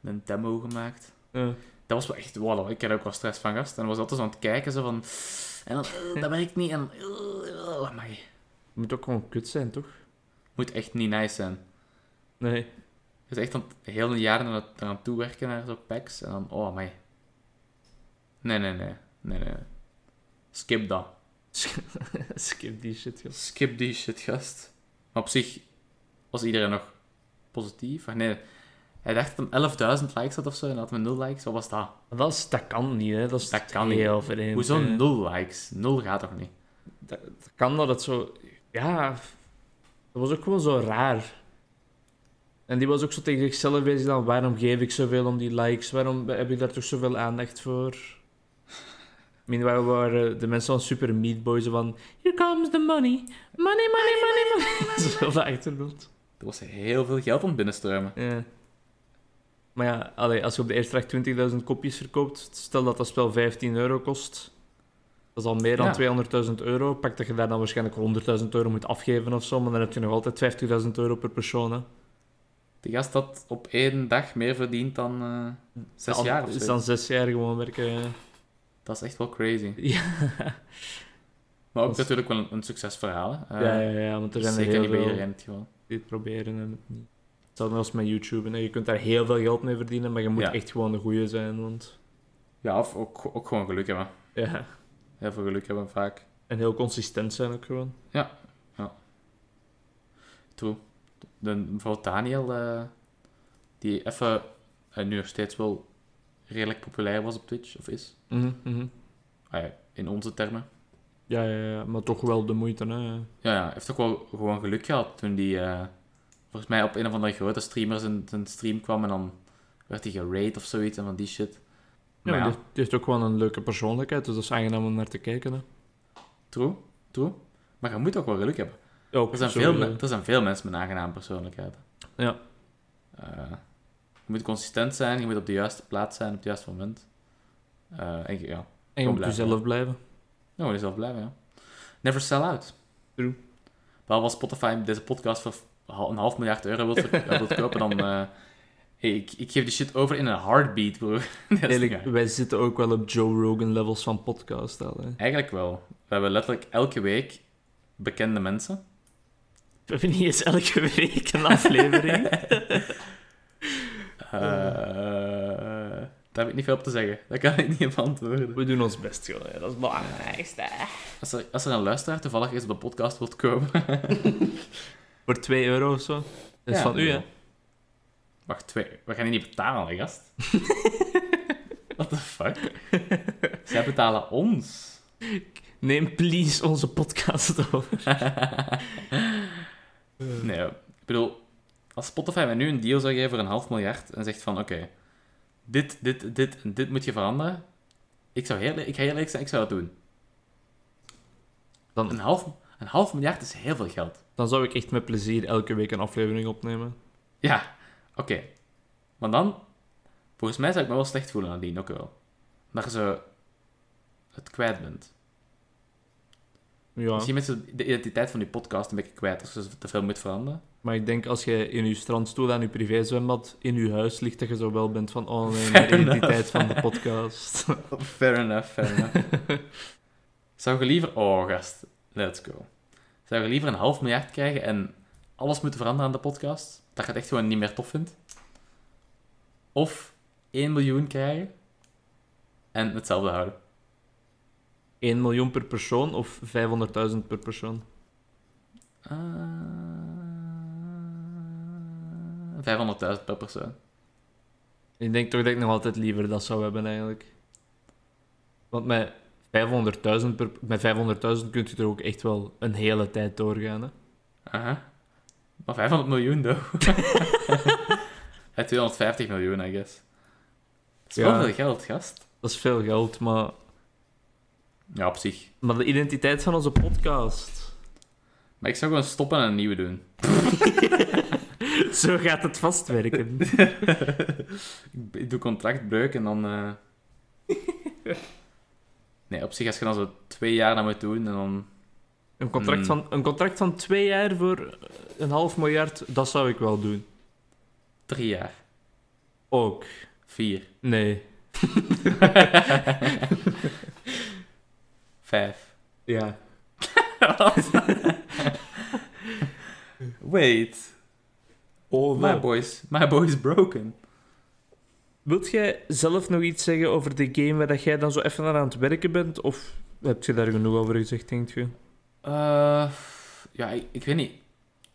Speaker 1: Een demo gemaakt.
Speaker 2: Eh,
Speaker 1: Dat was wel echt, wow, ik had ook wel stress van gast. En was altijd zo aan het kijken, zo van... En dan, eh, dat werkt niet, en... eh, eh, amai.
Speaker 2: Het moet ook gewoon kut zijn, toch?
Speaker 1: Moet echt niet nice zijn.
Speaker 2: Nee.
Speaker 1: Dus echt dan heel een jaar eraan- eraan toewerken naar zo'n packs. En dan, oh mij. Nee, nee, nee. Nee, nee. Skip dat.
Speaker 2: Skip die shit, joh.
Speaker 1: Skip die shit, gast. Maar op zich was iedereen nog positief. Of nee, hij dacht dat hem 11.000 likes had of zo en had me 0 likes. Wat was dat?
Speaker 2: Maar Dat, is, dat kan niet, hè. Dat, is
Speaker 1: Dat kan
Speaker 2: heel vreemd.
Speaker 1: Hoezo
Speaker 2: hè.
Speaker 1: 0 likes? 0 gaat toch niet?
Speaker 2: Dat, dat kan dat het zo... Ja, dat was ook gewoon zo raar. En die was ook zo tegen zichzelf bezig dan, waarom geef ik zoveel om die likes? Waarom heb ik daar toch zoveel aandacht voor? Meanwhile waren de mensen van Super Meat Boy zo van, here comes the money, money, money, money, money. Dat is wel de achtergrond.
Speaker 1: Er was heel veel geld aan het binnenstromen.
Speaker 2: Ja. Maar ja, allee, als je op de eerste dag 20.000 kopjes verkoopt, stel dat dat spel 15 euro kost, dat is al meer
Speaker 1: Ja.
Speaker 2: dan 200.000 euro. Pak dat je daar dan waarschijnlijk 100.000 euro moet afgeven of zo, maar dan heb je nog altijd 50.000 euro per persoon. Hè.
Speaker 1: Die gast had op één dag meer verdiend dan eh zes
Speaker 2: Al-
Speaker 1: jaar of
Speaker 2: Is
Speaker 1: zo.
Speaker 2: dan zes jaar gewoon werken. ja.
Speaker 1: Dat is echt wel crazy.
Speaker 2: Ja,
Speaker 1: Maar ook
Speaker 2: Dat is-
Speaker 1: natuurlijk wel een, een succesverhaal. Hè. Eh,
Speaker 2: ja, ja, ja, want er zijn er
Speaker 1: Zeker
Speaker 2: heel
Speaker 1: niet bij
Speaker 2: veel
Speaker 1: iedereen het geval.
Speaker 2: die het proberen en het niet. Hetzelfde als met YouTube. hè. Je kunt daar heel veel geld mee verdienen, maar je moet
Speaker 1: Ja.
Speaker 2: echt gewoon de goeie zijn. Want,
Speaker 1: Ja, of ook, ook gewoon geluk hebben.
Speaker 2: ja.
Speaker 1: Heel veel geluk hebben vaak.
Speaker 2: En heel consistent zijn ook gewoon.
Speaker 1: True. De, bijvoorbeeld Daniel, eh, die even eh, nu nog steeds wel redelijk populair was op Twitch, of is.
Speaker 2: Mhm, mhm.
Speaker 1: Ah ja, in onze termen.
Speaker 2: Ja, ja, ja, maar toch wel de moeite, hè.
Speaker 1: Ja, ja, heeft ook wel gewoon geluk gehad toen die eh, volgens mij op een of andere grote streamer zijn, zijn stream kwam en dan werd hij geraid of zoiets en van die shit.
Speaker 2: Ja,
Speaker 1: Maar ja,
Speaker 2: maar Die, die heeft ook gewoon een leuke persoonlijkheid, dus dat is aangenaam om naar te kijken. Hè.
Speaker 1: true, true. Maar je moet ook wel geluk hebben.
Speaker 2: Ja, ook
Speaker 1: Er zijn,
Speaker 2: sowieso.
Speaker 1: veel, me- er zijn veel mensen met aangenaam persoonlijkheid.
Speaker 2: Ja.
Speaker 1: Eh, je moet consistent zijn, je moet op de juiste plaats zijn op het juiste moment. Eh, en je- ja,
Speaker 2: En je moet
Speaker 1: blijven.
Speaker 2: jezelf blijven.
Speaker 1: Nou, dat is wel blij mee, ja. Never sell out.
Speaker 2: True.
Speaker 1: Wel als Spotify deze podcast voor een half miljard euro wilt, verk- eh, wilt kopen, dan... eh, hey, ik, ik geef die shit over in een heartbeat, broer. Dat is niet
Speaker 2: Eigenlijk,
Speaker 1: waar.
Speaker 2: wij zitten ook wel op Joe Rogan levels van podcast. al, Hè.
Speaker 1: Eigenlijk wel. We hebben letterlijk elke week bekende mensen.
Speaker 2: We hebben niet eens elke week een aflevering.
Speaker 1: Eh, daar heb ik niet veel op te zeggen. Daar kan ik niet op antwoorden.
Speaker 2: We doen ons best, joh. hè. Dat is het belangrijkste.
Speaker 1: Als er, als er een luisteraar toevallig eens op de podcast wilt komen...
Speaker 2: Voor 2 euro of zo. Dat is
Speaker 1: Ja.
Speaker 2: van u, hè.
Speaker 1: Wacht, twee. We gaan die niet betalen, hè, gast. What the fuck? Zij betalen ons.
Speaker 2: Neem please onze podcast over.
Speaker 1: Nee, ja. ik bedoel, als Spotify mij nu een deal zou geven voor een half miljard en zegt van, oké, dit, dit, dit en dit moet je veranderen, ik zou heel, ik ga heel eerlijk zijn, ik zou dat doen.
Speaker 2: Dan-
Speaker 1: Een half, een half miljard is heel veel geld.
Speaker 2: Dan zou ik echt met plezier elke week een aflevering opnemen.
Speaker 1: Ja, oké. Maar dan, volgens mij zou ik me wel slecht voelen nadien, ook wel. Dat je zo het kwijt bent.
Speaker 2: Ja.
Speaker 1: Misschien mensen de identiteit van die podcast een beetje kwijt als je te veel moet veranderen.
Speaker 2: Maar ik denk als je in je strandstoel aan je privézwembad in je huis ligt, dat je zo wel bent van, oh nee, mijn
Speaker 1: Fair
Speaker 2: identiteit van de podcast.
Speaker 1: Fair enough, fair enough. Zou je liever... Oh, gast. Let's go. Zou je liever een half miljard krijgen en alles moeten veranderen aan de podcast? Dat je het echt gewoon niet meer tof vindt? Of 1 miljoen krijgen en hetzelfde houden?
Speaker 2: 1 miljoen per persoon of 500.000 per persoon?
Speaker 1: Eh, 500.000 per persoon.
Speaker 2: Ik denk toch dat ik nog altijd liever dat zou hebben eigenlijk. Want met 500.000 per- met 500.000 kunt je er ook echt wel een hele tijd doorgaan. Hè?
Speaker 1: Aha. Maar 500 miljoen, though. Bij 250 miljoen, I guess. Dat is wel
Speaker 2: Ja.
Speaker 1: veel geld, gast.
Speaker 2: Dat is veel geld, maar,
Speaker 1: Ja, op zich.
Speaker 2: maar de identiteit van onze podcast.
Speaker 1: Maar ik zou gewoon stoppen en een nieuwe doen.
Speaker 2: Zo gaat het vastwerken.
Speaker 1: Ik, ik doe contractbreuk en dan... eh, nee, op zich, als je dan zo twee jaar naar moet doen en dan...
Speaker 2: Een contract,
Speaker 1: Hmm.
Speaker 2: van, een contract van twee jaar voor een half miljard, dat zou ik wel doen.
Speaker 1: Drie jaar.
Speaker 2: Ook.
Speaker 1: Vier.
Speaker 2: Nee.
Speaker 1: Vijf.
Speaker 2: Ja.
Speaker 1: Wait.
Speaker 2: Oh,
Speaker 1: My boy's, my boy's broken.
Speaker 2: Wilt jij zelf nog iets zeggen over de game waar dat jij dan zo even aan aan het werken bent? Of heb je daar genoeg over gezegd, denk je?
Speaker 1: Eh, ja, ik, ik weet niet.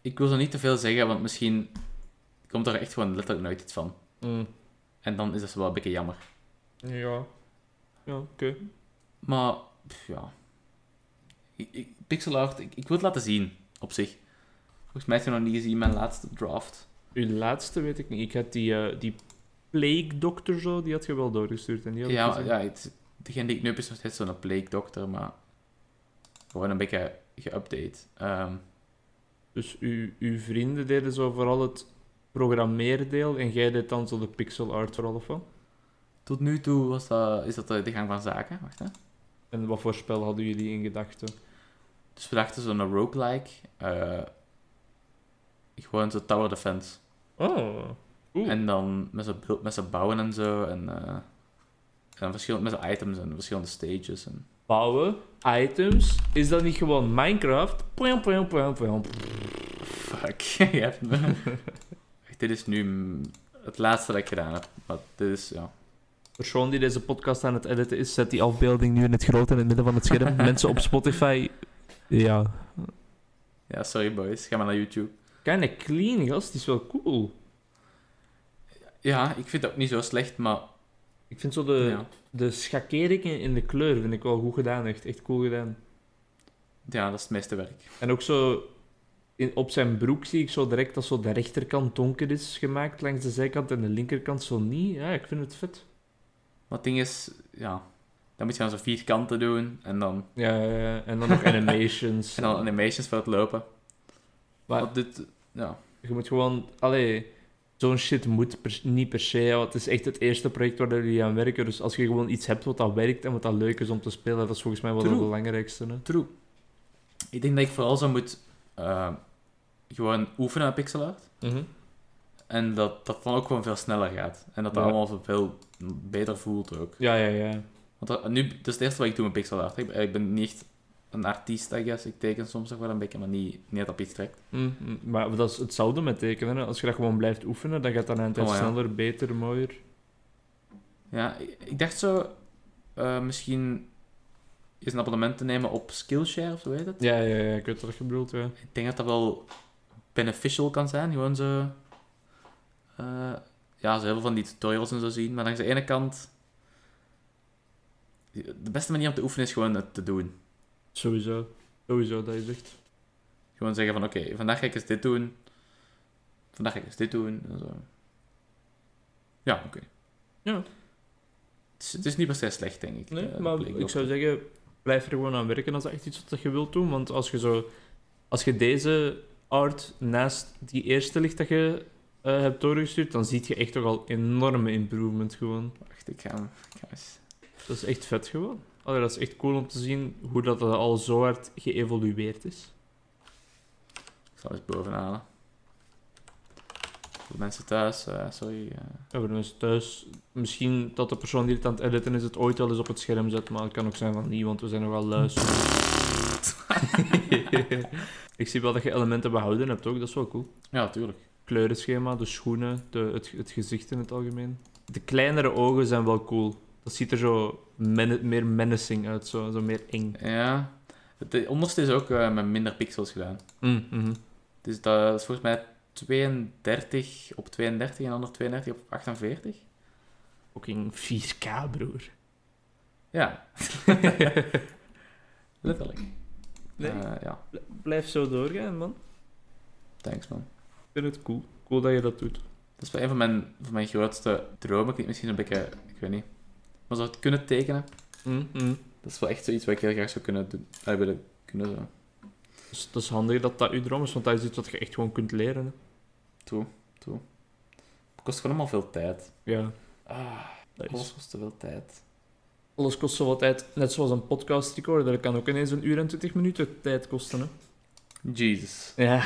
Speaker 1: Ik wil er niet te veel zeggen, want misschien komt er echt gewoon letterlijk nooit iets van. En dan is dat wel een beetje jammer.
Speaker 2: Ja. Ja, oké.
Speaker 1: Maar, pff, ja. Ik, ik, pixel art, ik, ik wil het laten zien, op zich. Volgens mij heb je nog niet gezien mijn laatste draft.
Speaker 2: Uw laatste weet ik niet. Ik had die, eh, die Plague Doctor zo, die had je wel doorgestuurd. En die had ik
Speaker 1: Ja,
Speaker 2: gezien.
Speaker 1: ja het, degene die ik nu heb is nog steeds zo'n plague dokter, maar gewoon een beetje geüpdate. Ehm,
Speaker 2: Dus uw, uw vrienden deden zo vooral het programmeerdeel en jij deed dan zo de pixel art vooral of wat?
Speaker 1: tot nu toe was dat, is dat de de gang van zaken. Wacht, hè.
Speaker 2: En wat voor spel hadden jullie in gedachten?
Speaker 1: Dus we dachten zo'n roguelike. eh, gewoon zo'n tower defense.
Speaker 2: Oh. Oeh.
Speaker 1: En dan met zo'n build- met zo'n bouwen en zo. En, eh, en dan verschillende, met zo'n items en verschillende stages. En...
Speaker 2: Bouwen, items, is dat niet gewoon Minecraft? Pwam, pwam, pwam, pwam.
Speaker 1: Fuck, je hebt me. Echt, dit is nu mm, het laatste dat ik gedaan heb. Maar dit is, ja.
Speaker 2: De persoon die deze podcast aan het editen is, zet die afbeelding nu in het groot in het midden van het scherm. Mensen op Spotify, ja.
Speaker 1: Ja, sorry boys, ga maar naar YouTube.
Speaker 2: Kinda clean, gast, die is wel cool.
Speaker 1: Ja, ik vind het ook niet zo slecht, maar...
Speaker 2: Ik vind zo de,
Speaker 1: Ja,
Speaker 2: de schakeringen in de kleur vind ik wel goed gedaan, echt, echt cool gedaan.
Speaker 1: ja dat is het meeste werk.
Speaker 2: En ook zo in, op zijn broek zie ik zo direct dat zo de rechterkant donker is gemaakt langs de zijkant en de linkerkant zo niet. Ja, ik vind het vet.
Speaker 1: Maar het ding is, ja... Dan moet je dan zo vier kanten doen en dan,
Speaker 2: Ja, ja, ja. en dan nog animations.
Speaker 1: en dan animations voor het lopen.
Speaker 2: Maar-
Speaker 1: Want dit, ja.
Speaker 2: Je moet gewoon, allee, zo'n shit moet per- niet per se. ja, want het is echt het eerste project waar jullie aan werken. Dus als je gewoon iets hebt wat dat werkt en wat dat leuk is om te spelen, dat is volgens mij wel het
Speaker 1: True.
Speaker 2: belangrijkste. Hè?
Speaker 1: True. Ik denk dat ik vooral zo moet... eh, gewoon oefenen met pixel art. En dat dat dan ook gewoon veel sneller gaat. En dat dat
Speaker 2: Ja.
Speaker 1: allemaal veel beter voelt ook.
Speaker 2: Ja, ja, ja.
Speaker 1: Want dat, nu, dat is het eerste wat ik doe met pixel art. Ik, ben- ik ben niet echt een artiest, I guess. Ik teken soms nog wel een beetje, maar niet, niet dat op iets trekt.
Speaker 2: Mm, mm. Maar dat is hetzelfde met tekenen. hè. Als je dat gewoon blijft oefenen, dan gaat dat aan het eind
Speaker 1: Oh, ja.
Speaker 2: sneller, beter, mooier.
Speaker 1: Ja, ik, ik dacht zo eh, misschien eens een abonnement te nemen op Skillshare of zo heet het.
Speaker 2: Ja, ja, ja. Ik weet wat je bedoelt, ja.
Speaker 1: Ik denk dat dat wel beneficial kan zijn. Gewoon zo... eh, ja, zo heel veel van die tutorials en zo zien. Maar langs de ene kant... De beste manier om te oefenen is gewoon het te doen.
Speaker 2: Sowieso. Sowieso, dat is echt...
Speaker 1: Gewoon zeggen van, oké, vandaag ga ik eens dit doen. Vandaag ga ik eens dit doen. En zo. Ja, oké.
Speaker 2: Ja.
Speaker 1: Het is, het is niet per se slecht, denk ik.
Speaker 2: Nee,
Speaker 1: eh, de
Speaker 2: maar
Speaker 1: Plague
Speaker 2: ik zou
Speaker 1: Doctor.
Speaker 2: zeggen, blijf er gewoon aan werken als dat echt iets wat je wilt doen. Want als je, zo, als je deze art naast die eerste licht dat je eh, hebt doorgestuurd, dan zie je echt toch al enorme improvement gewoon.
Speaker 1: Wacht, ik ga hem... ik ga eens-
Speaker 2: Dat is echt vet gewoon. Allee, dat is echt cool om te zien hoe dat dat al zo hard geëvolueerd is.
Speaker 1: Ik zal eens bovenhalen. Voor mensen thuis, eh, sorry. eh.
Speaker 2: Ja, voor de mensen thuis, misschien dat de persoon die het aan het editen is het ooit wel eens op het scherm zet, maar het kan ook zijn van niet, want we zijn nogal luister. ik zie wel dat je elementen behouden hebt ook, dat is wel cool.
Speaker 1: Ja, tuurlijk.
Speaker 2: kleurenschema, de schoenen, de, het, het gezicht in het algemeen. De kleinere ogen zijn wel cool. Dat ziet er zo menne- meer menacing uit, zo, zo meer eng.
Speaker 1: Ja. Het de onderste is ook eh, met minder pixels gedaan.
Speaker 2: Mm, mhm.
Speaker 1: Dus dat is volgens mij 32 op 32 en de ander 32 op 48.
Speaker 2: Fucking 4K, broer.
Speaker 1: Ja. Letterlijk. Eh, ja,
Speaker 2: Blijf zo doorgaan, man.
Speaker 1: thanks man.
Speaker 2: Ik vind het cool. Cool dat je dat doet.
Speaker 1: Dat is wel een van mijn, van mijn grootste dromen. Ik denk misschien een beetje, ik weet niet. Maar zou het kunnen tekenen?
Speaker 2: Mm, mm.
Speaker 1: Dat is wel echt zoiets wat ik heel graag zou kunnen doen. Eh, willen kunnen zo.
Speaker 2: Dus dat is handig dat dat je droom is, want dat is iets wat je echt gewoon kunt leren. hè.
Speaker 1: Het kost gewoon allemaal veel tijd.
Speaker 2: Ja.
Speaker 1: Ah,
Speaker 2: Dat is...
Speaker 1: alles kost te veel tijd.
Speaker 2: Alles kost zo wat tijd. Net zoals een podcast recorder. Dat kan ook ineens een uur en twintig minuten tijd kosten. Hè?
Speaker 1: Jesus.
Speaker 2: Ja,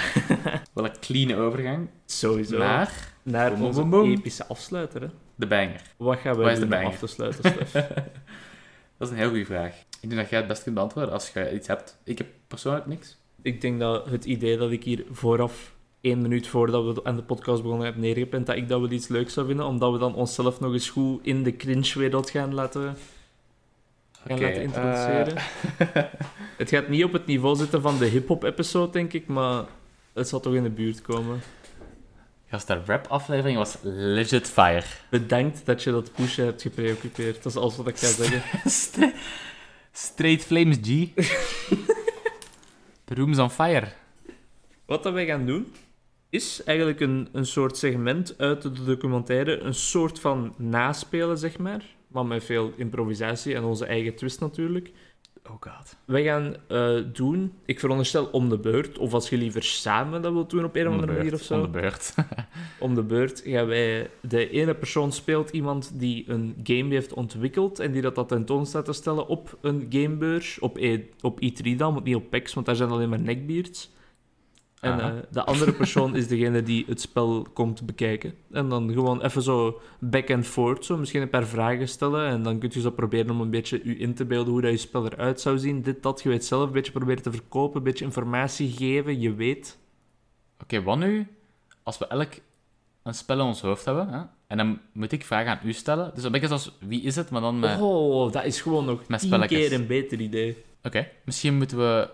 Speaker 1: Wel een clean overgang.
Speaker 2: sowieso.
Speaker 1: Maar,
Speaker 2: Naar
Speaker 1: Boom, boom,
Speaker 2: onze
Speaker 1: boom, boom.
Speaker 2: epische afsluiter. Hè?
Speaker 1: De banger.
Speaker 2: Wat gaan
Speaker 1: Wat
Speaker 2: wij
Speaker 1: is
Speaker 2: doen
Speaker 1: de
Speaker 2: om
Speaker 1: banger?
Speaker 2: af te sluiten, Stef?
Speaker 1: dat is een heel goede vraag. Ik denk dat jij het best kunt beantwoorden als je iets hebt. Ik heb persoonlijk niks.
Speaker 2: ik denk dat het idee dat ik hier vooraf, één minuut voordat we aan de podcast begonnen, heb neergepend, dat ik dat wel iets leuks zou vinden, omdat we dan onszelf nog eens goed in de cringe-wereld gaan laten, gaan
Speaker 1: Oké,
Speaker 2: laten introduceren. Het gaat niet op het niveau zitten van de hip-hop-episode, denk ik, maar het zal toch in de buurt komen.
Speaker 1: Gast, de rap-aflevering was legit fire.
Speaker 2: Bedankt dat je dat pushen hebt gepreoccupeerd. Dat is alles wat ik ga zeggen.
Speaker 1: Stra- Straight Flames G. The room's on fire.
Speaker 2: Wat dat wij gaan doen, is eigenlijk een, een soort segment uit de documentaire. Een soort van naspelen, zeg maar. Maar met veel improvisatie en onze eigen twist natuurlijk.
Speaker 1: Oh god.
Speaker 2: Wij gaan eh, doen, ik veronderstel om de beurt, of als je liever samen dat wilt doen op een of andere manier of zo.
Speaker 1: Om de beurt.
Speaker 2: om de beurt gaan wij... De ene persoon speelt iemand die een game heeft ontwikkeld en die dat, dat tentoon staat te stellen op een gamebeurs, op, E- op E3 dan, want niet op PAX, want daar zijn alleen maar neckbeards. En
Speaker 1: Aha.
Speaker 2: eh, de andere persoon is degene die het spel komt bekijken. En dan gewoon even zo back and forth, zo misschien een paar vragen stellen. En dan kunt je zo proberen om een beetje u in te beelden hoe dat je spel eruit zou zien. Dit, dat, je weet zelf. Een beetje proberen te verkopen, een beetje informatie geven, je weet.
Speaker 1: Oké, wat nu? Als we elk een spel in ons hoofd hebben, hè? en dan moet ik vragen aan u stellen. Dus een beetje zoals wie is het, maar dan eh, met... Oké,
Speaker 2: Oh, dat is gewoon nog
Speaker 1: Met
Speaker 2: tien
Speaker 1: spelletjes.
Speaker 2: keer een beter idee.
Speaker 1: misschien moeten we...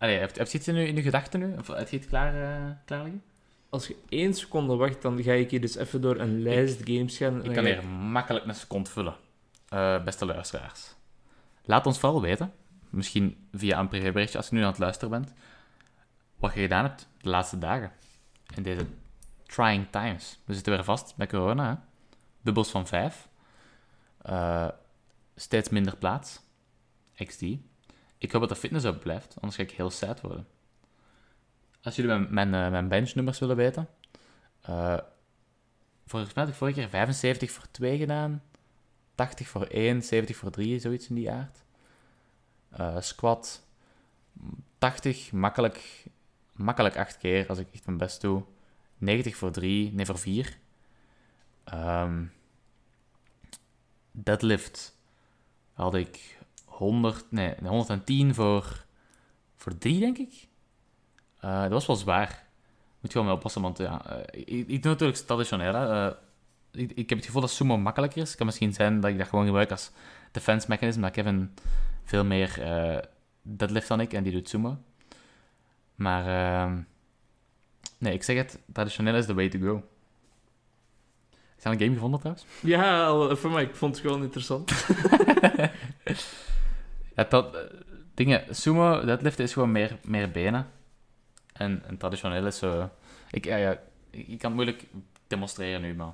Speaker 1: Allee, heb, heb je iets in uw, in uw gedachten nu? Of heb je het klaar, eh, klaar liggen?
Speaker 2: Als je één seconde wacht, dan ga ik hier dus even door een lijst games gaan. en
Speaker 1: Ik
Speaker 2: dan
Speaker 1: kan
Speaker 2: ga
Speaker 1: hier makkelijk een seconde vullen. Eh, beste luisteraars. Laat ons vooral weten, misschien via een privéberichtje als je nu aan het luisteren bent, wat je gedaan hebt de laatste dagen. In deze trying times. We zitten weer vast met corona. Hè? Bubbels van vijf. Eh, steeds minder plaats. XD. Ik hoop dat de fitness ook blijft, anders ga ik heel sad worden. Als jullie mijn, mijn, eh, mijn benchnummers willen weten, eh, Volgens mij had ik vorige keer 75 voor 2 gedaan. 80 voor 1, 70 voor 3, zoiets in die aard. Eh, squat. 80, makkelijk, makkelijk 8 keer als ik echt mijn best doe. 90 voor 3, nee voor 4. Ehm, deadlift had ik 100, nee, 110 voor, voor 3, denk ik. Eh, dat was wel zwaar. Moet je wel mee oppassen, want ja, eh, ik, ik doe natuurlijk traditioneel. hè. Eh, ik, ik heb het gevoel dat sumo makkelijker is. Het kan misschien zijn dat ik dat gewoon gebruik als defense mechanism. Maar Kevin veel meer eh deadlift dan ik en die doet sumo. Maar ehm, nee, ik zeg het, traditioneel is the way to go. Is dat een game gevonden trouwens?
Speaker 2: ik- Ja, al even, maar ik vond het gewoon interessant.
Speaker 1: Ja, dat, eh, dingen, sumo, deadlift is gewoon meer, meer benen. En, en traditioneel is zo... Ik, ja, ja, ik ik kan het moeilijk demonstreren nu, maar...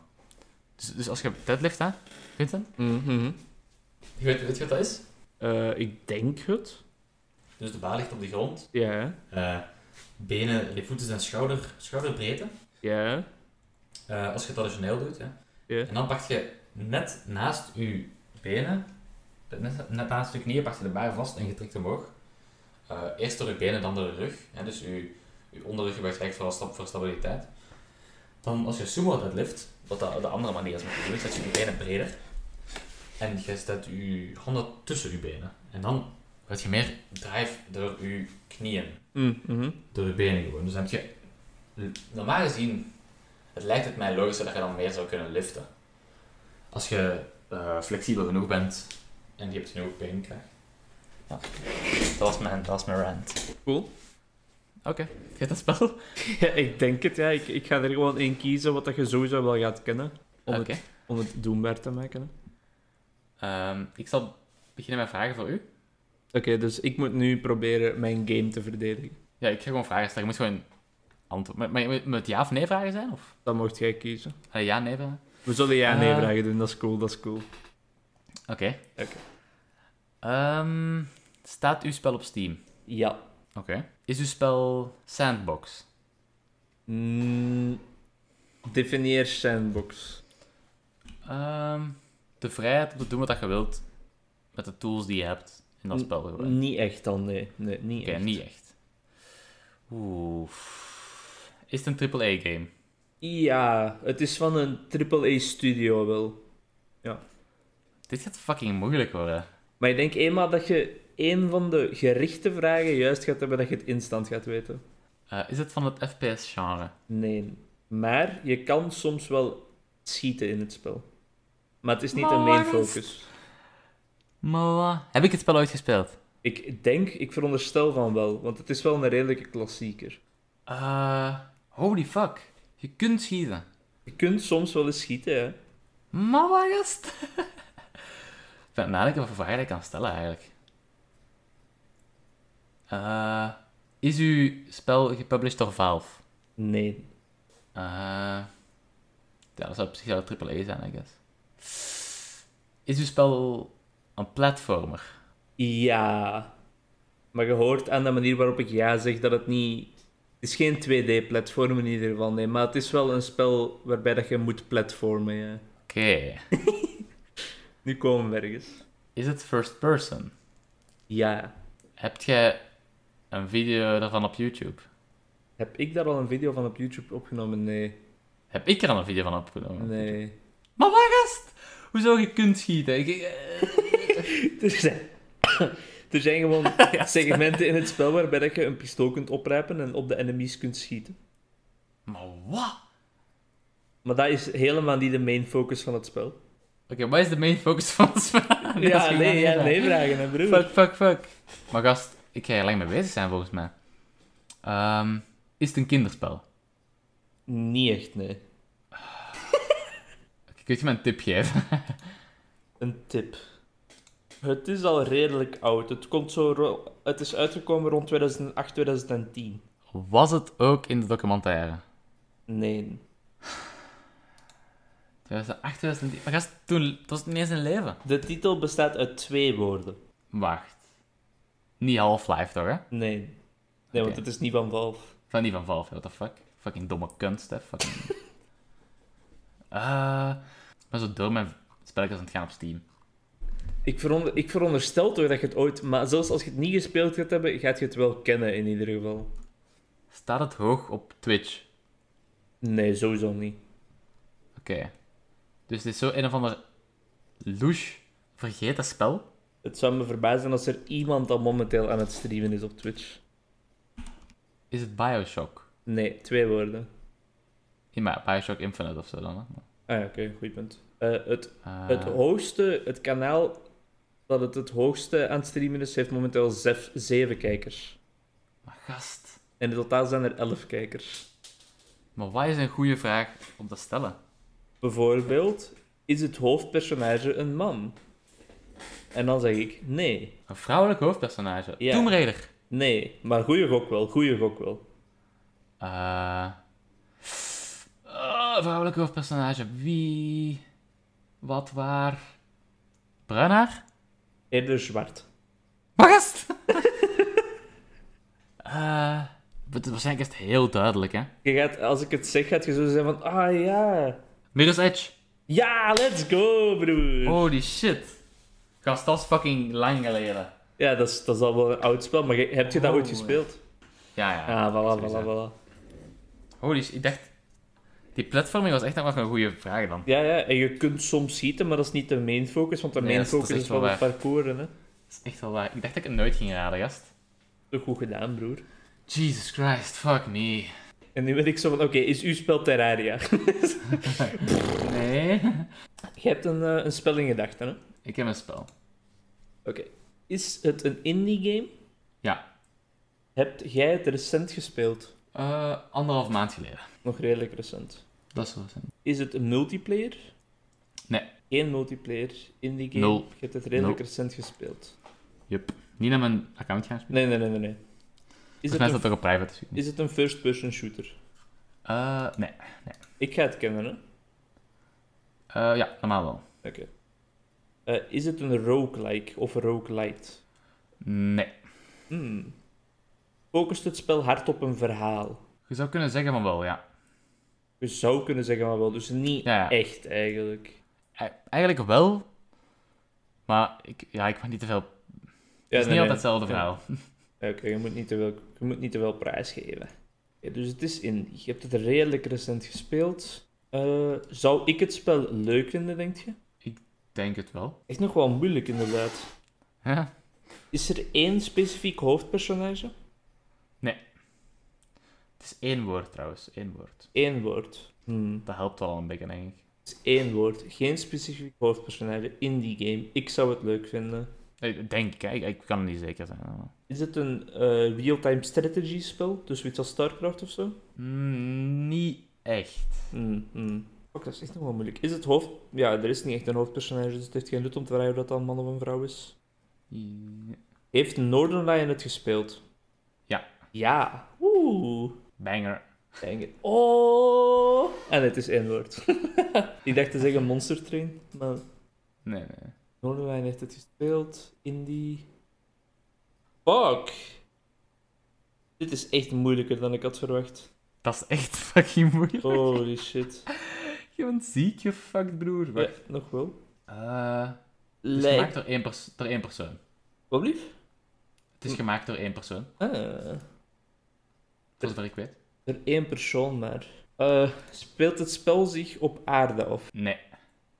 Speaker 1: Dus, dus als je deadlift, hè, Vincent? Mhm. Weet, weet je wat dat is?
Speaker 2: Eh, ik denk het.
Speaker 1: Dus de baar ligt op de grond. Eh,
Speaker 2: Ja,
Speaker 1: benen, de voeten zijn schouder, schouderbreedte. Eh,
Speaker 2: ja,
Speaker 1: als je het traditioneel doet, hè.
Speaker 2: ja.
Speaker 1: En dan pak je net naast je benen, net, net naast je knieën, pak je de baar vast en je trekt hem omhoog. Eh, eerst door je benen, dan door de rug. Hè? Dus je, je onderrug gebruikt eigenlijk vooral stap voor stabiliteit. Dan als je sumo deadlift, wat de, de andere manier is met je doen, zet je je benen breder. En je zet je handen tussen je benen. En dan heb je meer drive door je knieën
Speaker 2: Mm, mhm.
Speaker 1: door je benen gewoon. Dus dan heb je... Normaal gezien, het lijkt het mij logischer dat je dan meer zou kunnen liften. Als je eh, flexibel genoeg bent en je hebt genoeg beenkracht. Ja. Dat was mijn, dat was mijn rant.
Speaker 2: Cool.
Speaker 1: Oké, geef dat spel.
Speaker 2: Ja, ik denk het, ja. Ik, ik ga er gewoon één kiezen wat dat je sowieso wel gaat kennen. Om,
Speaker 1: Oké.
Speaker 2: het, om het doenbaar te maken. hè.
Speaker 1: Ehm, ik zal beginnen met vragen voor u.
Speaker 2: Oké, dus ik moet nu proberen mijn game te verdedigen.
Speaker 1: Ja, ik ga gewoon vragen stellen. Je moet gewoon antwoord. Maar, maar moet het ja of nee vragen zijn? Of?
Speaker 2: Dan mocht jij kiezen.
Speaker 1: Allee, ja, nee vragen?
Speaker 2: We zullen ja en nee
Speaker 1: Ah.
Speaker 2: vragen doen, dat is cool, dat is cool.
Speaker 1: Oké.
Speaker 2: Oké.
Speaker 1: Ehm, staat uw spel op Steam?
Speaker 3: Ja.
Speaker 1: Oké. Is uw spel Sandbox?
Speaker 2: Mm, definieer sandbox.
Speaker 1: Ehm, de vrijheid om te doen wat je wilt met de tools die je hebt in dat
Speaker 3: N-
Speaker 1: spel. gebruiken. Oké,
Speaker 3: Niet echt dan, nee. Nee, niet echt.
Speaker 1: niet echt. Oeh. Is het een AAA-game?
Speaker 3: Ja, het is van een AAA-studio wel.
Speaker 1: Dit gaat fucking moeilijk worden.
Speaker 2: Maar ik denk eenmaal dat je één van de gerichte vragen juist gaat hebben dat je het instant gaat weten.
Speaker 1: Eh, is het van het FPS-genre?
Speaker 2: Nee. Maar je kan soms wel schieten in het spel. Maar het is niet
Speaker 1: Maar
Speaker 2: een main
Speaker 1: waar is-
Speaker 2: focus.
Speaker 1: Mala. Heb ik het spel ooit gespeeld?
Speaker 2: Ik denk, ik veronderstel van wel, want het is wel een redelijke klassieker.
Speaker 1: Eh, holy fuck. Je kunt schieten.
Speaker 2: Je kunt soms wel eens schieten, hè.
Speaker 1: Mama, gast. ik ben aan het nadenken wat voor vragen ik kan stellen, eigenlijk. Eh, is uw spel gepublished door Valve?
Speaker 2: Nee.
Speaker 1: Eh, ja, dat zou op zich wel triple A zijn, I guess. Is uw spel een platformer?
Speaker 2: Ja. Maar je hoort aan de manier waarop ik ja zeg dat het niet... Het is geen 2D-platform in ieder geval, nee. Maar het is wel een spel waarbij dat je moet platformen, ja.
Speaker 1: Oké.
Speaker 2: Nu komen we ergens.
Speaker 1: Is het first person?
Speaker 2: Ja.
Speaker 1: Heb jij een video daarvan op YouTube?
Speaker 2: Heb ik daar al een video van op YouTube opgenomen? Nee.
Speaker 1: Heb ik er al een video van opgenomen?
Speaker 2: Nee.
Speaker 1: Maar waar, gast? Hoezo je kunt schieten? Ik- eh,
Speaker 2: Er zijn, er zijn gewoon segmenten in het spel waarbij dat je een pistool kunt oprijpen en op de enemies kunt schieten.
Speaker 1: maar wat?
Speaker 2: Maar dat is helemaal niet de main focus van het spel.
Speaker 1: Oké, wat is de main focus van het spel? Ah, Nee, dat is
Speaker 2: ja,
Speaker 1: geen
Speaker 2: nee,
Speaker 1: idee.
Speaker 2: ja, nee vragen, hè, broer.
Speaker 1: Fuck, fuck, fuck. Maar gast, ik ga hier lang mee bezig zijn volgens mij. Ehm, is het een kinderspel?
Speaker 2: Niet echt, nee.
Speaker 1: Oké, kun je me een tip geven?
Speaker 2: Een tip. Het is al redelijk oud. Het, komt zo ro- het is uitgekomen rond 2008, 2010.
Speaker 1: Was het ook in de documentaire?
Speaker 2: Nee.
Speaker 1: 2008, 2010. Maar gast, toen het was het niet eens een leven.
Speaker 2: De titel bestaat uit twee woorden.
Speaker 1: Wacht. Niet Half-Life toch, hè?
Speaker 2: Nee. Nee, want
Speaker 1: Oké.
Speaker 2: het is niet van Valve.
Speaker 1: Van die van Valve, what the fuck? Fucking domme kunst, hè? Fucking... Eh, ik ben zo door mijn spelletjes aan het gaan op Steam.
Speaker 2: Ik, veronder, ik veronderstel toch dat je het ooit... Maar zelfs als je het niet gespeeld gaat hebben, gaat je het wel kennen in ieder geval.
Speaker 1: Staat het hoog op Twitch?
Speaker 2: Nee, sowieso niet.
Speaker 1: Oké. Dus dit is zo een of ander louche, vergeten spel.
Speaker 2: Het zou me verbazen als er iemand al momenteel aan het streamen is op Twitch.
Speaker 1: Is het Bioshock?
Speaker 2: Nee, twee woorden.
Speaker 1: Ja, maar Bioshock Infinite of zo dan. Hè?
Speaker 2: Ah ja, oké, goed punt. Eh, het,
Speaker 1: Eh,
Speaker 2: het hoogste, het kanaal dat het het hoogste aan het streamen is, heeft momenteel zef, zeven kijkers.
Speaker 1: Maar gast,
Speaker 2: En in totaal zijn er elf kijkers.
Speaker 1: maar wat is een goede vraag om te stellen?
Speaker 2: Bijvoorbeeld, is het hoofdpersonage een man? En dan zeg ik nee.
Speaker 1: Een vrouwelijk hoofdpersonage.
Speaker 2: Ja.
Speaker 1: Tomb Raider.
Speaker 2: Nee, maar goeie gok wel, goeie gok wel.
Speaker 1: Eh, eh, vrouwelijk hoofdpersonage. Wie? Wat waar? Bruinhaar?
Speaker 2: Eerder zwart.
Speaker 1: Maar gast! Eh, het- waarschijnlijk is het heel duidelijk, hè?
Speaker 2: Je gaat, als ik het zeg, gaat je zo zijn van, ah ja.
Speaker 1: Mirror's Edge.
Speaker 2: Ja, let's go, broer.
Speaker 1: Holy shit. Gast, dat is fucking lang geleden.
Speaker 2: Ja, dat is, dat is al wel een oud spel, maar je- heb je dat ooit
Speaker 1: Oh,
Speaker 2: gespeeld?
Speaker 1: Ja, ja.
Speaker 2: Ah, voilà,
Speaker 1: sowieso.
Speaker 2: voilà, voilà.
Speaker 1: Holy shit, ik dacht... Die platforming was echt nog wel een goede vraag dan.
Speaker 2: Ja, ja, en je kunt soms schieten, maar dat is niet de main focus, want de
Speaker 1: Nee,
Speaker 2: main
Speaker 1: dat is- dat is
Speaker 2: focus
Speaker 1: echt
Speaker 2: is
Speaker 1: wel
Speaker 2: wel het parcours, hè.
Speaker 1: Dat is echt wel waar. Ik dacht dat ik het nooit ging raden, gast.
Speaker 2: Toch goed gedaan, broer.
Speaker 1: Jesus Christ, fuck me.
Speaker 2: En nu ben ik zo van, oké, is uw spel Terraria?
Speaker 1: Nee.
Speaker 2: je hebt een, eh, een spel in gedachten, hè. Oké.
Speaker 1: Ik heb een spel.
Speaker 2: Is het een indie game?
Speaker 1: Ja.
Speaker 2: Heb jij het recent gespeeld?
Speaker 1: Eh, anderhalf maand geleden.
Speaker 2: Nog redelijk recent.
Speaker 1: Dat is wel zin.
Speaker 2: Is het een multiplayer?
Speaker 1: Nee.
Speaker 2: Geen multiplayer in die game.
Speaker 1: Nul.
Speaker 2: Je hebt het redelijk
Speaker 1: Nul.
Speaker 2: recent gespeeld.
Speaker 1: Niet naar mijn account gaan spelen.
Speaker 2: Nee, nee, nee, nee. nee. Is,
Speaker 1: Volgens
Speaker 2: het
Speaker 1: mij is dat
Speaker 2: een,
Speaker 1: toch op private. dus ik weet niet.
Speaker 2: is het een first-person shooter?
Speaker 1: Eh, nee.
Speaker 2: Ik ga het kennen, hè? Oké.
Speaker 1: Eh, ja, normaal wel.
Speaker 2: Eh, is het een roguelike of roguelite?
Speaker 1: Nee.
Speaker 2: Hmm. Focust het spel hard op een verhaal?
Speaker 1: Je zou kunnen zeggen van wel, ja.
Speaker 2: Je zou kunnen zeggen, maar wel, dus niet
Speaker 1: Ja, ja.
Speaker 2: echt eigenlijk.
Speaker 1: E- Eigenlijk wel. Maar ik, ja, ik mag niet te veel...
Speaker 2: Ja,
Speaker 1: het is
Speaker 2: nee,
Speaker 1: niet
Speaker 2: nee.
Speaker 1: altijd hetzelfde
Speaker 2: Ja.
Speaker 1: verhaal.
Speaker 2: Oké, je moet niet te wel, je moet niet te wel prijs geven. Oké, dus het is indie. Je hebt het redelijk recent gespeeld. Eh, zou ik het spel leuk vinden, denk je?
Speaker 1: denk het wel.
Speaker 2: Echt nog wel moeilijk, inderdaad.
Speaker 1: Ja.
Speaker 2: Is er één specifiek hoofdpersonage?
Speaker 1: Het is één woord trouwens, één woord.
Speaker 2: Eén woord. Hmm.
Speaker 1: Dat helpt al een beetje, denk ik.
Speaker 2: Het is één woord. Geen specifiek hoofdpersonage in die game. Ik zou het leuk vinden.
Speaker 1: Ik Denk ik, hè. ik, ik kan er niet zeker zijn. maar-
Speaker 2: Is het een eh, real-time strategy spel? Dus zoiets als StarCraft of zo?
Speaker 1: Mm, niet echt.
Speaker 2: Hmm, hmm. Fuck, dat is echt nog wel moeilijk. Is het hoofd... Ja, er is niet echt een hoofdpersonage, dus het heeft geen nut om te vragen of dat dan een man of een vrouw is. Heeft Northern Lion het gespeeld?
Speaker 1: Ja.
Speaker 2: Ja. Oeh.
Speaker 1: Banger.
Speaker 2: Dang it. Oh. En het is één woord. Ik dacht te zeggen Monster Train, maar
Speaker 1: Nee, nee.
Speaker 2: Northern Lion heeft het gespeeld. Indie. Fuck. Dit is echt moeilijker dan ik had verwacht.
Speaker 1: Dat is echt fucking moeilijk.
Speaker 2: Holy shit.
Speaker 1: Je bent ziek, je fucked broer.
Speaker 2: Ja,
Speaker 1: Wacht.
Speaker 2: nog wel.
Speaker 1: Eh, het is gemaakt
Speaker 2: Lijkt.
Speaker 1: door één, pers- door één persoon.
Speaker 2: Wat lief?
Speaker 1: Het is gemaakt door één persoon,
Speaker 2: Ah.
Speaker 1: voor zover ik weet.
Speaker 2: Er één persoon maar. Eh, speelt het spel zich op aarde af?
Speaker 1: Nee.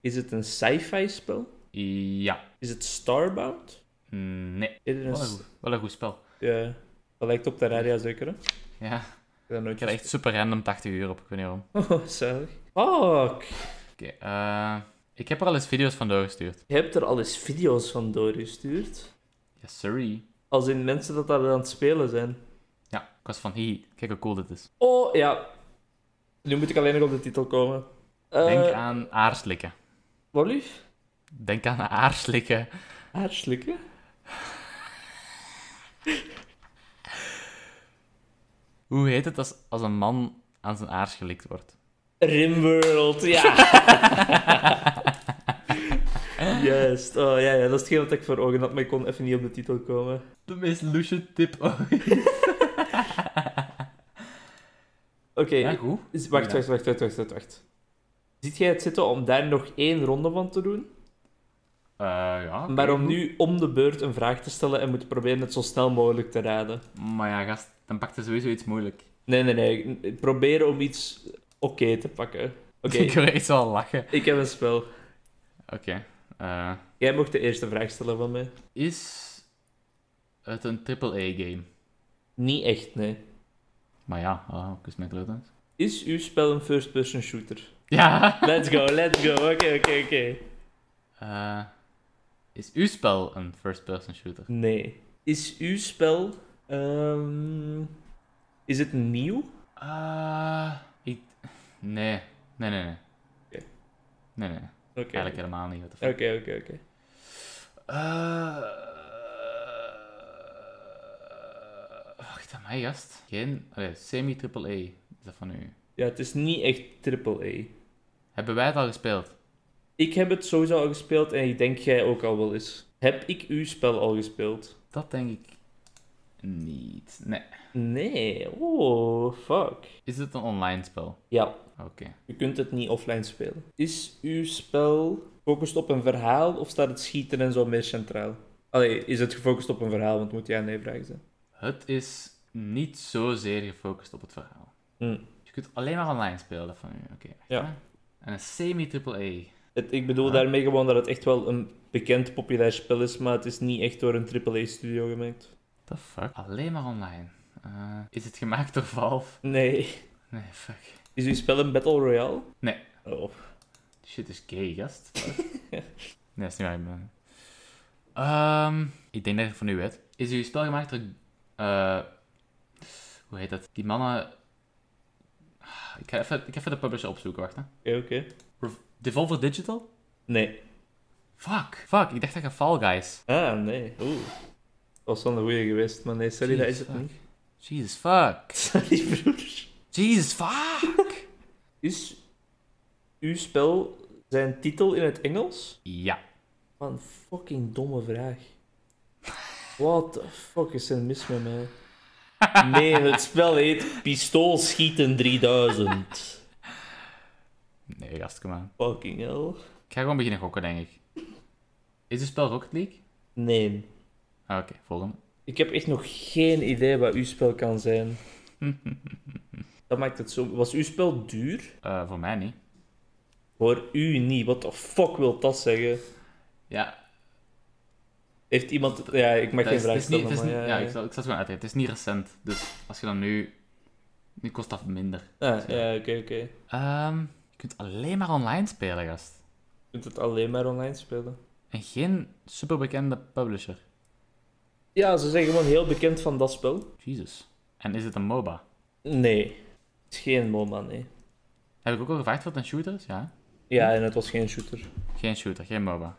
Speaker 2: Is het een sci-fi spel?
Speaker 1: Ja.
Speaker 2: Is het Starbound?
Speaker 1: Nee.
Speaker 2: Is het een
Speaker 1: Wel een
Speaker 2: s-
Speaker 1: Oh, goed, wel een goed spel.
Speaker 2: Ja, dat lijkt op Terraria zeker, hè? Ik
Speaker 1: Ja.
Speaker 2: heb dat nooit
Speaker 1: Ik had echt super random 80 uur op, ik weet niet waarom.
Speaker 2: gespeeld. Oh, zalig. Fuck.
Speaker 1: Oké, eh, ik heb er al eens video's van doorgestuurd.
Speaker 2: Je hebt er al eens video's van doorgestuurd.
Speaker 1: Yes, sorry.
Speaker 2: Als in mensen dat daar aan het spelen zijn.
Speaker 1: Ja, ik was van, hi, kijk hoe cool dit is.
Speaker 2: Oh, ja. Nu moet ik alleen nog op de titel komen. Eh,
Speaker 1: Denk aan aarslikken.
Speaker 2: Wat lief?
Speaker 1: Denk aan aarslikken.
Speaker 2: Haarslikken?
Speaker 1: Hoe heet het als, als een man aan zijn aars gelikt wordt?
Speaker 2: Rimworld, ja. Juist. Oh, ja, ja, dat is hetgeen wat ik voor ogen had, maar ik kon even niet op de titel komen.
Speaker 1: De meest lusje tip
Speaker 2: Oké,
Speaker 1: Ja, goed.
Speaker 2: is- wacht, wacht, wacht, wacht, wacht, wacht, wacht. Ziet jij het zitten om daar nog één ronde van te doen?
Speaker 1: Eh, ja, oké,
Speaker 2: maar om
Speaker 1: goed.
Speaker 2: nu om de beurt een vraag te stellen en moeten proberen het zo snel mogelijk te raden.
Speaker 1: Maar ja, gast, dan pakt hij sowieso iets moeilijk.
Speaker 2: Nee, nee, nee. Proberen om iets oké te pakken. Oké,
Speaker 1: ik word echt zo al lachen.
Speaker 2: ik heb een spel.
Speaker 1: Oké. eh,
Speaker 2: Jij mocht de eerste vraag stellen van mij.
Speaker 1: is het een AAA-game?
Speaker 2: Niet echt, nee.
Speaker 1: Maar ja, oh, kus mijn kloot uit.
Speaker 2: Is uw spel een first-person shooter?
Speaker 1: Ja!
Speaker 2: Let's go, let's go. Oké, oké, oké.
Speaker 1: Eh, is uw spel een first-person shooter?
Speaker 2: Nee. Is uw spel. ehm, is het nieuw?
Speaker 1: Ah, ik... Nee. Nee, nee, nee.
Speaker 2: Oké.
Speaker 1: Nee, nee.
Speaker 2: Oké.
Speaker 1: Eigenlijk helemaal niet. What the fuck.
Speaker 2: Oké, oké, oké.
Speaker 1: Eh, wacht aan mij, gast. Geen... Allee, semi-triple-A is dat van u.
Speaker 2: Ja, het is niet echt AAA.
Speaker 1: Hebben wij het al gespeeld?
Speaker 2: Ik heb het sowieso al gespeeld en ik denk jij ook al wel eens. Heb ik uw spel al gespeeld?
Speaker 1: Dat denk ik niet. Nee.
Speaker 2: Nee. Oh, fuck.
Speaker 1: Is het een online spel?
Speaker 2: Ja.
Speaker 1: Oké.
Speaker 2: Je kunt het niet offline spelen. Is uw spel gefocust op een verhaal of staat het schieten en zo meer centraal? Allee, is het gefocust op een verhaal? Want het moet ja nee vragen zijn.
Speaker 1: Het is niet zozeer gefocust op het verhaal.
Speaker 2: Hm.
Speaker 1: Je kunt alleen maar online spelen, dat van u. Oké. wacht,
Speaker 2: Ja.
Speaker 1: hè. En een semi-triple-A.
Speaker 2: Het- ik bedoel
Speaker 1: Ah.
Speaker 2: daarmee gewoon dat het echt wel een bekend populair spel is, maar het is niet echt door een AAA-studio gemaakt.
Speaker 1: The fuck? Alleen maar online. Eh, is het gemaakt door Valve?
Speaker 2: Nee.
Speaker 1: Nee, fuck.
Speaker 2: Is uw spel een Battle Royale?
Speaker 1: Nee.
Speaker 2: Oh.
Speaker 1: Die Shit is gay, gast. nee, dat is niet waar ik ben. Ehm, ik denk dat ik van u weet. Is uw spel gemaakt door... eh, hoe heet dat? Die mannen... Ah, Ik ga, even, ik ga even de publisher opzoeken, wacht hè.
Speaker 2: Oké, oké.
Speaker 1: Rev- Devolver Digital?
Speaker 2: Nee.
Speaker 1: Fuck, fuck. Ik dacht dat je Fall Guys...
Speaker 2: Ah, nee. Oeh. Dat was wel een goeie geweest, maar nee, sorry, dat is
Speaker 1: Jesus
Speaker 2: het niet.
Speaker 1: fuck. Jesus fuck.
Speaker 2: Sorry, broer.
Speaker 1: Jesus fuck.
Speaker 2: Is uw spel zijn titel in het Engels?
Speaker 1: ja.
Speaker 2: Wat een fucking domme vraag. What the fuck is er mis met mij? Nee, het spel heet Pistool Schieten 3000.
Speaker 1: Nee, gast, kom aan.
Speaker 2: Fucking hell.
Speaker 1: Ik ga gewoon beginnen gokken, denk ik. Is het spel Rocket League?
Speaker 2: Nee.
Speaker 1: Ah, Oké, volgende.
Speaker 2: Ik heb echt nog geen idee wat uw spel kan zijn. Dat maakt het zo. Was uw spel duur?
Speaker 1: Eh, voor mij niet.
Speaker 2: Voor u niet. Wat de fuck wil dat zeggen?
Speaker 1: Ja,
Speaker 2: Heeft iemand... Ja, ik mag
Speaker 1: dat
Speaker 2: geen
Speaker 1: is, het
Speaker 2: vraag
Speaker 1: is niet,
Speaker 2: stellen,
Speaker 1: het is
Speaker 2: maar
Speaker 1: niet-
Speaker 2: ja,
Speaker 1: ja,
Speaker 2: ja.
Speaker 1: ik zal, ik zal het gewoon uitleggen. Het is niet recent, dus als je dan nu... Nu kost dat minder.
Speaker 2: Ah, ja, oké, oké.
Speaker 1: Ehm, je kunt alleen maar online spelen, gast.
Speaker 2: Je kunt het alleen maar online spelen.
Speaker 1: En geen superbekende publisher.
Speaker 2: Ja, ze zijn gewoon heel bekend van dat spel.
Speaker 1: Jesus. En is het een MOBA?
Speaker 2: Nee. Het is geen MOMA, nee.
Speaker 1: Heb ik ook al gevraagd wat een shooter is? Ja.
Speaker 2: Ja,
Speaker 1: Hm?
Speaker 2: en het was geen shooter.
Speaker 1: Geen shooter, geen MOBA.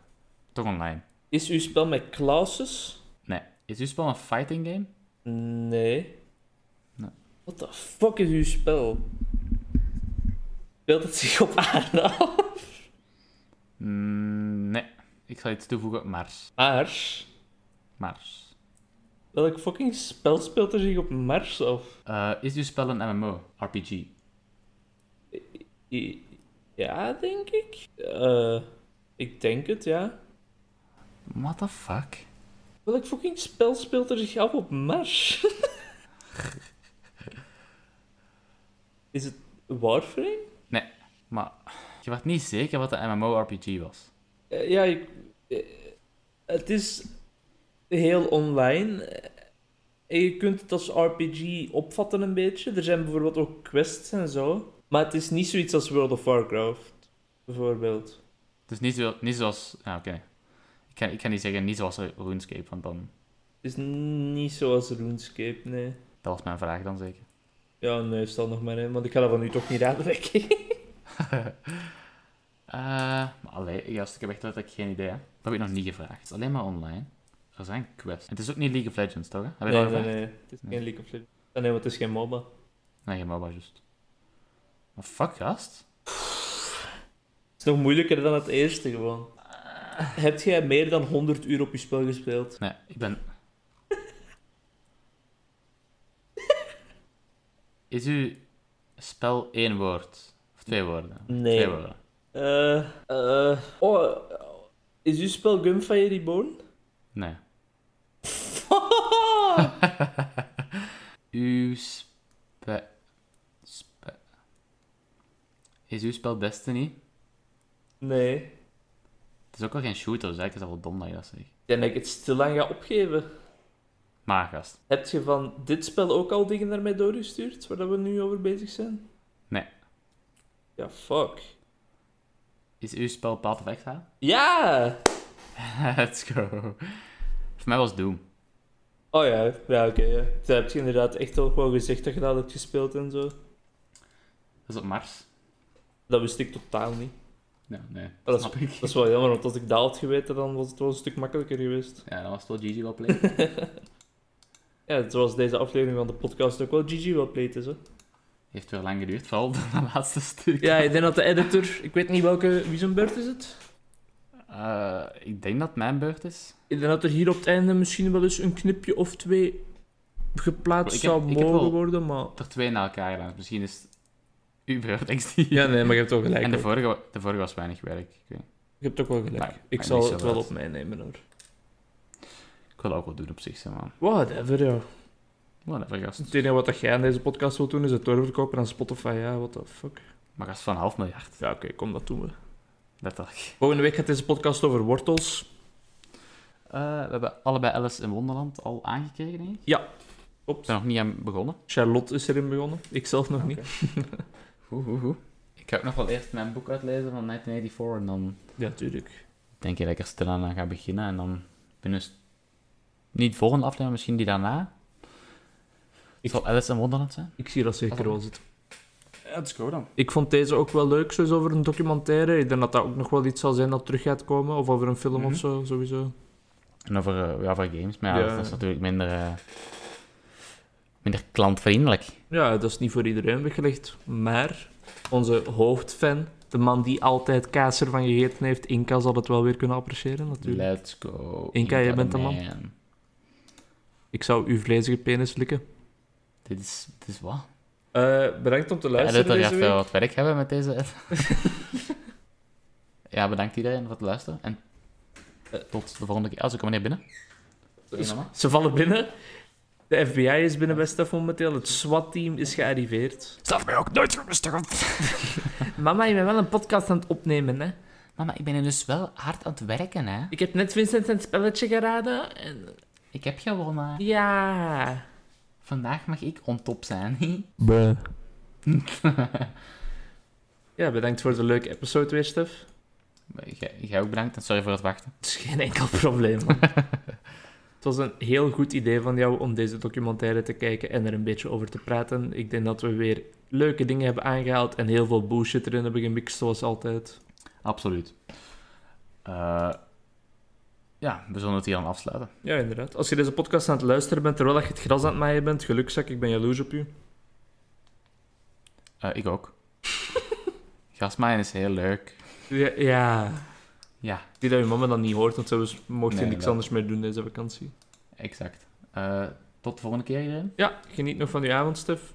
Speaker 1: Toch online.
Speaker 2: Is uw spel met classes?
Speaker 1: Nee. Is uw spel een fighting game?
Speaker 2: Nee.
Speaker 1: Nee.
Speaker 2: What the fuck is uw spel? Speelt het zich op aarde af?
Speaker 1: Mm, nee. Ik zal iets toevoegen. Mars.
Speaker 2: Mars?
Speaker 1: Mars.
Speaker 2: Welk fucking spel speelt er zich op Mars af?
Speaker 1: Eh, is uw spel een MMO? RPG?
Speaker 2: I- Ja, denk ik. Eh, ik denk het, ja.
Speaker 1: What the fuck?
Speaker 2: Welk fucking spel speelt er zich af op Mars? is het Warframe?
Speaker 1: Maar je werd niet zeker wat de MMORPG was.
Speaker 2: Eh, ja, ik, eh, het is heel online. Eh, En je kunt het als RPG opvatten een beetje. Er zijn bijvoorbeeld ook quests en zo. Maar het is niet zoiets als World of Warcraft, bijvoorbeeld.
Speaker 1: Het is Dus niet, zo, niet zoals... Ja, oké. Ik, kan, ik kan niet zeggen niet zoals RuneScape, want dan...
Speaker 2: Het is niet zoals RuneScape, nee.
Speaker 1: Dat was mijn vraag dan zeker.
Speaker 2: Ja, nee, stel nog maar in, want ik ga dat van u toch niet raden, denk ik.
Speaker 1: Eh, maar allee, ja, als ik heb echt dat ik geen idee. Hè. Dat heb ik nog niet gevraagd. Het is alleen maar online. Er zijn quests. En het is ook niet League of Legends, toch? Hè? Heb je dat
Speaker 2: Nee,
Speaker 1: al
Speaker 2: nee,
Speaker 1: gevraagd?
Speaker 2: nee. Het is geen League of Legends. Ah, Nee, want het is geen MOBA.
Speaker 1: Nee, geen MOBA, juist. Maar fuck, gast.
Speaker 2: Het is nog moeilijker dan het eerste, gewoon. Heb jij meer dan 100 uur op je spel gespeeld?
Speaker 1: Nee, ik ben... Is uw spel één woord? Of twee woorden?
Speaker 2: Nee.
Speaker 1: Twee woorden.
Speaker 2: Eh, eh, oh, is uw spel Gunfire Reborn?
Speaker 1: Nee. uw spe... spe... Is uw spel Destiny?
Speaker 2: nee.
Speaker 1: Het is ook wel geen shooter, dus eigenlijk is dat wel dom dat je dat zegt.
Speaker 2: Ik denk dat ik het stilaan ga opgeven.
Speaker 1: Maar, gast.
Speaker 2: Heb je van dit spel ook al dingen naar mij doorgestuurd, waar dat we nu over bezig zijn?
Speaker 1: Nee.
Speaker 2: Ja, fuck.
Speaker 1: Is uw spel Path of Exile?
Speaker 2: Ja!
Speaker 1: Let's go. Voor mij was Doom.
Speaker 2: Oh ja, ja oké. ja. Daar heb je inderdaad echt ook wel gezegd dat je dat hebt gespeeld en zo.
Speaker 1: Dat is op Mars.
Speaker 2: Dat wist ik totaal niet.
Speaker 1: Ja, nee.
Speaker 2: Dat is-
Speaker 1: snap ik.
Speaker 2: Dat is wel jammer, want als ik dat had geweten, dan was het wel een stuk makkelijker geweest.
Speaker 1: Ja, dan was het wel GG wel play.
Speaker 2: Ja, zoals deze aflevering van de podcast ook wel GG wel pleet is, hè.
Speaker 1: Heeft weer lang geduurd, vooral dat laatste stuk.
Speaker 2: Ja, ik denk dat de editor... Ik weet niet welke... Wie zijn beurt is het?
Speaker 1: Eh, ik denk dat het mijn beurt is.
Speaker 2: Ik denk dat er hier op het einde misschien wel eens een knipje of twee geplaatst
Speaker 1: Ik heb-
Speaker 2: zou
Speaker 1: ik heb
Speaker 2: mogen
Speaker 1: wel-
Speaker 2: worden, maar...
Speaker 1: Er twee na elkaar langs. Misschien is het uw beurt, XD.
Speaker 4: Ja, nee, maar je hebt wel gelijk.
Speaker 1: en de
Speaker 4: hoor.
Speaker 1: vorige, de vorige was weinig werk. Ik, weet-
Speaker 2: Je hebt ook wel gelijk.
Speaker 1: Maar-
Speaker 2: ik
Speaker 1: maar
Speaker 2: zal
Speaker 1: niet zo
Speaker 2: het wel
Speaker 1: laat.
Speaker 2: op mij nemen, hoor.
Speaker 1: ik wil dat ook wel doen op zich, zeg maar.
Speaker 2: Whatever, ja.
Speaker 1: Whatever, gast.
Speaker 4: Het enige wat dat jij aan deze podcast wilt doen is het doorverkopen aan Spotify. Ja, what the fuck.
Speaker 1: Maar gast van een half miljard.
Speaker 4: Ja, oké, kom, dat doen we.
Speaker 1: Letterlijk.
Speaker 4: Volgende week gaat deze podcast over wortels.
Speaker 1: Eh, we hebben allebei Alice in Wonderland al aangekeken, denk ik. Ik
Speaker 4: Klopt.
Speaker 1: ben nog niet aan begonnen.
Speaker 4: Charlotte is erin begonnen. Ik zelf nog niet.
Speaker 1: Oeh, oeh, oeh. Ik ga ook nog wel eerst mijn boek uitlezen van 1984 en dan
Speaker 4: Ja, tuurlijk.
Speaker 1: denk ik dat ik er stilaan aan ga beginnen. En dan binnen... s- Niet volgende aflevering, misschien die daarna.
Speaker 4: Ik-
Speaker 1: Zal Alice in Wonderland zijn?
Speaker 4: Ik zie dat zeker wel zitten.
Speaker 1: Let's go dan.
Speaker 4: Ik vond deze ook wel leuk, zoals over een documentaire. Ik denk dat dat ook nog wel iets zal zijn dat terug gaat komen. Of over een film
Speaker 1: Mhm.
Speaker 4: of zo, sowieso.
Speaker 1: En over, eh, ja, over games, maar ja,
Speaker 4: Ja.
Speaker 1: Dat, is natuurlijk minder, eh, minder klantvriendelijk.
Speaker 4: Ja, dat is niet voor iedereen weggelegd. Maar onze hoofdfan, de man die altijd kaas ervan gegeten heeft, Inka zal het wel weer kunnen appreciëren natuurlijk.
Speaker 1: Let's go.
Speaker 4: Inka, jij bent de man.
Speaker 1: man.
Speaker 4: Ik zou uw vlezige penis likken.
Speaker 1: Dit is, dit is wat?
Speaker 4: Eh, bedankt om te
Speaker 1: De
Speaker 4: luisteren
Speaker 1: editor
Speaker 4: deze
Speaker 1: gaat
Speaker 4: week.
Speaker 1: wel wat werk hebben met deze ed. ja, bedankt iedereen voor het luisteren. En eh, tot de volgende keer. Als ik kom meneer binnen.
Speaker 4: Dus ze vallen binnen. De FBI is binnen bij Stef momenteel. Het SWAT-team is gearriveerd.
Speaker 1: Staf mij ook nooit gerustig op.
Speaker 4: Mama, je bent wel een podcast aan het opnemen, hè?
Speaker 1: Mama, ik ben er dus wel hard aan het werken, hè.
Speaker 2: Ik heb net Vincent een spelletje geraden. En...
Speaker 1: Ik heb gewonnen.
Speaker 2: Ja.
Speaker 1: Vandaag mag ik on top zijn.
Speaker 2: Ja, bedankt voor de leuke episode weer, Stef.
Speaker 1: Jij- Jij ook bedankt en sorry voor het wachten.
Speaker 2: Het is geen enkel probleem. man. het was een heel goed idee van jou om deze documentaire te kijken en er een beetje over te praten. Ik denk dat we weer leuke dingen hebben aangehaald en heel veel bullshit erin hebben gemixt, zoals altijd.
Speaker 1: Absoluut. Eh, ja, we zullen het hier aan afsluiten.
Speaker 2: Ja, inderdaad. Als je deze podcast aan het luisteren bent terwijl je het gras aan het maaien bent, gelukzak, ik ben jaloers op u.
Speaker 1: Eh, ik ook. Grasmaaien is heel leuk.
Speaker 2: Ja. ja.
Speaker 1: Ja,
Speaker 2: Die dat je mama dan niet hoort, want ze mocht
Speaker 1: Nee,
Speaker 2: niks
Speaker 1: dat-
Speaker 2: anders meer doen deze vakantie.
Speaker 1: exact. Eh, tot de volgende keer iedereen.
Speaker 2: Ja, geniet nog van die avond, Stef.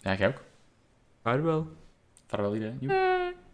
Speaker 1: Ja, jij ook.
Speaker 2: Vaarwel.
Speaker 1: Vaarwel iedereen. Joep.